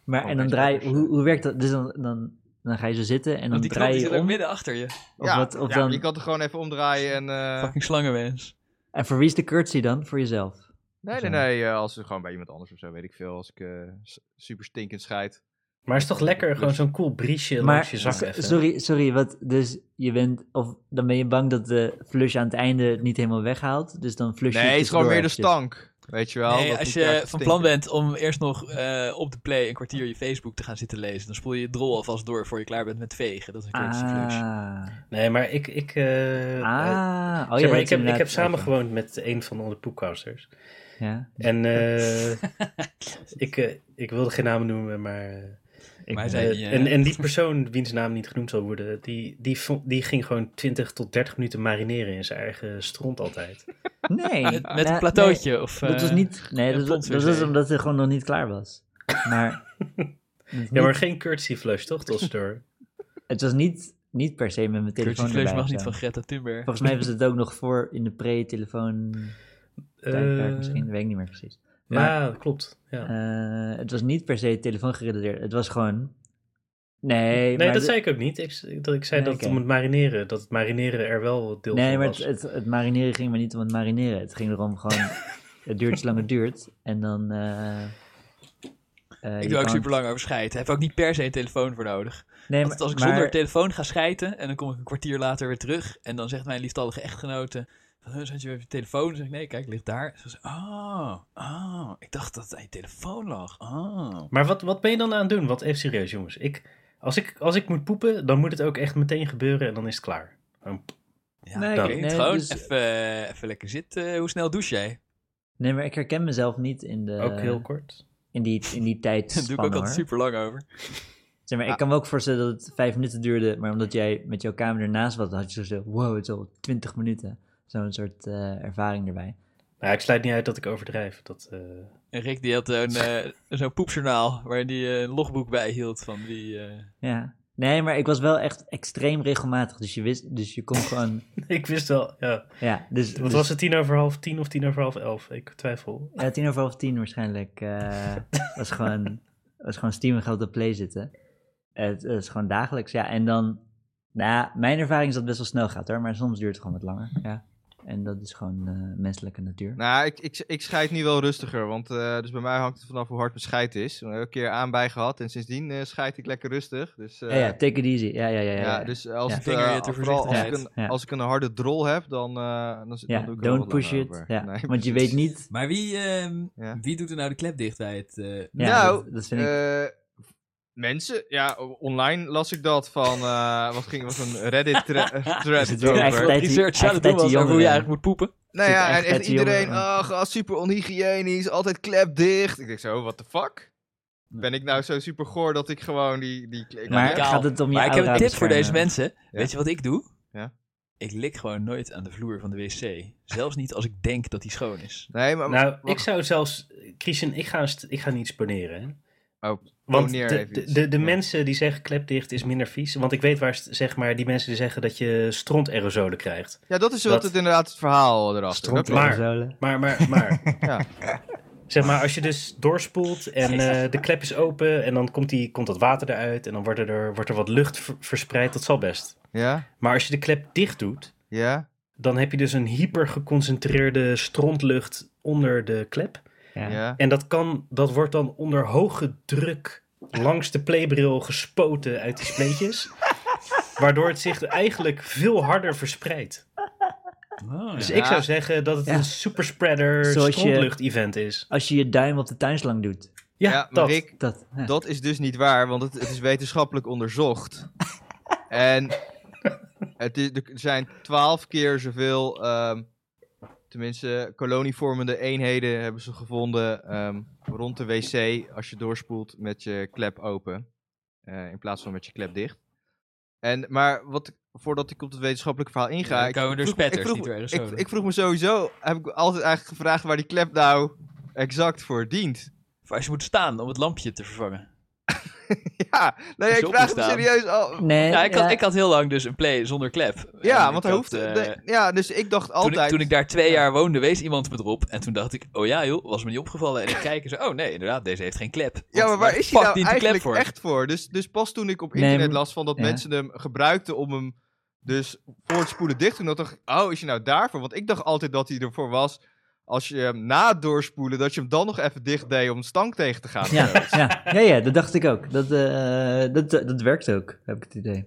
D: Maar
E: Oh,
D: en dan
E: nice
D: draai
E: surprise.
D: hoe, hoe werkt dat? Dus dan, dan, dan ga je zo zitten en dan
B: Want die knop
D: draai
B: die
D: je
B: zit ook
D: om.
B: midden achter je.
D: Of
E: ja,
D: wat, of
E: ja,
D: dan,
E: je kan het gewoon even omdraaien en... eh,
B: Fucking slangenwens.
D: En voor wie is de courtesy dan? Voor jezelf.
E: nee, nee, nee, eh, als het gewoon bij iemand anders of zo, weet ik veel. Als ik eh, s- super stinkend scheid.
A: Maar het is toch lekker gewoon zo'n cool briesje
D: Dus- maar
A: langs je zak
D: so-
A: even.
D: sorry, sorry, wat? Dus je bent, of dan ben je bang dat de flush aan het einde het niet helemaal weghaalt. Dus dan flush je.
E: Nee, het is gewoon
D: tussendoor
E: weer de
D: eventjes.
E: stank, weet je wel.
B: nee,
E: dat
B: als
E: moet
B: je
E: ergens
B: van
E: stinken.
B: plan bent om eerst nog eh, op de play een kwartier je Facebook te gaan zitten lezen, dan spoel je je drol alvast door voor je klaar bent met vegen. Dat is een courtesy flush.
D: Ah,
A: Nee, maar ik... ik eh, eh,
D: ah. Oh, ja,
A: zeg
D: dat
A: maar,
D: is
A: ik heb, ik
D: inderdaad-
A: heb samen
D: oké.
A: gewoond met een van onze poepcasters.
D: Ja.
A: En eh, ik, eh, ik wilde geen namen noemen, maar... eh,
B: Maar hij
A: Eh,
B: zei, eh,
A: en, en die persoon, wiens naam niet genoemd zal worden, die, die, vo- die ging gewoon 20 tot 30 minuten marineren in zijn eigen stront altijd.
D: Nee.
B: met, met
D: nou,
B: een plateautje of...
D: nee, dat was
B: eh,
D: niet. Nee,
B: een
D: dat, was- dat
B: plons
D: was
B: wc.
D: omdat hij gewoon nog niet klaar was. Maar. het,
A: Ja, maar
D: was niet,
A: geen courtesy flush, toch, Tostor?
D: het was niet, niet per se met mijn
B: Courtesy
D: telefoon.
B: flush
D: erbij
B: mag
D: of
B: niet
D: zo.
B: van Greta Thunberg.
D: Volgens mij was het ook nog voor in de pre-telefoon. tijdperk misschien, dat weet ik niet meer precies. Maar
A: Eh, Ja, dat klopt. Ja.
D: eh, het was niet per se telefoon gerelateerd. Het was gewoon. Nee,
A: nee,
D: maar
A: dat
D: de-
A: zei ik ook niet. Ik, dat ik zei
D: Nee,
A: dat
D: oké.
A: het om het marineren, dat het marineren er wel deel
D: Nee,
A: van
D: maar
A: was.
D: het, het, het marineren ging maar niet om het marineren. Het ging erom gewoon. het duurt zolang het duurt. En dan. eh, eh, je
B: Ik doe ook
D: kan-
B: super lang over scheiden. Heb ook niet per se een telefoon voor nodig.
D: Nee,
B: Want als ik
D: maar-
B: zonder telefoon ga scheiden en dan kom ik een kwartier later weer terug en dan zegt mijn lieftallige echtgenote: van, "Huh, Zat je weer op je telefoon? Dan zeg ik: Nee, kijk, ligt daar. Ze zegt: Oh, oh, ik dacht dat het aan je telefoon lag. Oh.
A: Maar wat, wat ben je dan aan het doen? Want even serieus, jongens. Ik, als, ik, als ik moet poepen, dan moet het ook echt meteen gebeuren en dan is het klaar. Gewoon,
B: Ja,
D: Nee,
B: ik
A: ik-
B: weet het
D: nee,
B: gewoon
D: dus-
B: even, eh, even lekker zitten. Hoe snel douche jij?
D: Nee, maar ik herken mezelf niet in, de,
A: ook heel kort.
D: in die, in die
B: Daar doe ik
D: tijdspanne.
B: ook
D: hoor.
B: altijd super lang over.
D: Zeg maar, Ik kan me ook voorstellen dat het vijf minuten duurde, maar omdat jij met jouw kamer ernaast was, had je zo zo, wow, het is al twintig minuten. Zo'n soort eh, ervaring erbij.
A: Nou, ik sluit niet uit dat ik overdrijf. Dat, eh,
B: En Rick die had zo'n eh, zo'n poepjournaal waar hij een logboek bij hield van die... eh,
D: Ja. Nee, maar ik was wel echt extreem regelmatig. Dus je wist, dus je kon gewoon.
A: Ik wist wel, ja.
D: ja, dus.
A: Wat
D: dus-
A: was het, tien over half tien of tien over half elf? Ik
E: Oh,
A: twijfel.
D: Ja, tien over half tien waarschijnlijk. eh, was, gewoon, was gewoon Steam geld op play zitten. Het is gewoon dagelijks, ja. En dan, nou ja, mijn ervaring is dat het best wel snel gaat hoor. Maar soms duurt het gewoon wat langer, ja. En dat is gewoon eh, menselijke natuur.
E: Nou, ik, ik, ik scheid nu wel rustiger, want eh, dus bij mij hangt het vanaf hoe hard mijn scheid is. Ik heb een keer aan bij gehad en sindsdien eh scheid ik lekker rustig. Dus, eh,
D: ja, ja, take it easy. Ja, ja, ja. ja,
E: ja,
D: ja.
E: dus als,
D: Ja.
E: het,
B: Vinger
E: eh,
B: je te
E: vooral als ik, een,
B: voorzichtigheid.
D: Ja.
E: als ik een harde drol heb, dan, eh, dan, zit-
D: Ja,
E: dan doe ik er
D: don't
E: wel wat
D: push
E: langer
D: it.
E: over.
D: Ja,
E: Nee,
D: want je
E: precies.
D: weet niet.
F: Maar wie, ehm,
E: Ja.
F: wie doet er nou de klep dicht bij het... eh,
D: Ja,
E: Nou,
D: dat, dat vind ik.
E: Eh, mensen, ja, o- online las ik dat van, eh, wat ging, was een Reddit thre-
D: Is
E: thread
D: het weer eigen
E: over.
D: tijd die-
B: research aan
D: eigen
B: het doen
D: tijd die
B: was over hoe je
D: jongeren?
B: eigenlijk moet poepen.
E: Nou
D: Zit
E: ja, en
D: echt
E: echt
D: het jongen-
E: iedereen,
D: ja.
E: oh, gast, super onhygiënisch, altijd klep dicht. Ik denk zo, what the fuck? Ben ik nou zo super goor dat ik gewoon die... die ik-
D: Maar
B: radicaal.
D: gaat het om je
B: Maar ik heb een
D: aura
B: tip voor deze
D: beschermen?
B: mensen. Weet je wat ik doe?
E: Ja.
B: Ik lik gewoon nooit aan de vloer van de wc. Zelfs niet als ik denk dat die schoon is.
E: Nee, maar...
A: Nou, ik
E: wacht.
A: zou zelfs... Christian, ik ga, een st- ik ga niet sponeren, hè.
E: Oh,
A: Want
E: poneer
A: de,
E: even
A: de,
E: iets.
A: de, de
E: Ja.
A: mensen die zeggen klepdicht is minder vies. Want ik weet waar, st- zeg maar, die mensen die zeggen dat je strontaerosolen krijgt.
E: Ja, dat is wat
A: dat-
E: het inderdaad het verhaal erachter.
A: Stront-
E: Dat
A: Maar-
D: Aerosolen.
A: Maar, maar, maar.
E: Ja.
A: Zeg maar, als je dus doorspoelt en eh, de klep is open en dan komt, die, komt dat water eruit en dan wordt er, wordt er wat lucht ver- verspreid, dat zal best.
E: klopt. Ja,
A: Maar als je de klep dicht doet,
E: ja,
A: dan heb je dus een hyper geconcentreerde strontlucht onder de klep.
D: Ja.
E: ja.
A: En dat, kan, dat wordt dan onder hoge druk langs de playbril gespoten uit die spleetjes. waardoor het zich eigenlijk veel harder verspreidt.
F: oh,
A: Dus
F: ja.
A: ik zou zeggen dat het
D: Ja.
A: een superspreader
D: Zoals je-
A: strontlucht-event is.
D: Als je je duim op de tuinslang doet.
A: Ja,
E: Ja, maar
A: dat.
E: Rick,
D: Dat, ja.
E: Dat is dus niet waar, want het, het is wetenschappelijk onderzocht. en het is, er zijn twaalf keer zoveel, ehm, tenminste, kolonievormende eenheden hebben ze gevonden ehm, rond de wc als je doorspoelt met je klep open. eh, in plaats van met je klep dicht. En, maar wat, voordat ik op het wetenschappelijke verhaal inga.
B: Ja,
E: ik,
B: komen er
E: vroeg-
B: spetters,
E: ik vroeg,
B: niet door
E: ik,
B: aerosolen.
E: ik vroeg me sowieso, heb ik altijd eigenlijk gevraagd waar die klep nou exact voor dient.
B: Of als je moet staan om het lampje te vervangen.
E: Ja, nee, ik
B: Zo
E: vraag me
B: ontstaan.
E: serieus al.
D: nee,
B: Ja, ik had,
D: ja.
B: ik had heel lang dus een play zonder klep.
E: Ja,
B: En
E: want
B: ik
E: hij
B: had,
E: hoeft.
B: eh,
E: nee, ja, dus ik dacht
B: toen, ik,
E: altijd.
B: toen ik daar twee jaar woonde, wees iemand me erop. En toen dacht ik, oh ja joh, was me niet opgevallen. En ik kijk en zo, oh nee, inderdaad, deze heeft geen klep.
E: ja, maar
B: Want
E: waar
B: de
E: is
B: fuck
E: hij nou
B: dient die
E: eigenlijk
B: klep voor?
E: echt voor? Dus, dus pas toen ik op
D: Nee,
E: internet
D: maar-
E: las van dat
D: ja.
E: mensen hem gebruikten om hem dus voor het spoelen dicht te doen, dan dacht ik, oh, is hij nou daarvoor? Want ik dacht altijd dat hij ervoor was als je hem na het doorspoelen, dat je hem dan nog even dicht deed om de stank tegen te gaan.
D: Ja, ja, ja, ja, dat dacht ik ook. Dat, eh, dat, dat werkt ook, heb ik het idee.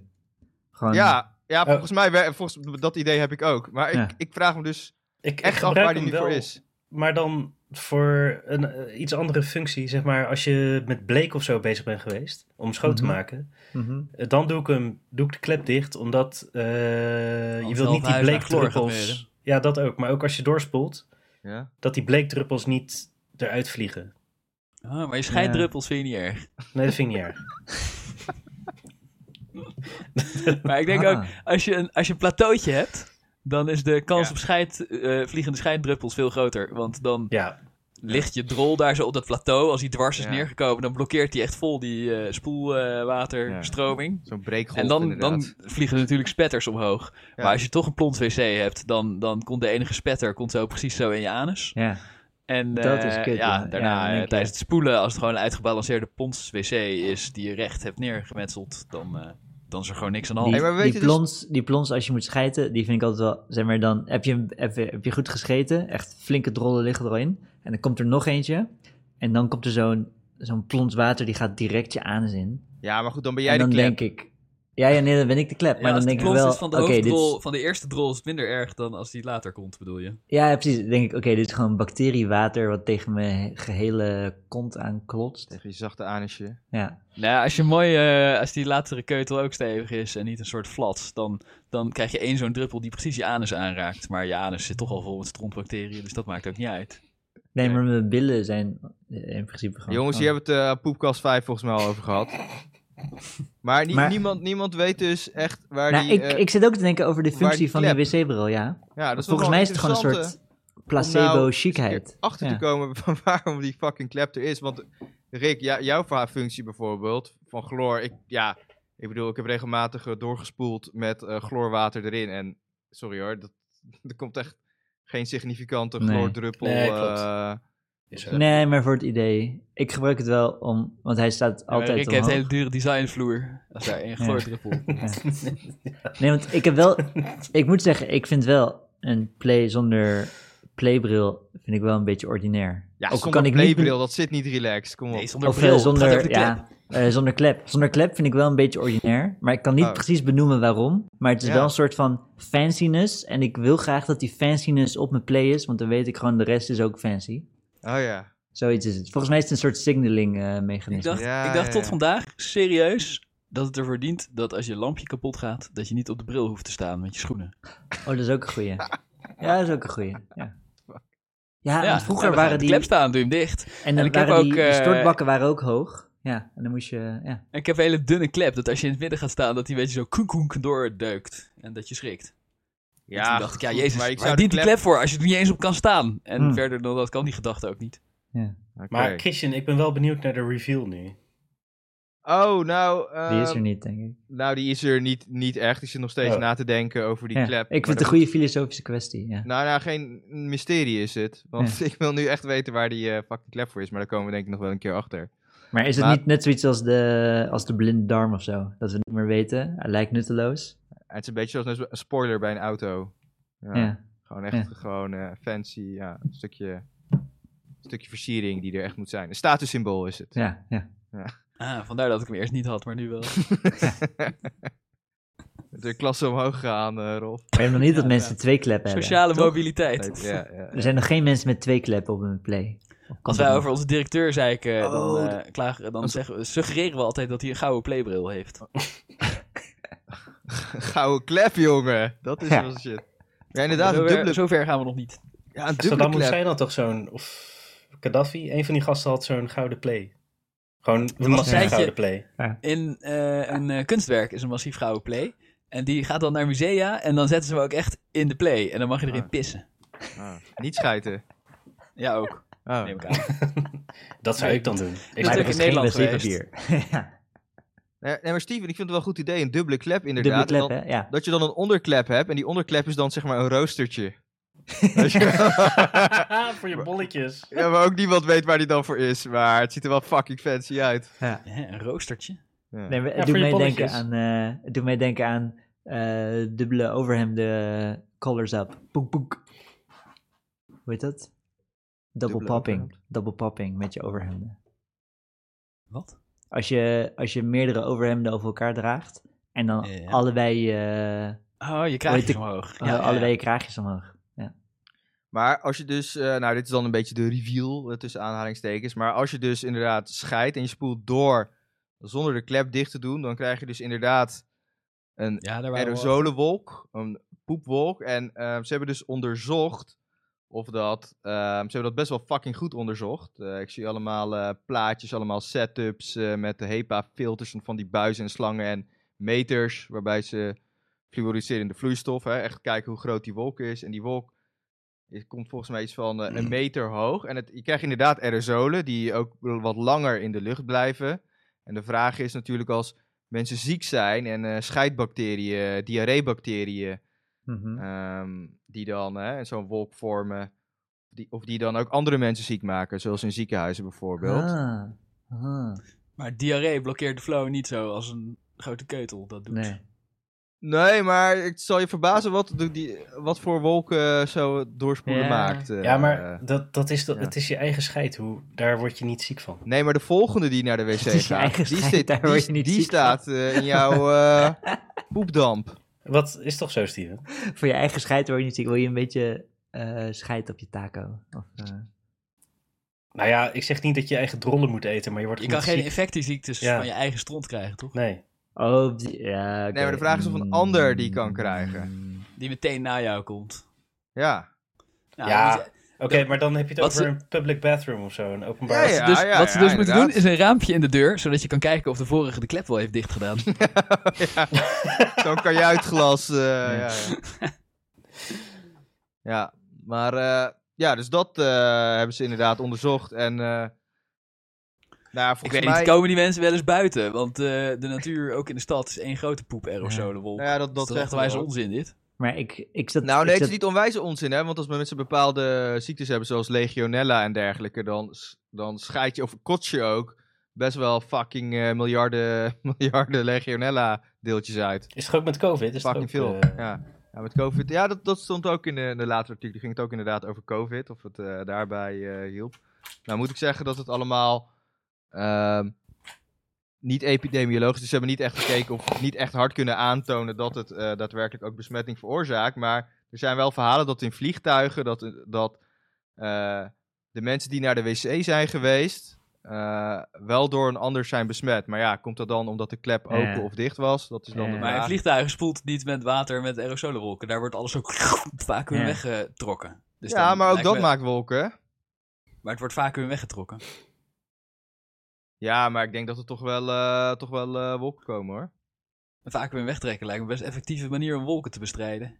D: Gewoon,
E: ja, ja, volgens mij, wer- volgens, dat idee heb ik ook. Maar ik,
D: Oh. Ja.
E: ik vraag me dus
A: Ik, ik
E: echt af waar
A: gebruik
E: die
A: hem
E: nu voor
A: wel,
E: is.
A: maar dan voor een eh, iets andere functie. Zeg maar, als je met bleek of zo bezig bent geweest, om schoon te
D: Mhm.
A: maken,
D: mhm.
A: eh, dan doe ik, hem, doe ik de klep dicht, omdat eh, je wilt
B: Anders wel
A: niet
B: het
A: die
B: huis naar chloor gaat
A: bleekdruppels... Ja, dat ook. Maar ook als je doorspoelt,
E: Ja.
A: dat die bleekdruppels niet eruit vliegen.
B: Ah, maar je scheiddruppels vind je niet erg.
A: Nee, dat vind ik niet erg.
B: Maar ik denk
D: Ah.
B: ook, als je, een, als je een plateautje hebt, dan is de kans
E: Ja.
B: op scheid, eh, vliegende scheiddruppels veel groter. Want dan
A: Ja,
B: ligt je drol daar zo op dat plateau. Als hij dwars is
E: Ja.
B: neergekomen, dan blokkeert hij echt vol die eh, spoelwaterstroming.
E: Zo'n breekgolf
B: en dan,
E: inderdaad.
B: dan vliegen er natuurlijk spetters omhoog.
E: Ja.
B: Maar als je toch een plons wc hebt, dan, dan komt de enige spetter komt zo precies zo in je anus.
D: Ja.
B: En
D: Dat
B: eh,
D: is kut,
B: ja,
D: ja. Ja,
B: daarna
D: dan
B: eh,
D: denk je-
B: tijdens het spoelen, als het gewoon een uitgebalanceerde plons wc is die je recht hebt neergemetseld, dan, eh, dan is er gewoon niks aan de hand.
D: Die,
E: Hey, maar weet
D: die
E: je dus-
D: plons, die plons als je moet schijten, die vind ik altijd wel, zeg maar, dan heb je, heb, je- heb je goed gescheten, echt flinke drollen liggen erin, en dan komt er nog eentje, en dan komt er zo'n zo'n plons water, die gaat direct je anus in.
E: Ja, maar goed, dan ben jij
D: en dan
E: de klep.
D: denk ik, ja, ja, nee, dan ben ik de klep,
B: Ja,
D: maar
B: als
D: dan denk
B: die
D: ik
B: plons
D: wel,
B: is van de,
D: oké, dit is-
B: hoofdrol, van de eerste drol is het minder erg dan als die later komt, bedoel je?
D: ja, ja, precies, dan denk ik, oké, dit is gewoon bacteriewater wat tegen mijn he- gehele kont aanklotst.
E: Tegen je zachte anusje.
D: Ja,
B: Nou, als je mooi, eh, als die latere keutel ook stevig is en niet een soort flats, dan, dan krijg je één zo'n druppel die precies je anus aanraakt. Maar je anus zit toch al vol met strontbacteriën, dus dat maakt ook niet uit.
D: nee, maar mijn billen zijn eh, in principe gewoon...
E: Jongens, hier hebben we het eh, Poepkast 5 volgens mij al over gehad. Maar, nie-
D: Maar-
E: niemand, niemand weet dus echt waar
D: Nou,
E: die...
D: ik,
E: eh,
D: ik zit ook te denken over de
E: waar die
D: functie van die
E: klep-
D: wc-bril, ja.
E: ja, dat is
D: Volgens
E: wel
D: mij is het gewoon een
E: interessante. nou
D: soort placebo-chicheid.
E: achter
D: Ja.
E: te komen van waarom die fucking klep er is. Want Rick, ja, jouw va- functie bijvoorbeeld van chloor, ik, ja, ik bedoel, ik heb regelmatig eh, doorgespoeld met eh, chloorwater erin. En sorry hoor, dat, er komt echt geen significante
D: Nee.
E: chloordruppel.
A: Nee, klopt.
E: eh,
A: Is er.
D: Nee, maar voor het idee. Ik gebruik het wel om, want hij staat
B: Ja, maar
D: altijd
B: Rick heeft een
D: omhoog.
B: hele dure designvloer. Als daar een gloordruppel.
D: Nee, want ik heb wel, ik moet zeggen, ik vind wel een play zonder playbril vind ik wel een beetje ordinair.
E: ja,
D: Ook al
E: zonder
D: niet-
E: playbril, dat zit niet relaxed. Kom op.
B: Nee, zonder
D: of, eh,
B: bril. Het gaat over
D: zonder,
B: de klep.
D: ja, eh, zonder klep. Zonder klep vind ik wel een beetje ordinair, maar ik kan niet
E: Oh.
D: precies benoemen waarom. Maar het is
E: Ja.
D: wel een soort van fanciness en ik wil graag dat die fanciness op mijn play is, want dan weet ik gewoon de rest is ook fancy.
E: Oh ja.
D: Zoiets is het. Volgens mij is het een soort signaling eh, mechanisme.
B: Ik dacht,
E: Ja,
B: ik dacht
E: ja,
B: tot
E: ja.
B: vandaag serieus dat het ervoor dient dat als je lampje kapot gaat, dat je niet op de bril hoeft te staan met je schoenen.
D: Oh, dat is ook een goeie. Ja, dat is ook een goeie. Ja, ja, want vroeger
B: dan ga je
D: waren
B: op de
D: die...
B: klep staan, doe je hem dicht.
D: En, dan
B: En ik heb
D: waren die,
B: ook,
D: die
B: eh,
D: stortbakken waren ook hoog. Ja, en dan moest je... Ja.
B: En ik heb een hele dunne klep, dat als je in het midden gaat staan, dat die een beetje zo koenk koenk doorduikt. En dat je schrikt. en toen dacht ik, ja
E: goed,
B: jezus,
E: maar ik
B: waar
E: zou
B: dient
E: de
B: die
E: klep-
B: klep voor als je er niet eens op kan staan? En
D: Hmm.
B: verder dan dat kan die gedachte ook niet.
E: Oké.
A: Maar Christian, ik ben wel benieuwd naar de reveal nu.
E: Oh, nou, eh,
D: Die is er
B: Ehm,
D: niet, denk ik.
E: nou, die is er niet, niet echt. Ik zit nog steeds
A: Oh.
E: na te denken over die
D: Ja,
E: klep.
D: ik vind het
E: maar
D: een
E: dat-
D: goede filosofische kwestie, ja.
E: Nou, nou, geen mysterie is het. Want ik wil nu echt weten waar die eh fucking klep voor is. Maar daar komen we denk ik nog wel een keer achter.
D: Maar is het
E: Maar-
D: niet net zoiets als de, als de blinde darm of zo? Dat we niet meer weten? Hij lijkt nutteloos.
E: Het is een beetje zoals een spoiler bij een auto. Ja,
D: Ja. ja.
E: Gewoon echt gewoon eh, fancy. Ja, een stukje, een stukje versiering die er echt moet zijn. Een statussymbool is het.
D: Ja,
B: Ah, vandaar dat ik hem eerst niet had, maar nu wel.
E: De klasse omhoog gaan, eh, Rolf.
D: Maar je hebt nog niet dat
B: Ja,
D: mensen
B: ja.
D: twee kleppen hebben.
B: Sociale
D: toch?
B: mobiliteit.
E: Ja, ja.
D: Er zijn nog geen mensen met twee kleppen op hun play. Of
B: Als
D: komt
B: wij
D: dat
B: over onze directeur zeiken, dan,
D: Oh,
B: eh, klagen, dan zeggen, we- suggereren we altijd dat hij een gouden playbril heeft.
E: Gouden klep, jongen. Dat is
D: Ja.
E: wel shit. Ja, inderdaad, een
B: zover,
E: dubbele,
B: zover gaan we nog niet.
E: ja, een dubbele
A: Saddam
E: klep.
A: Hussein had toch zo'n... Of Gaddafi? Een van die gasten had zo'n gouden play. Gewoon een massief
B: tijdje-
A: gouden play.
B: In eh, een eh, kunstwerk is een massief gouden play. En die gaat dan naar musea en dan zetten ze hem ook echt in de play. En dan mag je erin
E: Ah.
B: pissen.
E: Ah, niet schijten.
B: Ja, ook.
E: Oh.
B: Neem ik aan.
A: Dat zou ik dan doen. Ik
D: Maar
B: is
A: zou
B: ook
D: er
B: in
A: dat-
D: is geen
B: Nederland
D: wc-papier. ja.
E: Nee, nee, maar Steven, ik vind het wel een goed idee. Een dubbele klep,
D: Dubbele
E: inderdaad. En
D: klep,
E: dan-
D: hè? Ja.
E: dat je dan een onderklep hebt. En die onderklep is dan zeg maar een roostertje. Weet je wel?
A: Haha, voor je bolletjes.
E: ja, maar ook niemand weet waar die dan voor is. Maar het ziet er wel fucking fancy uit.
B: Hè, een roostertje.
E: Ja.
D: Nee, maar het,
A: Ja,
D: doet
A: voor je
D: mij denken
A: bolletjes.
D: aan, eh, het doet mij denken aan eh, dubbele overhemden collars up. Poek, poek. Hoe heet dat? Double
E: Dubbele
D: popping.
E: overhemd.
D: Double popping met je overhemden.
B: Wat?
D: Als je, als je meerdere overhemden over elkaar draagt en dan
B: Ja, ja.
D: allebei, eh,
B: Oh, je
D: Weet
B: krijgt
D: ik-
B: hem omhoog.
D: eh, allebei je kraagjes omhoog.
E: Maar als je dus, eh, nou dit is dan een beetje de reveal eh, tussen aanhalingstekens. Maar als je dus inderdaad scheidt en je spoelt door zonder de klep dicht te doen. Dan krijg je dus inderdaad een
B: Ja, daar waren we eh, al.
E: aerosolenwolk, een poepwolk. En ehm, ze hebben dus onderzocht of dat. ehm, ze hebben dat best wel fucking goed onderzocht. Eh, ik zie allemaal eh, plaatjes, allemaal setups eh, met de HEPA-filters van die buizen en slangen en meters, waarbij ze fluoriserende vloeistof, hè, echt kijken hoe groot die wolk is. En die wolk die komt volgens mij iets van eh, een meter hoog. En het, je krijgt inderdaad aerosolen die ook wel wat langer in de lucht blijven. En de vraag is natuurlijk als mensen ziek zijn en eh, scheidbacteriën, diarreebacteriën,
D: Mhm.
E: ehm, die dan hè, zo'n wolk vormen, die, of die dan ook andere mensen ziek maken, zoals in ziekenhuizen bijvoorbeeld.
D: Ah, ah,
B: Maar diarree blokkeert de flow niet zo als een grote keutel dat doet.
D: nee.
E: Nee, maar het zal je verbazen wat, de- die, wat voor wolken eh, zo het doorspoelen
D: Ja.
E: maakt. eh,
A: Ja,
E: eh.
A: maar dat, dat is, dat,
E: ja.
A: het is je eigen scheid. Hoe, daar word je niet ziek van.
E: Nee, maar de volgende die naar de wc
D: is je
E: gaat,
D: eigen
E: die,
D: scheid,
E: zit,
D: daar
E: die,
D: word je niet
E: die
D: ziek van.
E: staat eh, in jouw eh, poepdamp.
A: Wat is toch zo, Steven?
D: Voor je eigen scheid word je niet ziek. Wil je een beetje eh scheid op je taco? Of, eh,
A: Nou ja, ik zeg niet dat je eigen drollen moet eten, maar je wordt
B: Je
A: gewoon
B: kan geen
A: ziek.
B: infectieziektes
A: Ja.
B: van je eigen stront krijgen, toch?
A: Nee.
D: Oh, die- ja, oké.
E: Nee, maar de vraag is of een ander die kan krijgen.
D: Mm.
B: Die meteen na jou komt.
E: Ja.
A: Ja.
B: dus-
A: Oké, maar dan heb je het
B: Wat
A: over
B: ze-
A: een public bathroom of zo, een
E: Ja,
A: openbaar...
E: ja.
B: dus wat ze dus moeten doen
E: inderdaad.
B: is een raampje in de deur, zodat je kan kijken of de vorige de klep wel heeft dichtgedaan.
E: Zo'n kajuitglas. eh ja. Ja, ja. ja, maar eh, ja, dus dat eh, hebben ze inderdaad onderzocht. En eh, nou, ja, volgens
B: Ik weet
E: mij...
B: niet, komen die mensen wel eens buiten? Want eh, de natuur, ook in de stad, is één grote poep aerosolenwolk.
E: Nou ja,
B: dat
E: dat, dat
B: is echt
E: zeggen we
B: wijze
E: ook.
B: onzin dit.
D: Maar ik, ik zat...
E: Nou,
D: ik
E: nee, het
D: zat-
E: is niet onwijze onzin, hè? Want als mensen bepaalde ziektes hebben, zoals legionella en dergelijke, dan, s- dan scheid je of kots je ook best wel fucking eh, miljarden, miljarden legionella deeltjes uit.
A: Is het ook met COVID? Is het
E: Fucking
A: ook,
E: veel.
A: eh,
E: Ja. ja, met COVID. Ja, dat, dat stond ook in de, in de latere artikel. Ging het ook inderdaad over COVID, of het eh, daarbij eh, hielp. Nou, moet ik zeggen dat het allemaal ehm, niet epidemiologisch Dus ze hebben niet echt gekeken of niet echt hard kunnen aantonen dat het eh, daadwerkelijk ook besmetting veroorzaakt. Maar er zijn wel verhalen dat in vliegtuigen, dat, dat eh, de mensen die naar de wc zijn geweest, eh, wel door een ander zijn besmet. Maar ja, komt dat dan omdat de klep
D: Ja.
E: open of dicht was? Dat is dan de
D: Ja.
B: Maar
E: vraag.
B: in vliegtuigen spoelt het niet met water en met aerosolenwolken. Daar wordt alles ook vaak weer
D: Ja.
B: weggetrokken. Dus
E: ja,
B: dan
E: maar ook
B: lijkt
E: dat
B: me-
E: maakt wolken. hè?
B: Maar het wordt vaak weer weggetrokken.
E: Ja, maar ik denk dat er toch wel, eh, toch wel eh, wolken komen hoor.
B: En vaak weer wegtrekken lijkt me best een effectieve manier om wolken te bestrijden.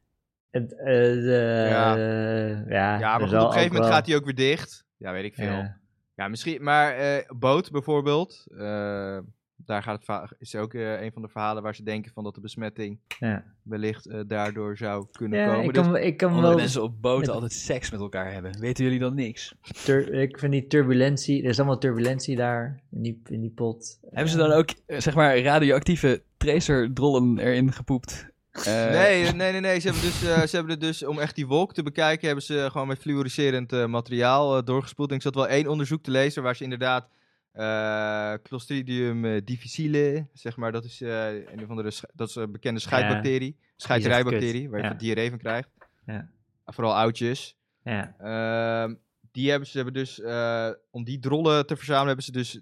D: Het, eh, de-
E: Ja.
D: eh, ja,
E: ja, maar
D: er
E: goed,
D: zal
E: op
D: ook
E: een gegeven moment
D: wel-
E: gaat hij ook weer dicht. Ja, weet ik veel. Ja,
D: Ja.
E: misschien, maar eh, boot bijvoorbeeld. eh, daar gaat het va- is ook eh, een van de verhalen waar ze denken van dat de besmetting
D: Ja.
E: wellicht eh, daardoor zou kunnen
D: Ja,
E: komen.
D: ik
E: Dus-
D: kan, ik kan
B: Omdat
D: wel...
B: mensen op boten
D: het-
B: altijd seks met elkaar hebben. Weten jullie dan niks?
D: Tur- ik vind die turbulentie... Er is allemaal turbulentie daar, in die, in die pot.
B: Hebben ze dan ook, eh, zeg maar, radioactieve tracerdrollen erin gepoept? Eh,
E: Nee, eh, nee, nee, nee. Ze hebben, dus, eh, ze hebben er dus, om echt die wolk te bekijken, hebben ze gewoon met fluoriserend eh, materiaal eh, doorgespoeld. En ik zat wel één onderzoek te lezen waar ze inderdaad eh, Clostridium eh, difficile, zeg maar, dat is eh, een van de dat is een bekende scheidbacterie, scheiderijbacterie, waar je
D: Ja.
E: van diarree van krijgt. Ah,
D: Ja.
E: Vooral oudjes.
D: Ja,
E: Ehm, die hebben ze hebben dus, eh, om die drollen te verzamelen, hebben ze dus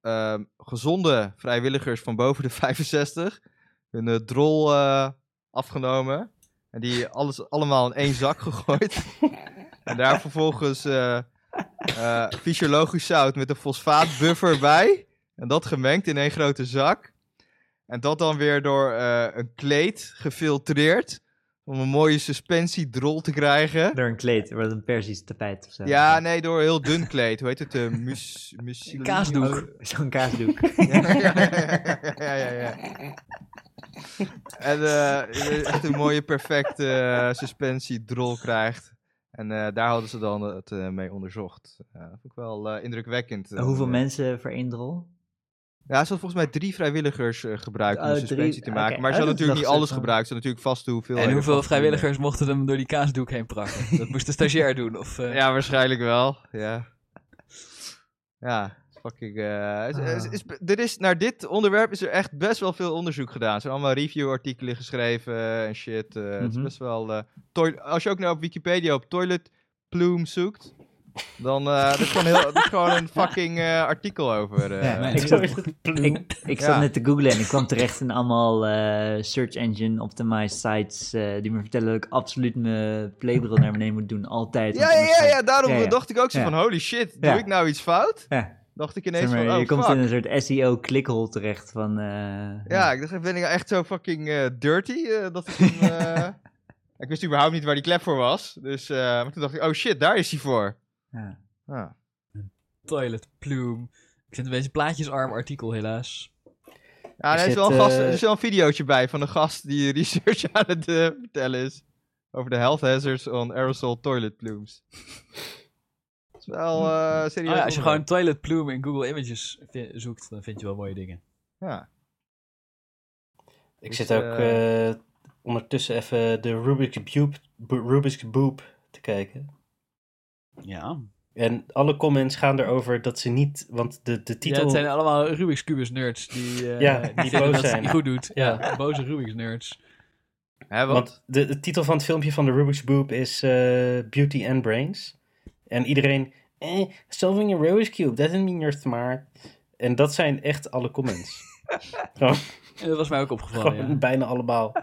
E: ehm, gezonde vrijwilligers van boven de 65 hun eh, drol eh, afgenomen. En die alles allemaal in één zak gegooid. en daar vervolgens eh, eh, fysiologisch zout met een fosfaatbuffer bij. En dat gemengd in één grote zak. En dat dan weer door eh, een kleed gefiltreerd. Om een mooie suspensiedrol te krijgen.
D: door een kleed, wordt een persisch tapijt of zo.
E: Ja, nee, door een heel dun kleed. Hoe heet het? eh mus, mus,
B: Kaasdoek.
D: Oh, Zo'n kaasdoek.
E: Ja, ja, ja, ja, ja. En eh, echt een mooie, perfecte eh, suspensiedrol krijgt. En eh, daar hadden ze dan het eh, mee onderzocht. Eh, vond ik wel eh, indrukwekkend. eh,
D: Hoeveel
E: eh.
D: mensen voor één drol?
E: Ja, ze hadden volgens mij drie vrijwilligers eh, gebruikt om
D: Oh,
E: de suspensie
D: drie.
E: te maken.
D: Oké.
E: Maar ze
D: Oh, dat
E: hadden
D: is
E: natuurlijk niet
D: nog
E: alles
D: zo.
E: gebruikt. Ze hadden natuurlijk vast hoeveel.
B: En hoeveel vrijwilligers mochten hem door die kaasdoek heen prakken? Dat moest de stagiair doen. Of, eh,
E: Ja, waarschijnlijk wel. Ja. Ja, fucking. eh,
D: Ah.
E: is- is- is- er is, naar dit onderwerp is er echt best wel veel onderzoek gedaan. Er zijn allemaal review-artikelen geschreven eh, en shit. eh, Het is
D: Mhm.
E: best wel. eh, toi- als je ook nou op Wikipedia op toilet plume zoekt, dan eh er is gewoon, heel, er is gewoon een fucking eh, artikel over. eh.
D: Ja, maar
F: ik
D: ik
A: Zo
D: zat,
A: is het.
D: ik, ik
E: Ja.
D: zat net te googlen en ik kwam terecht in allemaal eh, search engine optimized sites eh, die me vertellen dat ik absoluut mijn playbril naar beneden moet doen, altijd.
E: ja,
D: want
E: ja,
D: anders
E: ja,
D: gaat-
E: ja, daarom
D: Ja, ja.
E: dacht ik ook zo
D: Ja.
E: van: holy shit,
D: Ja.
E: doe ik nou iets fout?
D: Ja.
E: Dacht ik ineens
D: Zeg maar,
E: van: oh,
D: je komt
E: fuck.
D: in een soort SEO-klikhole terecht van... eh,
E: Ja, ik dacht, ben ik nou echt zo fucking eh, dirty? Eh, dat is een, eh, Ik wist überhaupt niet waar die klep voor was. Dus eh, maar toen dacht ik, oh shit, daar is hij voor. Ah.
D: Ja.
E: Ja.
B: Toilet Plume. Ik vind het een beetje een plaatjesarm artikel, helaas.
E: Ja, er, is
D: zit,
E: wel een gast,
D: eh,
E: er is wel een videootje bij van een gast die research aan het eh, vertellen is. Over de health hazards on aerosol toilet plumes. Dat is wel eh
B: Oh ja, als
E: serieus.
B: je
E: onderwerp.
B: gewoon Toilet Plume in Google Images vi- zoekt, dan vind je wel mooie dingen.
E: Ja.
A: Ik
E: Dus,
A: zit ook
E: eh,
A: eh, ondertussen even de Rubik's Cube, Rubik's Boop te kijken.
B: Ja.
A: En alle comments gaan erover dat ze niet, want de, de titel...
B: het zijn allemaal Rubik's Cubus nerds die, eh,
A: Ja,
B: die
A: die
B: vinden
A: boos
B: dat ze het
A: zijn.
B: niet goed doet. Ja,
A: Ja.
B: boze Rubik's nerds.
E: Hè, wat?
A: Want de, de titel van het filmpje van de Rubik's Cube is eh, Beauty and Brains. En iedereen, eh, solving a Rubik's Cube, doesn't mean you're smart. En dat zijn echt alle comments. Gewoon,
B: En dat was mij ook opgevallen,
A: gewoon
B: ja.
A: bijna allemaal.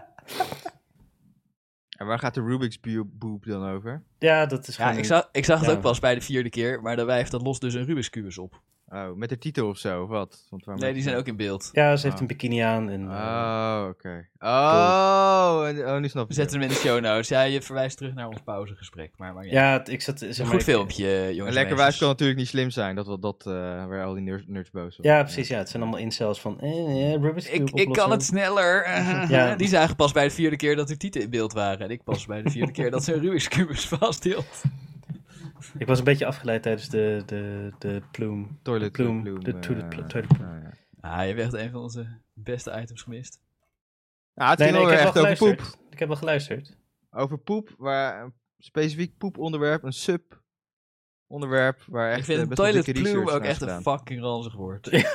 E: En waar gaat de Rubik's Bu- Boop dan over?
A: Ja, dat is
B: Ja,
A: gewoon...
B: ik zag, ik zag het
A: Ja.
B: ook pas bij de vierde keer, maar dat wijf dat lost dus een Rubik's Cubus op.
E: Oh, met de titel of zo, of wat? Want waar
B: Nee,
E: maakt
B: die
E: het
B: zijn ook in beeld.
A: Ja, ze heeft
E: Ah.
A: een bikini aan. En,
E: uit?
A: eh,
E: Oh, oké. Oh, en- oh, nu snap ik
B: We zetten
E: het.
B: hem in de show notes. Ja, je verwijst terug naar ons pauzegesprek. Maar, maar ja.
A: eh, ja, het- ik zat... Zeg
B: Een
A: maar,
B: goed
A: ik-
B: filmpje, jongens.
E: Een eh, lekker
B: meisjes.
E: wijs kan natuurlijk niet slim zijn, dat, dat, dat eh, waar al die nerds, nerds boos op
A: Ja,
E: zijn.
A: precies. Ja, het zijn allemaal incels van... Eh, eh, Rubik's Cube
B: Ik, ik kan
A: oplossen.
B: het sneller.
A: Ja.
B: Die zagen pas bij de vierde keer dat er tieten in beeld waren. En ik pas bij de vierde keer dat ze een Rubik's Cube vasthield.
A: Ik was een beetje afgeleid tijdens de, de, de plume.
E: Toilet
A: De plume,
E: Bloom,
A: de
E: eh,
A: toilet pl- toilet
E: ah, ja.
B: Ah, je hebt echt een van onze beste items gemist.
E: Ja, het
A: Nee,
E: ging
A: nee, ik
E: wel
A: heb
E: weer
A: wel
E: echt over
A: geluisterd.
E: poep.
A: Ik heb wel geluisterd.
E: Over poep, waar een specifiek poeponderwerp, een sub onderwerp, waar echt
B: ik
E: eh,
B: vind
E: best wel
B: toilet
E: dikke research
B: plume ook
E: naar is
B: echt een
E: gedaan.
B: fucking ranzig woord.
A: ja,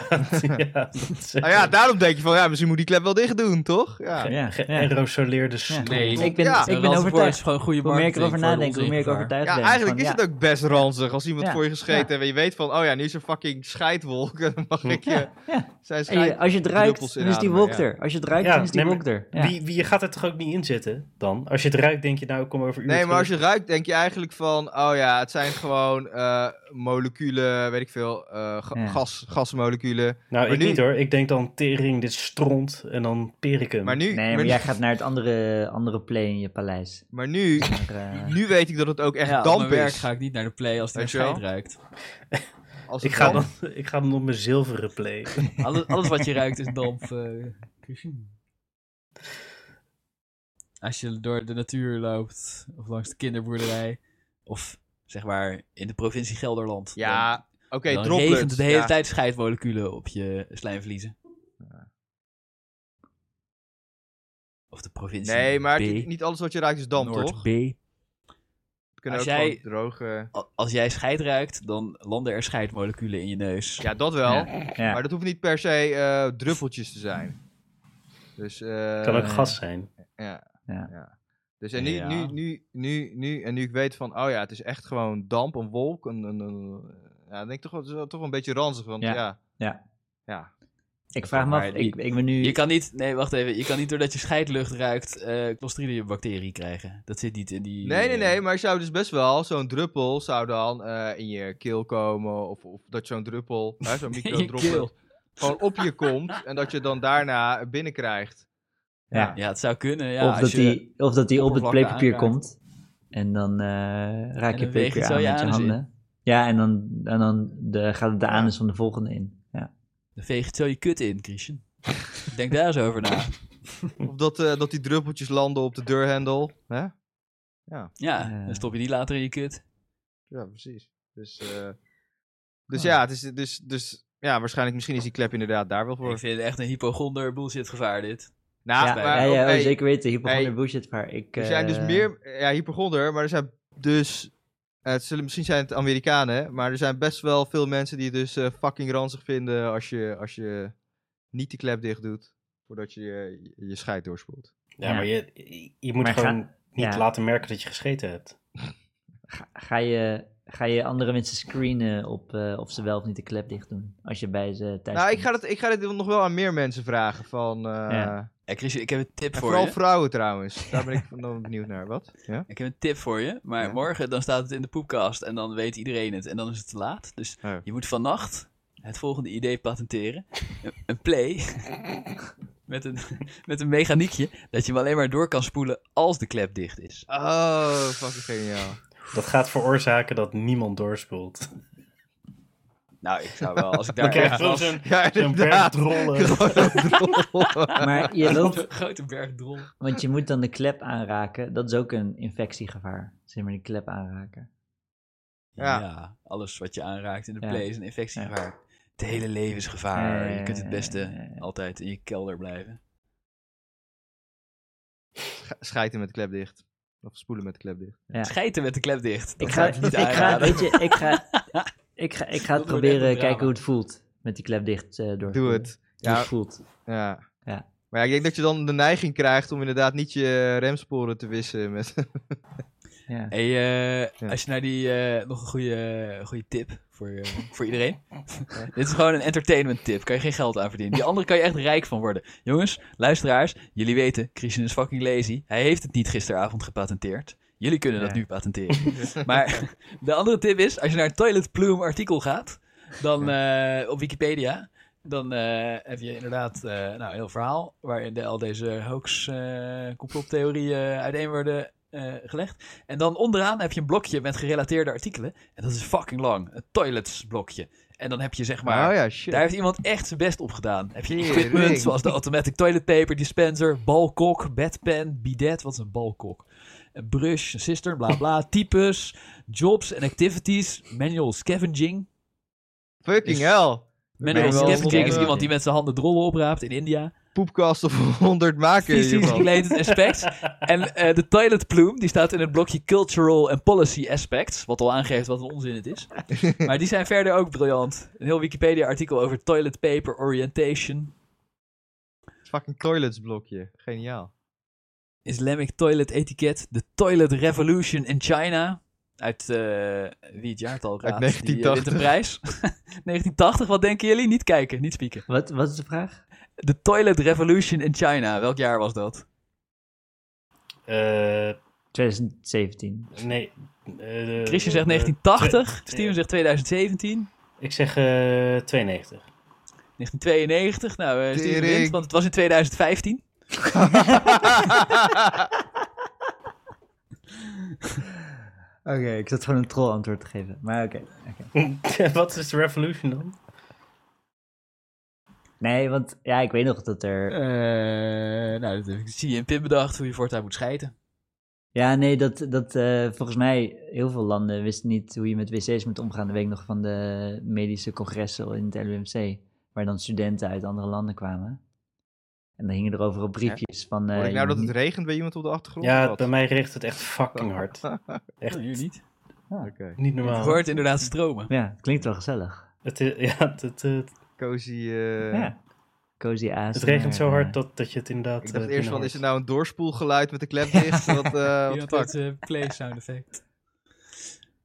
A: dat is-
B: Oh
E: Nou ja, daarom denk je van, ja, misschien moet die klep wel dicht doen, toch? Ja.
D: Ja, ja.
A: Geërosoleerde stoel.
B: Nee,
D: Ik ben,
E: Ja.
D: ik ben
B: Ranzig woord
D: overtuigd.
B: is gewoon goede
D: Hoe meer ik
B: marketing.
D: erover
B: voor de
D: nadenk, hoe meer ik
B: onzingevaar.
D: overtuigd
E: Ja,
D: ben.
E: eigenlijk is
D: Van,
E: het ook best ranzig als iemand
D: Ja,
E: voor je
D: ja.
E: gescheten heeft en je weet van, oh ja, nu is er fucking scheidwolk, dan mag ik je
D: ja. ja.
E: zijn
D: En je-
E: scheid...
D: als je het ruikt,
E: druppels
D: dan is die
E: inademen,
D: wolk
E: ja.
D: er. Als je het ruikt,
A: Ja,
D: dan is die
A: nee, maar
D: wolk er. Ja.
A: Wie, wie je gaat er toch ook niet in zitten dan? Als je het ruikt, denk je nou, ik kom over uur
E: Nee, maar als je
A: terug.
E: ruikt, denk je eigenlijk van, oh ja, het zijn gewoon eh, moleculen, weet ik veel, eh, ga-
D: Ja.
E: gas, gasmoleculen.
A: Nou,
E: Maar
A: ik
E: nu-
A: niet hoor. Ik denk dan tering, dit stront en dan perikum.
E: Maar nu,
D: Nee,
E: maar
D: maar
E: nu-
D: jij gaat naar het andere, andere play in je paleis.
E: maar nu,
D: Maar, eh,
E: nu weet ik dat het ook echt
B: Ja, op
E: damp
B: mijn werk
E: is.
B: ga ik niet naar de play als die naar
E: Weet je wel?
B: scheid ruikt.
E: Als
A: ik,
E: het
A: ga
E: damp-
A: dan, ik ga dan op mijn zilveren play.
B: Alles, alles wat je ruikt is damp. eh, Christine. Als je door de natuur loopt, of langs de kinderboerderij, of zeg maar in de provincie Gelderland. dan-
E: Ja, oké,
B: dan
E: droplets.
B: regent het de hele
E: ja.
B: tijd scheidmoleculen op je slijmvliezen. Of de provincie
E: Nee, maar
B: B,
E: niet, niet alles wat je ruikt is damp,
B: Noord
E: toch?
B: B.
E: Het kunnen
B: Als
E: ook
B: jij-
E: gewoon droge...
B: Al- Als jij scheid ruikt, dan landen er scheidmoleculen in je neus.
E: Ja, dat wel.
D: ja.
E: Maar dat hoeft niet per se eh, druppeltjes te zijn. Dus, eh,
A: kan ook gas zijn.
E: Ja.
D: Ja.
E: ja. Dus en nu,
B: Ja.
E: nu, nu, nu, nu, en nu ik weet van, oh ja, het is echt gewoon damp, een wolk, een, een, een- ja, dan denk ik toch wel, het is wel toch wel een beetje ranzig, want
D: Ja.
E: ja. Ja.
D: Ja.
E: Ja.
D: Ik vraag me af,
B: Maar
D: ik, ik ben nu...
B: Je kan niet, nee, wacht even. Je kan niet doordat je scheidlucht ruikt, eh Clostridium bacterie krijgen. Dat zit niet in die.
E: Nee, nee,
B: eh,
E: nee, maar je zou dus best wel, zo'n druppel zou dan eh, in je keel komen, of, of dat zo'n druppel, hè, zo'n
B: in je
E: microdroppel,
B: keel.
E: gewoon op je komt en dat je dan daarna binnenkrijgt.
D: Ja.
B: Ja, het zou kunnen. Ja,
D: of,
B: als
D: dat
B: je,
D: die, of dat die op het
B: oppervlakken
D: playpapier
B: aanraakt.
D: komt. En dan eh, raak je
B: dan weeg
D: het
B: je
D: playpapier
B: het zo
D: aan
B: je
D: met je
B: anus in.
D: handen. Ja, en dan, en dan de, gaat het de anus van de volgende in. Ja.
B: Dan veeg je het zo je kut in, Christian. Denk daar eens over na.
E: Of dat, eh, dat die druppeltjes landen op de deurhendel. Hè?
B: Ja,
D: Ja.
B: dan stop je die later in je kut.
E: Ja, precies. Dus, eh, dus ja, het is, dus, dus, ja, waarschijnlijk misschien is die klep inderdaad daar wel voor.
B: Ik vind het echt een hypochonder bullshit gevaar, dit.
E: Nou,
D: ja,
E: maar,
D: ja, ja, oh,
E: oké,
D: zeker weten. Hypochonder
E: Hey.
D: bullshit, maar ik...
E: Er zijn dus
D: eh,
E: meer, ja, hypergonder, maar er zijn dus, eh, het zullen, misschien zijn het Amerikanen, maar er zijn best wel veel mensen die het dus eh, fucking ranzig vinden als je, als je niet de klep dicht doet voordat je je, je scheid doorspoelt.
A: Ja,
D: Ja.
A: maar je, je moet
D: Maar ga-
A: gewoon niet
D: ja.
A: laten merken dat je gescheten hebt.
D: Ga, ga je, ga je andere mensen screenen op eh, of ze wel of niet de klep dicht doen? Als je bij ze thuis
E: Nou, ik
D: komt.
E: ga, dat, ik ga dit nog wel aan meer mensen vragen van... eh,
D: Ja.
B: Ja, Christian, ik heb een tip
E: En
B: voor
E: vooral
B: je.
E: vrouwen trouwens. Daar ben ik van dan benieuwd naar. Wat? Ja?
B: Ik heb een tip voor je. Maar
E: Ja.
B: morgen dan staat het in de poepkast en dan weet iedereen het. En dan is het te laat. Dus
E: Oh.
B: je moet vannacht het volgende idee patenteren. Een, een play. met, een, met een mechaniekje. Dat je hem alleen maar door kan spoelen als de klep dicht is.
E: Oh, fucking geniaal.
A: Dat gaat veroorzaken dat niemand doorspoelt.
B: Nou, ik zou wel, als ik
A: Dan
B: daar
A: krijg
B: echt
A: je gewoon zo'n
E: Ja,
A: zo'n
E: inderdaad.
B: eh.
A: bergrollen.
D: Maar je loopt,
B: grote berg drol.
D: want je moet dan de klep aanraken. Dat is ook een infectiegevaar. Zeg maar, die klep aanraken.
E: Ja.
B: Ja. alles wat je aanraakt in de
D: Ja.
B: play is een infectiegevaar. Het hele leven is gevaar.
D: Ja, ja,
B: Ah, je kunt het
D: ja, ja, ja,
B: beste
D: ja.
B: altijd in je kelder blijven.
E: Schijten met de klep dicht. Of spoelen met de klep dicht.
D: Ja.
B: Schijten met de klep dicht. Dat
D: Ik
B: zou
D: ga,
B: ik niet
D: ik ga,
B: aanraden.
D: weet je, ik ga, ik ga, ik ga het
B: Dat wordt echt een
D: proberen kijken
B: drama.
D: hoe het voelt. Met die klep dicht eh door.
E: Doe het.
D: Hoe
E: Ja,
D: het voelt.
E: ja.
D: Ja.
E: Maar ja, ik denk dat je dan de neiging krijgt om inderdaad niet je eh, remsporen te wissen. Met...
D: Ja.
B: Hey, eh,
E: Ja.
B: Als je naar die... eh, nog een goede, goede tip voor, eh, voor iedereen. Dit is gewoon een entertainment tip. Kan je geen geld aan verdienen. Die andere kan je echt rijk van worden. Jongens, luisteraars. Jullie weten, Christian is fucking lazy. Hij heeft het niet gisteravond gepatenteerd. Jullie kunnen dat
D: Nee.
B: nu patenteren. maar de andere tip is, als je naar het Toilet Plume artikel gaat... Dan eh, op Wikipedia. Dan eh, heb je inderdaad eh, nou, een heel verhaal waarin de, al deze hoax eh, complottheorieën uiteen worden eh, gelegd. En dan onderaan heb je een blokje met gerelateerde artikelen. En dat is fucking lang. Het toilets blokje. En dan heb je zeg maar...
E: oh ja, shit.
B: Daar heeft iemand echt zijn best op gedaan. Heb je
E: Tering.
B: equipment zoals de automatic toilet paper dispenser, balkok, bedpan, bidet, wat is een balkok? Een brush, een sister, bla bla, types, jobs en activities, manual scavenging.
E: Fucking hell.
B: Manual
E: Manual
B: scavenging is
E: scavenging.
B: iemand die met zijn handen drollen opraapt in India.
E: Poepkast of 100 maken
B: Feces
E: hiervan.
B: related aspects. En eh, de toilet plume, die staat in het blokje cultural en policy aspects, wat al aangeeft wat een onzin het is. Maar die zijn verder ook briljant. Een heel Wikipedia artikel over toilet paper orientation.
E: Fucking toilets blokje. Geniaal.
B: Islamic Toilet Etiquette, The Toilet Revolution in China. Uit eh, wie het jaartal raadt. Die, eh, wint
E: 1980.
B: de prijs. 1980, wat denken jullie? Niet kijken, niet spieken.
D: Wat, wat is de vraag?
B: The Toilet Revolution in China, welk jaar was dat?
A: Eh,
D: 2017.
A: nee. eh,
B: Chrisje
A: eh, twe-
B: zegt 1980,
A: eh,
B: Steven zegt 2017,
A: Ik zeg eh 92.
B: 1992. Nou, eh, Steven
E: Tering.
B: wint, want het was in 2015.
D: Oké, ik zat gewoon een troll antwoord te geven. Maar oké.
A: Wat is de Revolution dan?
D: Nee, want ja, ik weet nog dat er...
B: Eh, nou, dat heb ik zie je in Pim bedacht hoe je voortaan moet scheiden.
D: Ja, nee, dat, dat eh, volgens mij heel veel landen wisten niet hoe je met wc's moet omgaan. De week nog van de medische congressen in het LUMC. Waar dan studenten uit andere landen kwamen. En dan hingen er overal briefjes van... eh,
E: Hoor ik nou
D: je
E: dat het
D: moet
E: regent bij iemand op de achtergrond?
A: Ja,
E: Wat?
A: bij mij richt het echt fucking hard. Echt
B: jullie niet?
E: Ah, Oké.
A: niet
B: Je
A: normaal.
B: hoort inderdaad stromen.
D: niet- Ja, het klinkt wel gezellig.
A: Het, is- ja, het, het, het,
E: Cozy. eh,
D: ja. Cozy ASMR.
A: het regent zo
D: eh.
A: hard dat, dat je het inderdaad...
E: Ik
A: eh,
E: dacht eerst
A: binnen
E: van,
A: hoort.
E: is het nou een doorspoelgeluid met de klep dicht? Wat, eh
B: Je
E: wat
B: had
E: fuck?
B: het eh, play sound effect.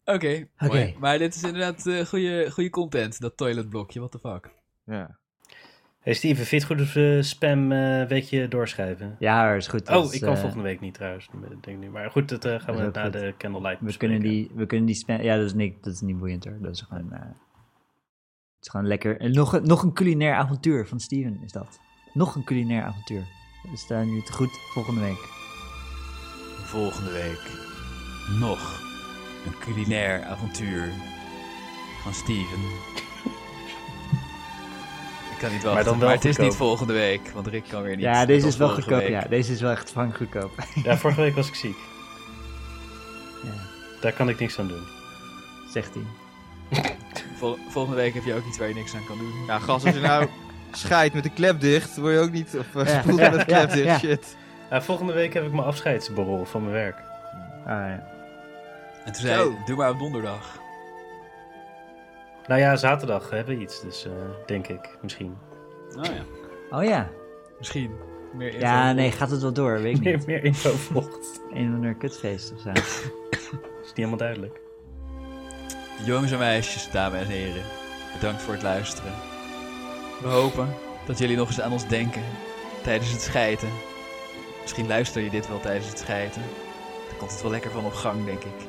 B: Oké,
D: Oké.
B: mooi. Maar dit is inderdaad eh goede, goede content, dat toiletblokje, what the fuck.
E: Ja.
A: Hey Steven, vind je het goed of eh spam eh weekje doorschrijven?
D: Ja, hoor, is goed. Dat
A: oh,
D: is,
A: ik kan
D: eh,
A: volgende week niet trouwens, denk ik nu. Maar goed, dat eh, gaan
D: is
A: we
D: ook
A: na
D: goed.
A: de candlelight
D: We
A: bespreken.
D: kunnen die, we kunnen die spam... Ja, dat is, niet, dat is niet boeiend hoor. Dat is gewoon... eh, het is gewoon lekker. En nog, een- nog een culinair avontuur van Steven is dat. Nog een culinair avontuur. We staan nu te goed volgende week.
B: Volgende week nog een culinair avontuur van Steven. Ik kan niet wachten, maar,
A: Maar dan wel
B: het is
A: goedkoop.
B: niet volgende week, want Rick kan weer niet.
D: ja,
B: Net
D: deze
B: als
D: is wel
B: vorige
D: goedkoop.
B: week.
D: Ja, deze is wel echt van goedkoop.
A: Ja, vorige week was ik ziek.
D: Ja.
A: Daar kan ik niks aan doen.
D: Zegt hij.
B: Vol- volgende week heb je ook iets waar je niks aan kan doen.
E: ja, gast, als je nou scheidt met de klep dicht, word je ook niet... Of eh,
D: Ja.
E: spoelt met de klep
D: Ja,
E: dicht,
D: ja.
E: shit.
A: Ja, volgende week heb ik mijn afscheidsborrel van mijn werk.
D: Ah, ja.
B: En toen zei
E: Zo.
B: hij, doe maar op donderdag.
A: Nou ja, zaterdag hebben we iets, dus eh, denk ik, misschien.
B: Oh ja,
D: Oh ja.
B: misschien. Meer info.
D: Ja, nee, gaat het wel door? Weet ik
A: Meer,
D: niet.
A: meer info volgt.
D: Een of ander kutfeest of zo.
A: Is niet helemaal duidelijk.
B: Jongens en meisjes, dames en heren, bedankt voor het luisteren. We hopen dat jullie nog eens aan ons denken tijdens het schijten. Misschien luister je dit wel tijdens het schijten. Dan komt het wel lekker van op gang, denk ik.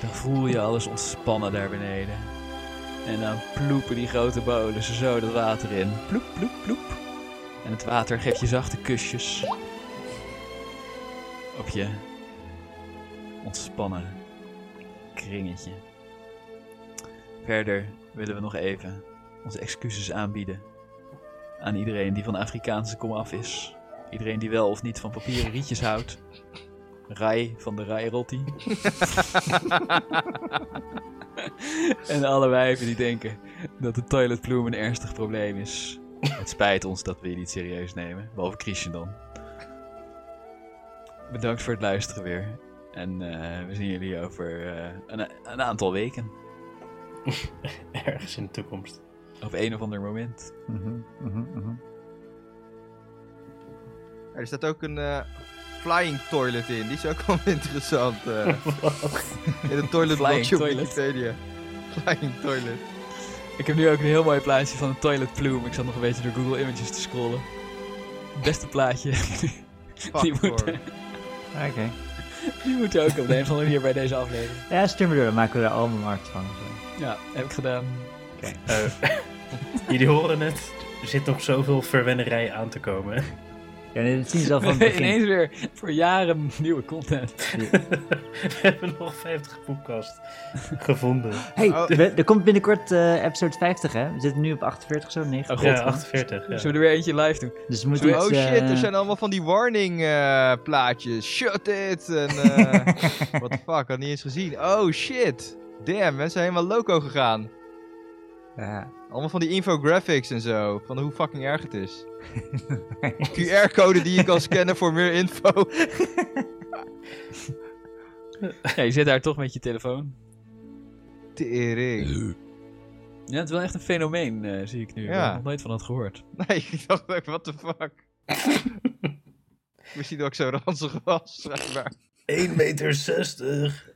B: Dan voel je alles ontspannen daar beneden. En dan ploepen die grote bolen zo dat water in. Ploep, ploep, ploep. En het water geeft je zachte kusjes. Op je ontspannen kringetje. Verder willen we nog even onze excuses aanbieden aan iedereen die van Afrikaanse komaf is. Iedereen die wel of niet van papieren rietjes houdt. Rai van de Rai Rotti. en alle wijven die denken dat de toiletploem een ernstig probleem is. Het spijt ons dat we je niet serieus nemen, behalve Christian dan. Bedankt voor het luisteren weer. En eh, we zien jullie over eh, een, een aantal weken.
A: Ergens in de toekomst.
B: Op een of ander moment.
D: Mhm, mhm, mhm.
E: Er staat ook een eh, flying toilet in. Die is ook wel interessant. eh. in een toilet blokje op
B: Flying toilet.
E: Wikipedia. Flying toilet.
B: Ik heb nu ook een heel mooi plaatje van een toilet plume. Ik zat nog een beetje door Google Images te scrollen. Beste plaatje. Die
E: Fuck
B: moet-
E: hoor.
D: Oké.
B: Die moet je ook op de een of andere manier bij deze aflevering.
D: Ja, stuur me door. Dan maken we er allemaal een art van. of zo.
B: Ja, heb ik gedaan.
A: Eh, jullie horen het. Er zit nog zoveel verwennerij aan te komen.
D: Ja, nee, dat zien ze al van het begin.
B: Ineens weer voor jaren nieuwe content.
A: We hebben nog 50 podcast gevonden.
D: Hey,
E: Oh.
D: we- er komt binnenkort eh, episode 50, hè? We zitten nu op 48 zo, 9.
B: Oh god.
A: Ja, 48. Ja.
B: Zullen we er weer eentje live doen?
D: Dus we moeten
E: Oh
D: iets,
E: shit,
D: eh,
E: er zijn allemaal van die warning eh, plaatjes. Shut it! En, eh what the fuck, had niet eens gezien. Oh shit! Damn, mensen zijn helemaal loco gegaan.
D: ja.
E: Allemaal van die infographics en zo. Van hoe fucking erg het is. QR-code die je kan scannen voor meer info.
B: Ja, je zit daar toch met je telefoon.
E: Tering.
B: Ja, het is wel echt een fenomeen, eh, zie ik nu.
E: Ja.
B: Ik heb nog nooit van dat gehoord.
E: Nee, ik dacht ook, what the fuck. Misschien dat ik zo ranzig was, schijnbaar.
A: 1,60 meter.